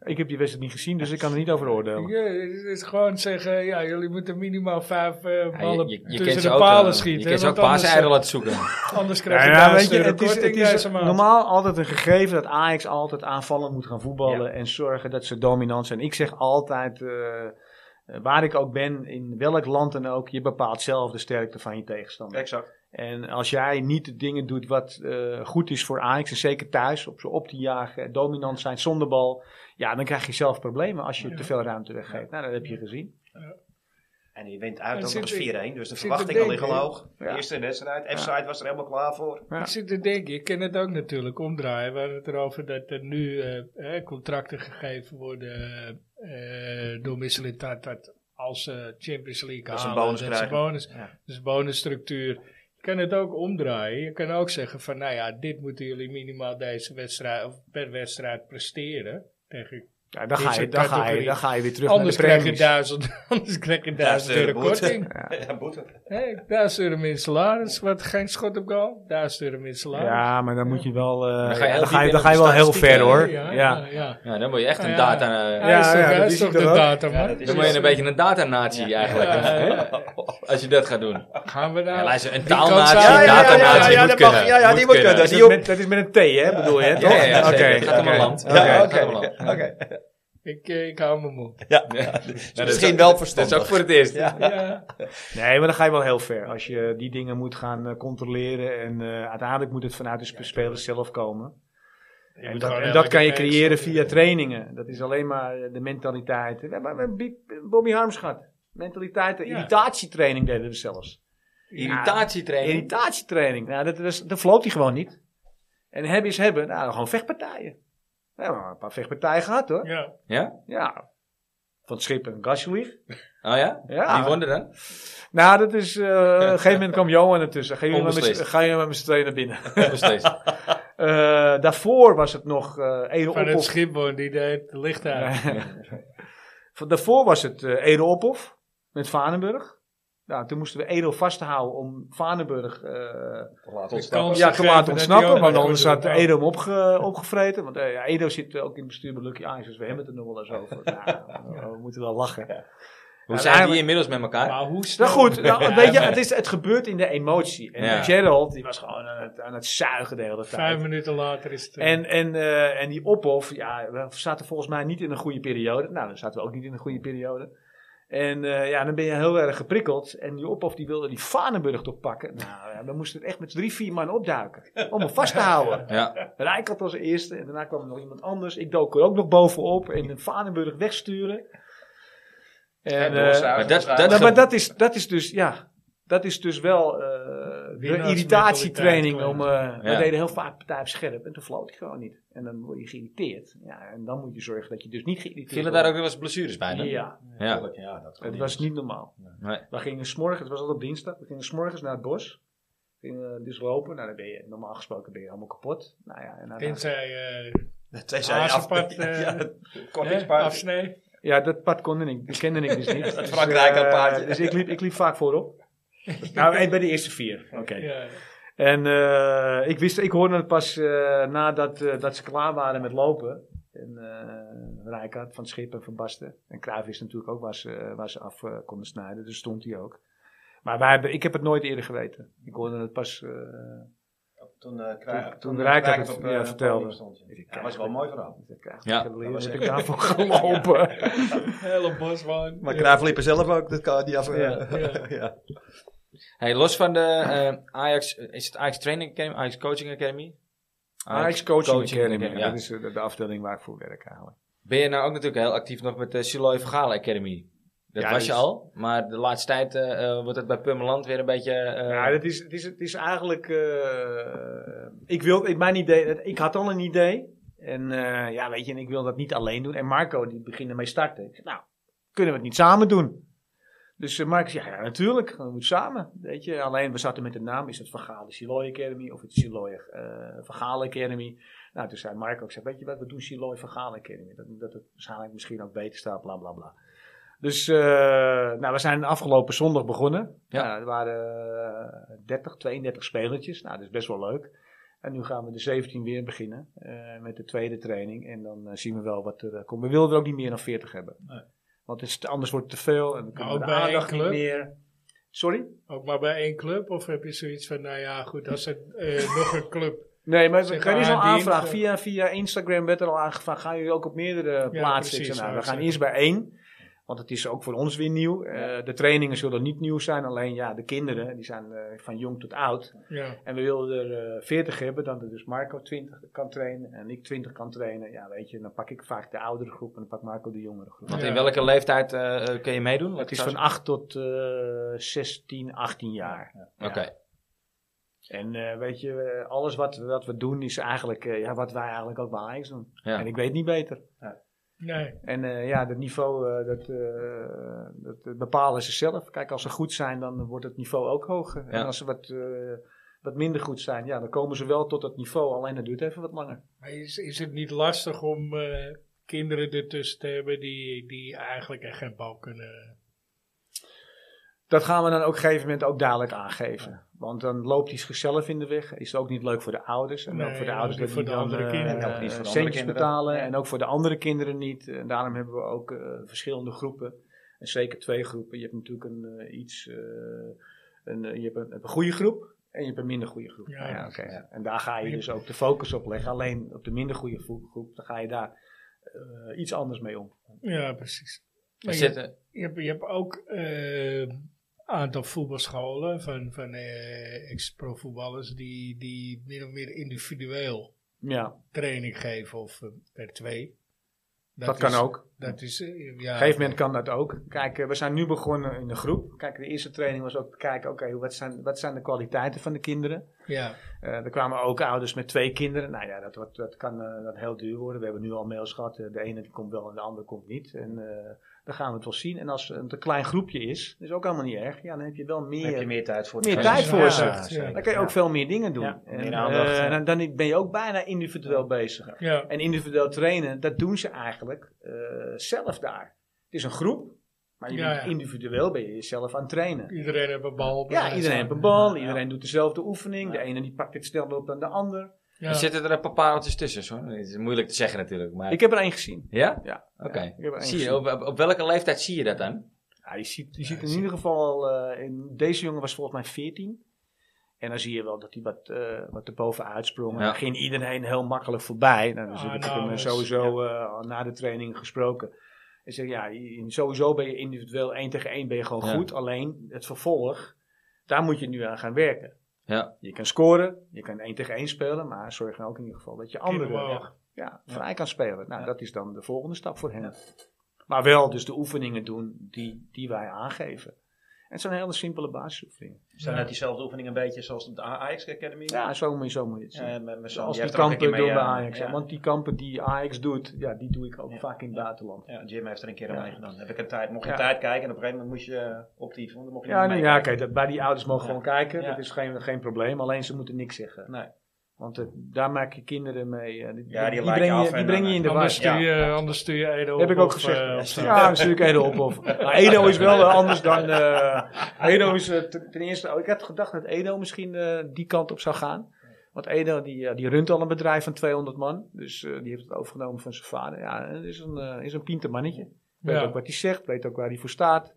Ik heb die wedstrijd niet gezien, dus ik kan er niet over oordelen.
Ja, het is gewoon zeggen, ja, jullie moeten minimaal vijf eh,
Ja,
ballen
je, je, je kent
tussen
ze
de
ook,
palen
eh,
schieten.
Je kent ze
hè,
ook
want anders,
paaseieren laten zoeken.
eh, Anders
Ja,
krijg je
ja,
daar
weet je,
een
het is, het is
korting
normaal altijd een gegeven dat Ajax altijd aanvallend moet gaan voetballen en zorgen dat ze dominant zijn. Ik zeg altijd, eh, eh, waar ik ook ben, in welk land dan ook, je bepaalt zelf de sterkte van je tegenstander.
Exact.
En als jij niet de dingen doet wat eh, goed is voor Ajax, en zeker thuis, op ze op te jagen, dominant zijn zonder bal, ja, dan krijg je zelf problemen als je te veel ruimte weggeeft. Nou, dat heb je gezien.
En je wint uit
En
ook
zit
nog
ik-
eens 4-1, dus de
zit
verwachtingen
te denken,
liggen hoog.
Ja.
Eerste wedstrijd, F-side was er helemaal klaar voor.
Ja.
Ik zit te denken, ik ken het ook natuurlijk omdraaien. We hadden het erover dat er nu eh, eh, contracten gegeven worden eh, door Michelin Tat dat als ze Champions League
Dat ze een
halen,
bonus
dat ze
krijgen.
bonus,
Ja.
dus bonusstructuur. Je kan het ook omdraaien. Je kan ook zeggen van, nou ja, dit moeten jullie minimaal deze wedstrijd of per wedstrijd presteren. Tegen,
Ja, dan,
Dit
ga
is
je,
een
dan, ga je,
categorie.
dan ga je weer terug
anders,
naar de
krijg je
premies.
duizend, anders krijg je duizend euro
euro boete.
korting.
Ja, boete.
Hé, duizend euro min salaris, wat geen schot op goal. Duizend euro min salaris.
Ja, maar dan moet je wel, eh,
Dan
dan
ga
ga
je
je,
heel
dan ga je,
diep in de
wel heel
statistieken,
ver hoor.
Ja,
Ja.
ja, ja.
Ja, dan word je echt een
Ja.
data... eh,
Hij is
Ja,
toch,
ja,
hij
dat
is
is
toch
hij
de
er ook.
datum,
Ja,
man?
dat is
Dan ben je
het.
een beetje een datanatie eigenlijk.
Ja, ja,
Als je dat gaat doen.
Gaan we
Ja,
daar...
luister, een
kan
taalnatie,
zijn-
een
Ja, ja, ja,
datanatie
ja,
moet
dat mag.
kunnen.
Ja, ja, die moet kunnen.
Dat is,
Die op-
met, dat is met een T, hè, bedoel je?
Ja,
toch?
ja, ja,
Oké,
zeker. Het gaat om
oké.
een land. Ja,
Oké,
het
oké,
gaat om een land.
oké.
Ik, eh, ik hou mijn mond.
Ja. Dus Misschien wel
Dat is ook
verstandig.
voor het eerst.
Ja.
Nee, maar dan ga je wel heel ver. Als je die dingen moet gaan eh, controleren en eh, uiteindelijk moet het vanuit de sp- spelers zelf komen. En
moet
dat,
gewoon
en dat
elke
kan je
match,
creëren
eh,
via trainingen. Dat is alleen maar eh, de mentaliteit. We hebben we hebben Big- Bobby Harms gehad. Mentaliteit, eh,
Ja.
irritatietraining deden we zelfs.
Irritatietraining.
Irritatietraining. Nou, dat, was, dat floot hij gewoon niet. En hebben is hebben. Nou, gewoon vechtpartijen. We hebben wel een paar vechtpartijen gehad hoor.
Ja.
Ja?
Ja. Van Schip en Gasjelief.
Oh ja?
Ja.
Die wonnen dan?
Nou, dat is... eh, op een gegeven moment kwam Johan ertussen. Ga je maar met,
Onbeslist.
ga je maar met z'n tweeën naar binnen.
Nog steeds.
Eh, daarvoor was het nog eh Ede
Van het
Ophof.
Schipboon, die deed het licht uit.
Van- daarvoor was het eh Ede Ophof met Vanenburg. Nou, toen moesten we Edo vasthouden om Vanenburg eh,
Laat
De
ons
kans
ja, te
gegeven dat
laten
hij
ontsnappen.
ook
Want
nog
anders
goed
had
doet.
Edo hem opge- opgevreten. Want eh, ja, Edo zit ook in het bestuur bij Lucky Ajax. Dus we hebben het er nog wel eens over. Nou, we moeten wel lachen.
Hoe
Ja,
zijn die
eigenlijk-
inmiddels met elkaar?
Maar hoe snel...
Nou goed, nou, weet je,
maar
het, is, het gebeurt in de emotie. En
Ja.
Gerald, die was gewoon aan het, aan het zuigen de hele tijd.
Vijf minuten later is het... eh,
En, en, eh, en die ophof, ja, we zaten volgens mij niet in een goede periode. Nou, dan zaten we ook niet in een goede periode. En eh, ja, dan ben je heel erg geprikkeld. En die ophof die wilde die Vanenburg toch pakken. Nou, ja, we moesten er echt met drie, vier man opduiken. Om hem vast te houden.
Ja.
Rijkert als eerste. En daarna kwam er nog iemand anders. Ik dook er ook nog bovenop. En de Vanenburg wegsturen. En, eh,
Maar dat, dat,
nou,
ge-
maar dat is, dat is dus, ja. Dat is dus wel eh, de
Winnaarsmentaliteit
irritatietraining. Om, eh,
Ja.
We deden heel vaak partij op scherp en toen floot hij gewoon niet. En dan word je geïrriteerd. Ja, en dan moet je zorgen dat je dus niet geïrriteerd
vielen
wordt.
daar ook weer wat blessures bij? dan?
Ja,
Ja.
Ja, dat
het was niet normaal.
Nee.
We gingen s'morgens, het was al op dinsdag, we gingen s'morgens naar het bos. We gingen dus lopen, nou dan ben je, normaal gesproken ben je helemaal kapot. Nou ja, en dan-
Tenzij... eh,
Tenzij je af...
Hazenpad, eh,
ja,
hè,
kortingspaard.
afsnee.
Ja, dat pad kon ik, dat kende ik dus niet. Dus,
Frankrijk
eh,
aan paardje.
Dus ik liep, ik liep vaak voorop. nou, en bij de eerste vier. Oké.
Ja.
En eh, ik, wist, ik hoorde het pas eh, nadat eh, dat ze klaar waren met lopen. En eh Rijkaard van Schip en van Basten. En Cruijff wist natuurlijk ook waar ze, waar ze af eh, konden snijden. Dus stond hij ook. Maar wij hebben, ik heb het nooit eerder geweten. Ik hoorde het pas. eh,
Toen, eh krijg,
Toen Rijkaard
Rijkaard
het,
op,
ja,
eh, het
vertelde.
podium stond, ja. Ja, dat was wel een mooi verhaal.
ik dacht,
Ja,
ja,
dat was
heb
echt-
ik daarvoor gelopen.
Hele bos gewoon.
Maar
Ja.
Cruijff liep er zelf ook, dat kan die af. eh.
Ja,
ja.
ja.
Hey, los van de eh, Ajax, is het Ajax Training Academy, Ajax Coaching Academy?
Ajax Coaching, Academy.
ja.
Dat is eh, de, de afdeling waar ik voor werk eigenlijk.
Ben je nou ook natuurlijk heel actief nog met de Siloy Vergalen Academy? Dat
Ja,
was je
dus-
al, maar de laatste tijd eh, eh, wordt het bij Pummeland weer een beetje... eh,
Ja, het is, het is, het is eigenlijk. eh, ik, wil, ik, mijn idee, ik had al een idee. En eh, ja, weet je, en ik wil dat niet alleen doen. En Marco, die begint ermee starten. Ik zeg, nou, kunnen we het niet samen doen? Dus eh, Marco zegt, ja, ja, natuurlijk, we moeten samen. Weet je, alleen we zaten met de naam. Is het Van Gaal de Siloy Academy of het Siloy eh Van Gaal Academy? Nou, toen zei Mark ook, zei, weet je wat, we doen Siloy van Gaal een keer niet meer. Dat, dat het waarschijnlijk misschien ook beter staat, bla bla bla. Dus eh, nou, we zijn afgelopen zondag begonnen.
Ja.
Nou, er waren eh, 30, 32 spelertjes. Nou, dat is best wel leuk. En nu gaan we de 17 weer beginnen eh, met de tweede training. En dan eh, zien we wel wat er eh, komt. We wilden er ook niet meer dan 40 hebben. Want het is, anders wordt het te veel en dan kunnen
Nou, ook
we de
bij één
aandacht niet
club?
meer... Sorry?
Ook maar bij één club? Of heb je zoiets van, nou ja, goed, als het eh, nog een club...
Nee, maar
Zeg
er is al
maar, die
aanvraag.
info-
Via, via Instagram werd er al aangevraagd. Gaan jullie ook op meerdere
Ja,
plaatsen? Ik
precies,
zei, nou,
wou
we
ik
gaan
zeggen.
eerst bij één. Want het is ook voor ons weer nieuw. Eh, de trainingen zullen niet nieuw zijn. Alleen ja, de kinderen, die zijn eh, van jong tot oud.
Ja,
En we wilden er eh, 40 hebben. Dan er dus Marco 20 kan trainen. En ik 20 kan trainen. Ja, weet je, dan pak ik vaak de oudere groep. En dan pak Marco de jongere groep.
Want
Ja.
in welke leeftijd eh, eh, kun je meedoen? Wat
Het is
zou-
van 8 tot eh 16, 18 jaar.
Oké.
En eh, weet je, eh, alles wat, wat we doen is eigenlijk eh, ja, wat wij eigenlijk ook bij Ajax doen.
Ja.
En ik weet niet beter.
nee.
En eh, ja, dat niveau, eh, dat, eh, dat eh, bepalen ze zelf. Kijk, als ze goed zijn, dan wordt het niveau ook hoger. En
Ja.
als ze wat, eh, wat minder goed zijn, ja, dan komen ze wel tot dat niveau. Alleen dat duurt even wat langer.
Maar is, is het niet lastig om eh, kinderen ertussen te hebben die, die eigenlijk echt geen bal kunnen...
Dat gaan we dan ook op een gegeven moment ook dadelijk aangeven. Want dan loopt hij zichzelf in de weg. Is het ook niet leuk voor de ouders. En ook
Nee,
voor de
ook
ouders
niet
dat
voor
die
de
dan,
andere
eh,
kinderen.
eh,
En ook niet voor de andere
centjes
kinderen.
betalen.
Ja.
En ook voor de andere kinderen niet. En daarom hebben we ook eh, verschillende groepen. En zeker twee groepen. Je hebt natuurlijk een eh, iets... eh, een, eh, je hebt een, een goede groep. En je hebt een minder goede groep.
Ja,
Nou
ja,
oké. En daar ga je dus ook de focus op leggen. Alleen op de minder goede groep, groep dan ga je daar eh, iets anders mee om.
Ja, precies.
Er
Maar
zit,
je,
eh,
je hebt, je hebt ook eh, een aantal voetbalscholen van, van eh, ex-profvoetballers die, die meer of meer individueel
Ja,
training geven of eh, per twee.
dat, kan
is-
ook.
Dat is, eh, ja,
Op een gegeven moment kan dat ook. Kijk, eh, we zijn nu begonnen in de groep. Kijk, de eerste training was ook te kijken, oké, wat, zijn, wat zijn de kwaliteiten van de kinderen?
Ja,
Eh, er kwamen ook ouders met twee kinderen. Nou ja, dat, wordt, dat kan eh, dat heel duur worden. We hebben nu al mails gehad. eh, de ene die komt wel en de andere komt niet. En eh, dan gaan we het wel zien. En als het een klein groepje is, dat is ook helemaal niet erg. Ja, dan heb je wel meer,
Dan heb je meer tijd voor
meer
de-
tijd voor
Ja,
ze.
ja,
zeker.
Dan kan je ook veel meer dingen doen.
Ja,
en,
meer aandacht,
eh,
ja.
dan, dan ben je ook bijna individueel bezig.
ja,
En individueel trainen, dat doen ze eigenlijk eh, zelf daar. Het is een groep, maar je
Ja,
bent
ja.
individueel ben je jezelf aan het trainen.
iedereen heeft een bal.
Ja, iedereen heeft een bal, iedereen doet dezelfde oefening. De ene die pakt het sneller op dan de ander.
Ja.
Er zitten er een paar pareltjes tussen, hoor. Het is moeilijk te zeggen natuurlijk, maar...
Ik heb er één gezien.
Ja?
Ja.
Oké.
ik heb er één
Zie je,
gezien.
op, op- op welke leeftijd zie je dat dan?
Ja, je ziet, je ziet in ieder geval, eh, in, deze jongen was volgens mij 14. En dan zie je wel dat hij wat, eh wat erboven uitsprong. En
Ja.
dan ging iedereen heel makkelijk voorbij. Nou, dus
Ah,
ik
nou,
heb hem
dus,
sowieso eh, al na de training gesproken. En zeg ja, in- sowieso ben je individueel één tegen één ben je gewoon
Ja.
goed. Alleen het vervolg, daar moet je nu aan gaan werken.
Ja.
Je kan scoren, je kan één tegen één spelen, maar zorg dan ook in ieder geval dat je anderen
omhoog.
ja, vrij kan spelen. Nou, dat is dan de volgende stap voor hem. Maar wel dus de oefeningen doen die, die wij aangeven. En het zijn hele simpele basisoefeningen.
Zijn dat diezelfde oefeningen een beetje zoals op de Ajax Academy?
Ja, zo moet je, zo moet je het zien.
Eh, met, met
Zoals die kampen doen
eh,
bij Ajax. hè. Want die kampen die Ajax doet, ja, die doe ik ook
Ja.
vaak in het buitenland.
Ja, Jim heeft er een keer
Ja.
aan meegedaan. Dan Heb ik een tijd, mocht je
Ja.
een tijd kijken en op een gegeven moment moest je eh, op die dan mocht je
Ja,
niet
nee, ja
meekijken.
kijk, dat, bij die ouders mogen
Ja.
gewoon kijken.
Ja.
Dat is geen, geen probleem. Alleen ze moeten niks zeggen.
Nee.
Want eh, daar maak je kinderen mee. eh, die,
Ja, die
die
lijken
breng
af
je,
en
die breng
dan,
je in de war.
Anders stuur je, anders stuur je Edo
Heb
op
ik ook
of,
gezegd.
eh, of zo.
ja, natuurlijk Edo op. Of, maar Edo is wel eh, anders dan. eh, Edo is eh, ten ten eerste. oh, ik had gedacht dat Edo misschien eh, die kant op zou gaan. Want Edo die, eh, die runt al een bedrijf van 200 man. Dus eh, die heeft het overgenomen van zijn vader. Ja, en is een, eh, is een pinter mannetje. Weet
Ja.
ook wat hij zegt, weet ook waar hij voor staat.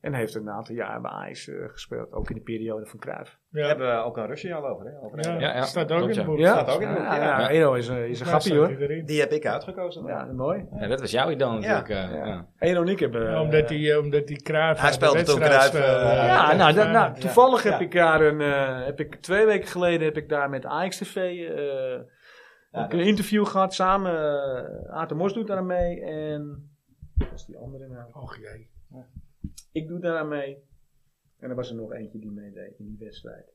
En heeft een aantal jaar bij Ajax eh, gespeeld. Ook in de periode van Cruijff.
Ja.
Daar hebben we ook een Rusje al over. Hè? Over
Ja,
een-
Ja, ja,
staat ook
klopt, ja.
in het boek.
staat ook in de boek,
ja,
ja.
ja, Edo is, eh, is een grappie hoor.
Die heb ik uitgekozen.
Ja, mooi.
Ja, dat was jouw idool natuurlijk. eh,
ja.
ja.
Edo en ik hebben...
Ja, omdat die, eh, omdat die Cruijff
Hij
aan de
speelde toen
wedstrijd
Cruijff,
speelde.
eh,
Ja, nou, dat, nou
Ja.
toevallig heb
Ja.
ik daar een, eh, heb ik twee weken geleden heb ik daar met AXTV eh ook een interview gehad samen. eh Aad de Mos doet daar aan mee en wat was die andere nou?
Och jee.
Ik doe daar aan mee. En er was er nog eentje die meedeed in die wedstrijd.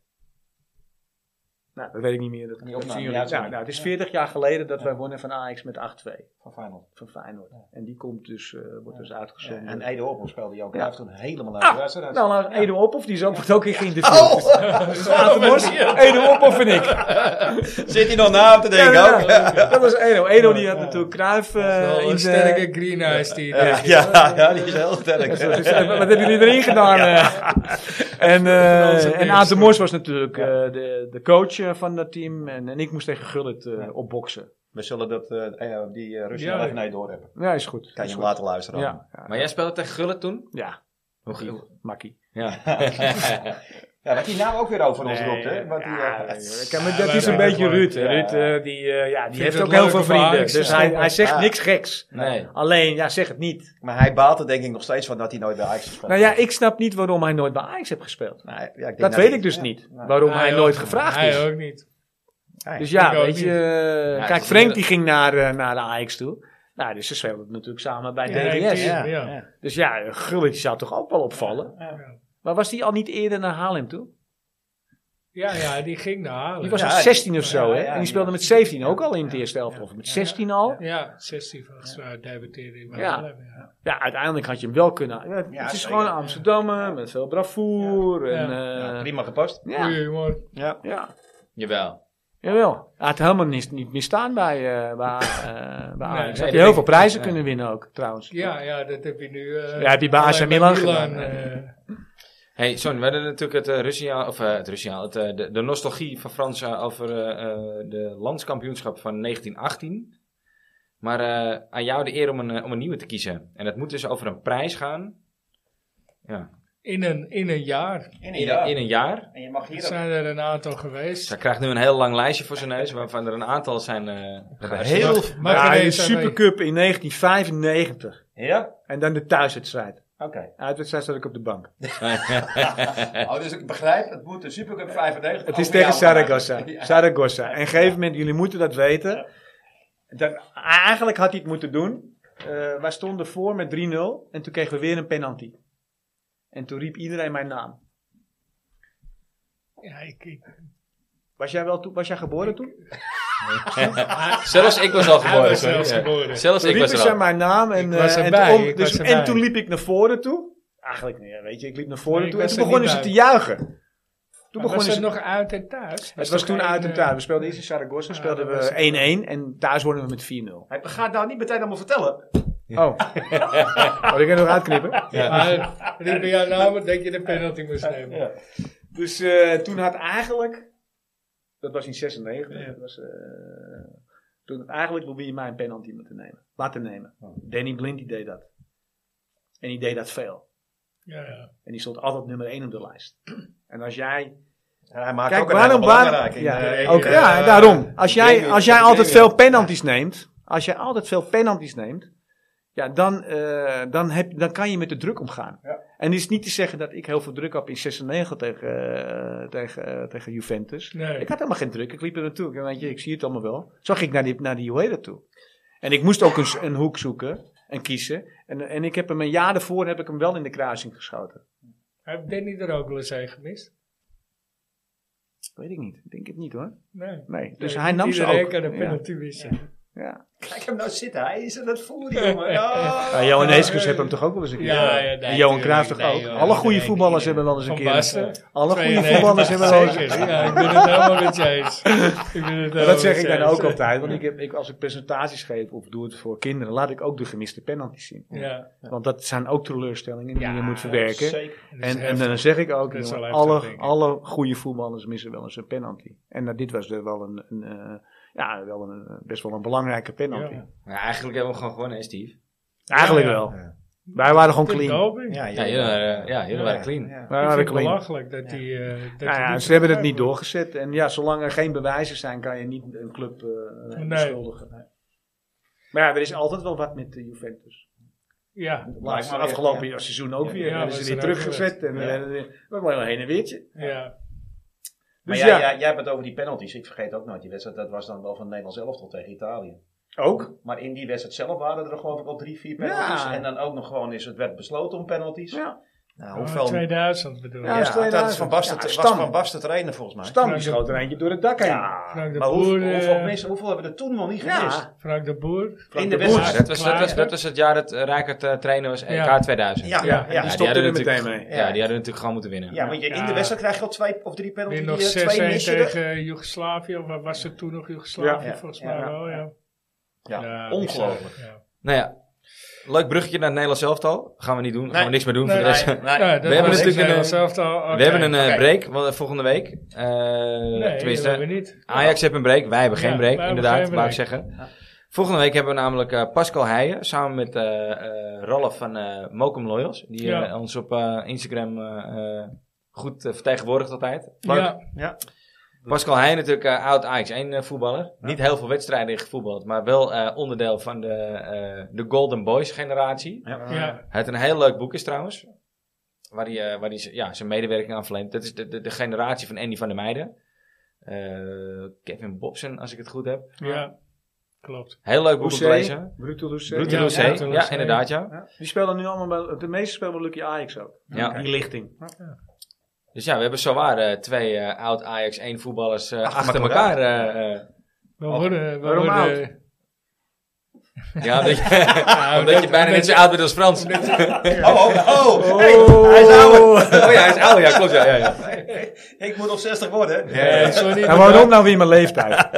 Nou, dat weet ik niet meer. Dat
Die
dat
opname,
zien jullie.
ja,
nou,
sorry.
nou, het is 40 jaar geleden dat wij wonnen van Ajax met 8-2
Van Feyenoord.
van Feyenoord. En die komt dus, eh, wordt dus uitgezonden.
En Ede Orpel speelde je ook.
Ja.
Hij heeft toen helemaal uit de wedstrijd. Oh!
Nou, nou Edo Ophoff, die is ook, wordt ook in geïnterviewd.
Oh!
Dus Atenbos, Edo Ophoff en ik.
Zit hij nog na hem te
Ja,
denken ook?
ja, Dat was Edo. Edo die had natuurlijk Cruijff eh,
Wel
in
een
zijn...
sterke green eyes die.
Ja, ja, ja, die is heel sterk.
Dus, eh, wat hebben jullie erin gedaan? eh? En,
Franse
eh en
beerschap.
Aad de Mors was natuurlijk eh, de, de coach eh, van dat team. En, en ik moest tegen Gullit eh, opboksen.
We zullen dat, eh, eh, die eh, Russen nog
Ja, ja.
even naar je door hebben.
Ja, is goed.
Kan je
Is
hem
goed.
later luisteren. dan.
Ja, ja,
Maar jij speelde tegen Gullit toen?
ja.
Hoe ging-
makkie.
Ja.
Ja, dat die naam ook weer over ons roept, hè?
Nee,
Want die,
ja,
eh,
joh. Kijk, maar
Ja,
dat
wij
is een
zijn
beetje
er voor.
Ruud. hè.
Ja.
Ruud eh, die, eh, ja, die
Vindt
heeft
het
ook heel
leuk
veel
om
vrienden.
Ajax te
Dus hij,
stoppen.
hij zegt
Ja.
niks geks.
Nee.
Alleen, ja, zeg het niet.
maar hij baalt er denk ik nog steeds van dat hij nooit bij Ajax gespeeld
Nou ja, ik snap niet waarom hij nooit bij Ajax heeft gespeeld.
Nou, ja, ik denk
Dat weet ik dus niet. Waarom hij
ook-
nooit gevraagd
hij
is.
Hij ook niet.
Dus
Ik
ja,
ook
weet je.
niet.
eh,
Ja,
kijk,
ze
Frank
willen-
die ging naar, eh, naar de Ajax toe. Nou, dus ze speelden natuurlijk samen bij
Ja,
DDS.
ja.
Dus ja, Gulletje zou toch ook wel opvallen. Maar was die al niet eerder naar Haarlem toe?
Ja, ja, die ging naar Haarlem.
Die was
Ja,
nog 16 of zo,
ja,
hè?
ja,
en die
ja.
speelde met 17 ook al in het eerste helft. Of met 16 al.
Ja, 16 volgens mij debuteerde hij bij
Ja.
Haarlem. Ja.
Ja, uiteindelijk had je hem wel kunnen. Ja,
Ja,
het is
zeker.
gewoon Amsterdam met veel bravoer.
Ja.
En,
Ja,
eh,
Nou, prima gepast.
ja, ja,
Goeie jongen.
ja,
Jawel.
jawel. Hij had helemaal niet, niet misstaan bij, eh, bij, eh, bij Ajax.
nee,
had
dat
hij heel
denk
veel
ik.
prijzen
Ja.
kunnen winnen ook, trouwens.
Ja, ja, dat heb je nu. eh,
Ja, heb je bij AC
alleen bij
Milan gedaan,
eh,
Hey, Son, we hadden natuurlijk het eh, Russia, of eh, het Russia, het, eh, de, de nostalgie van Frans eh, over eh, eh, de landskampioenschap van 1918. Maar eh, aan jou de eer om een, eh, om een nieuwe te kiezen. En het moet dus over een prijs gaan. Ja.
in, een, in een jaar.
In
In, in een jaar.
En je mag
Er
hier ook.
zijn er een aantal geweest.
Zij krijgt nu een heel lang lijstje voor zijn neus, waarvan er een aantal zijn. eh,
Heel
Mag- mag er
ja, de
eens aan mee?
Supercup in 1995.
Ja?
En dan de thuiswedstrijd.
Oké.
Uitwedstrijd zat ik op de bank.
Oh, dus ik begrijp, het moet de Supercup 95.
Oh,
Het is
over jou
tegen Zaragoza.
gaan. Ja.
Zaragoza. En op een gegeven moment, jullie moeten dat weten. Dat, eigenlijk had hij het moeten doen. Eh, wij stonden voor met 3-0. En toen kregen we weer een penalty. En toen riep iedereen mijn naam.
Ja, ik, ik-
Was jij, wel toe, was jij geboren toen?
Zelfs ik was al
hij
geboren.
was
sorry.
zelfs
Ja.
geboren.
Zelfs
Toen
ik was
riepen
er
zij
al.
mijn naam. En,
Ik was
eh, en
erbij,
toen om-
ik
dus-
was
en
erbij.
toen liep ik naar voren toe. Eigenlijk niet, weet je. Ik liep naar voren
Nee, ik
toe. En
was
toen
er niet
begonnen ze
bij.
te juichen. Toen
Maar was
begonnen
het
ze
nog uit en thuis?
Het was
toch
toen
geen,
uit en
eh,
thuis. We speelden eerst in Zaragoza,
Ja,
speelden
dat was het.
we 1-1 en thuis wonnen we met 4-0.
Hij gaat nou niet meteen allemaal vertellen.
Oh, oh ik kan nog uitknippen.
Maar eh, riepen jouw naam, denk nou, je de penalty moest nemen.
Ja.
Dus eh, toen had eigenlijk, dat was in 96, dat was, eh, toen had eigenlijk Bobby mij een penalty moeten nemen, laten nemen. Danny Blind die deed dat. En die deed dat veel.
Ja, ja.
En die stond altijd nummer 1 op de lijst. En als jij
En hij maakt
Kijk,
ook een
waarom,
hele
waarom,
belangrijke
ja,
in, eh, in,
ook,
eh,
ja, daarom. Als jij,
Jamie-
als jij
Jamie-
altijd veel penalties neemt, als jij altijd veel penalties neemt, ja, dan, eh, dan, heb, dan kan je met de druk omgaan.
Ja.
En het is niet te zeggen dat ik heel veel druk had in 96 tegen, eh, tegen, eh, tegen Juventus.
Nee.
Ik had helemaal geen druk, ik liep er naartoe. Ik, weet je, ik zie het allemaal wel. Zo ging ik naar die, naar die hoe heet dat toe. En ik moest ook een, s- een hoek zoeken en kiezen. En, en ik heb hem een jaar daarvoor heb ik hem wel in de kruising geschoten.
Heeft Danny er ook wel eens een gemist?
Weet ik niet, ik denk het niet hoor.
Nee.
Nee, dus
Nee,
hij
niet
nam ze
iedereen
ook.
kan de
Ja,
penalty missen.
ja.
Kijk hem nou zitten, hij is aan het voelen, jongen. Ja.
Ja, Ah, Johan Neeskens heeft hem toch ook wel eens een keer.
Ja, ja, nee,
en Johan
tuurlijk,
Cruijff toch
nee,
ook.
joh,
Alle goede
iedereen,
voetballers
iedereen.
hebben wel eens een
Van
keer.
Basten.
Alle goede
92,
voetballers hebben wel eens.
Zeker, ja, ik ben het helemaal met je eens. Ik ben het helemaal
Dat zeg
met
ik
je
dan ook
eens.
altijd. Want ik heb, ik, als ik presentaties geef of doe het voor kinderen, laat ik ook de gemiste penalties zien.
Ja.
Want dat zijn ook teleurstellingen die
Ja,
je moet verwerken.
Zeker.
dat is
En, en
heftig.
dan zeg ik ook,
Dat is
jongen,
wel heftig, denk
alle,
ik.
alle goede voetballers missen wel eens een penalty. En nou, dit was er wel een, een, eh, ja, wel een eh, best wel een belangrijke penalty.
Ja.
Ja, eigenlijk hebben we hem gewoon gewonnen, hè, Steve?
Eigenlijk
Ja, ja.
wel. Wij waren gewoon
Ik vind het
clean.
ook niet.
Ja,
Ja, jullie waren, ja, jullie waren clean.
Wij
Ik
waren
vind het
clean.
belachelijk dat die... eh, dat
Nou
die
ja,
niet
ze hebben het
gebruikt
niet
wordt.
doorgezet. En ja, zolang er geen bewijzen zijn, kan je niet een club eh
Nee.
beschuldigen. Maar ja, er is altijd wel wat met de Juventus.
Ja,
Laatst
maar weer,
afgelopen seizoen ook weer.
ja,
hebben
was
ze
er
weer
ook Dus
teruggezet. En eh, we hebben wel een heen en weertje.
ja.
Maar
Dus
jij,
ja,
jij, jij hebt het over die penalties. Ik vergeet ook nooit die wedstrijd. Dat was dan wel van Nederland zelf tot tegen Italië.
ook.
Maar in die wedstrijd zelf waren er geloof ik al drie, vier penalties.
Ja.
En dan ook nog gewoon is het werd besloten om penalties.
Ja.
Nou,
Oh,
hoeveel...
2000 bedoel ik.
Ja,
Ja,
Ja.
is
dat is
2000.
van Basten,
Ja,
was
Stam.
van Basten trainer volgens mij.
Stam die schoot er eentje door het dak heen.
Frank de
Maar hoeveel,
Boer. eh,
hoeveel, mensen, hoevel hebben er toen nog niet
Ja.
gemist?
Frank de Boer.
In de
Ja,
wedstrijd.
dat, was, dat, was, dat was het jaar dat eh, Rijkaard eh, trainer was, EK
Ja.
2000.
Ja, ja, ja.
die
ja.
stopte
hadden
er
natuurlijk-
meteen
Ja,
mee.
die hadden natuurlijk gewoon moeten winnen.
want je, in de
Ja.
wedstrijd krijg je al twee of drie penalty,
Weer
die,
nog 6-1
eh, twee missen.
tegen Joegoslavië. Of was het toen nog Joegoslavië?
Ja, ja,
volgens
ja,
mij
ja.
wel, ja.
Ja,
Ja,
ongelooflijk.
bizar, ja.
Nou ja, leuk bruggetje naar het Nederlands elftal. Gaan we niet doen, gaan we niks meer doen.
Nee,
voor de rest.
Nee, nee.
Ja, dat
Nou, We hebben
was
natuurlijk
het
een,
Nederlands elftal. Oké.
We hebben een eh,
Oké.
break wel, eh, volgende week. Eh,
Nee,
tenminste,
dat hebben we niet.
Ajax heeft een break, wij hebben geen
Ja,
break,
wij hebben
inderdaad,
geen
laat ik
break.
zeggen. Volgende week hebben we namelijk eh, Pascal Heijen samen met eh eh, Ralf van eh Mokum Loyals. Die eh,
Ja.
ons op eh, Instagram eh, eh, goed eh, vertegenwoordigt altijd.
Ja,
Pascal Heijen natuurlijk eh, oud Ajax 1 voetballer. Niet heel veel wedstrijden in gevoetbald, maar wel eh, onderdeel van de, eh, de Golden Boys generatie.
ja.
Hij heeft een heel leuk boek is trouwens. Waar hij, eh, waar hij z- ja, zijn medewerking aan verleent. Dat is de, de, de generatie van Andy van der Meijden. Eh, Kevin Bobson, als ik het goed heb.
ja. Klopt.
Heel leuk boek om te
Hoezee.
lezen.
Brutal Hoezee.
Route
Ja,
ja,
ja,
ja,
Rousseau.
inderdaad ja.
Ja. Die spelen nu allemaal bij, de meeste spelen bij Lucky Ajax ook.
Ja.
Die lichting.
Dus ja, we hebben zowaar eh, twee eh, oud Ajax 1 voetballers eh, achter elkaar.
elkaar.
eh, eh.
We worden... We
Waarom
worden
ja, omdat je, omdat je bijna net zo oud bent als Frans.
Oh, oh, oh, hey, hij is ouder.
Oh ja, hij is oud, ja, klopt. Ja, ja, ja.
Ik moet nog 60 worden.
Ja, ja, ja.
Eh, sorry,
En waarom nou weer mijn leeftijd?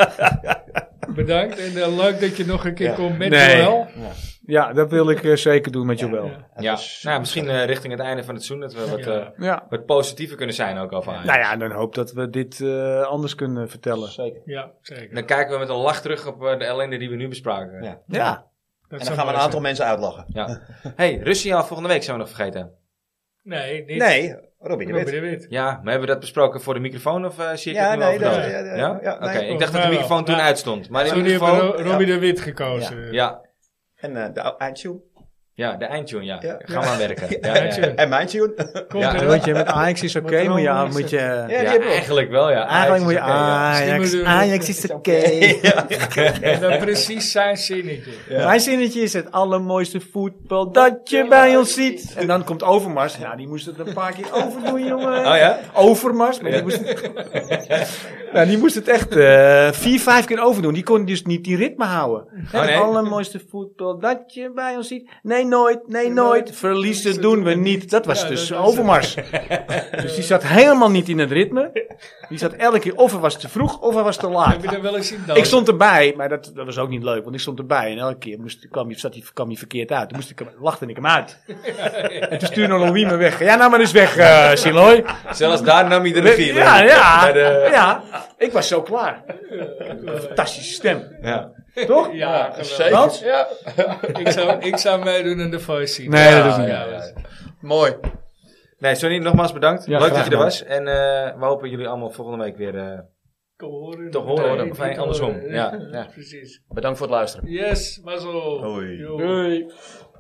Bedankt en eh, leuk dat je nog een keer komt met
Nee.
Joël.
ja, dat wil ik eh, zeker doen met Joël. Ja.
Ja. Nou, ja, misschien eh, richting het einde van het seizoen dat we wat, eh, wat positiever kunnen zijn ook over Ajax.
Nou ja, en dan hoop dat we dit eh, anders kunnen vertellen.
Zeker.
Ja, zeker.
Dan kijken we met een lach terug op eh, de ellende die we nu bespraken.
Ja.
Ja.
Dat
En dan
zou
gaan we
mooi
een aantal
zijn.
mensen uitlachen.
hey, Russia volgende week zijn we nog vergeten.
Nee, niet.
Nee, Robbie
Robin
de Wit.
de Wit.
Ja, maar hebben we dat besproken voor de microfoon of eh zie ik
Ja,
het nu
nee,
overdag?
dat- ja, ja,
ja?
ja,
Oké,
nee.
ik
Volgens
dacht dat
mij
de
wel.
microfoon toen
Ja.
uitstond. Maar in
Toen
ieder
hebben we
geval,
Ro- Robbie de Wit gekozen.
ja,
En eh, de ou- eindtune.
ja, de eindtune, ja.
Ja.
Ga maar werken. Ja, ja, ja.
Eindtune.
En mijn tune.
Komt
Ja,
er
Weet je, met Ajax is oké,
Wat er
maar ja,
allemaal is,
moet je...
Ja, die
Ja,
hebben we.
eigenlijk wel, ja.
Eigenlijk moet je
Ajax is oké, ja.
Stimuleren.
Ajax, Ajax is oké.
En dan precies zijn zinnetje.
Mijn zinnetje is het allermooiste voetbal dat je bij ons ziet. En dan komt Overmars. Nou, die moest het een paar keer overdoen, jongen.
Oh ja?
Overmars, maar die moest het, nou, die moest het echt eh, vier, vijf keer overdoen. Die kon dus niet die ritme houden. Het
Oh, nee.
allermooiste voetbal dat je bij ons ziet. Nee, nooit, nee, nooit. Verliezen doen we niet. Dat was
Ja,
dus
dat was
Overmars. Dus die zat helemaal niet in het ritme. Die zat elke keer of hij was te vroeg of hij was te laat.
Heb je dat wel eens zien dan?
Ik stond erbij, maar dat, dat was ook niet leuk, want ik stond erbij en elke keer moest, kwam, hij, zat hij, kwam hij verkeerd uit. Toen moest ik hem, lachte ik hem uit. En toen stuurde Louis me weg. Ja, nou maar eens weg, eh Siloy.
Zelfs daar nam hij de regie.
Ja, ja,
Bij de-
ja. Ik was zo klaar. Fantastische stem,
ja.
toch?
Ja, geweldig.
Want?
Ik zou, ik zou meedoen aan de voice scene.
Nee, dat doe ik
Ja,
niet.
ja, ja.
Mooi.
Nee, Sonny, nogmaals bedankt.
Ja,
Leuk dat
graag
je er
gedaan.
was. En eh, we hopen jullie allemaal volgende week weer eh,
Te horen.
te horen.
Nee,
of
niet
andersom.
horen.
Ja, ja.
Precies.
Bedankt voor het luisteren.
Yes, maar zo.
Hoi.
Yo.
Doei.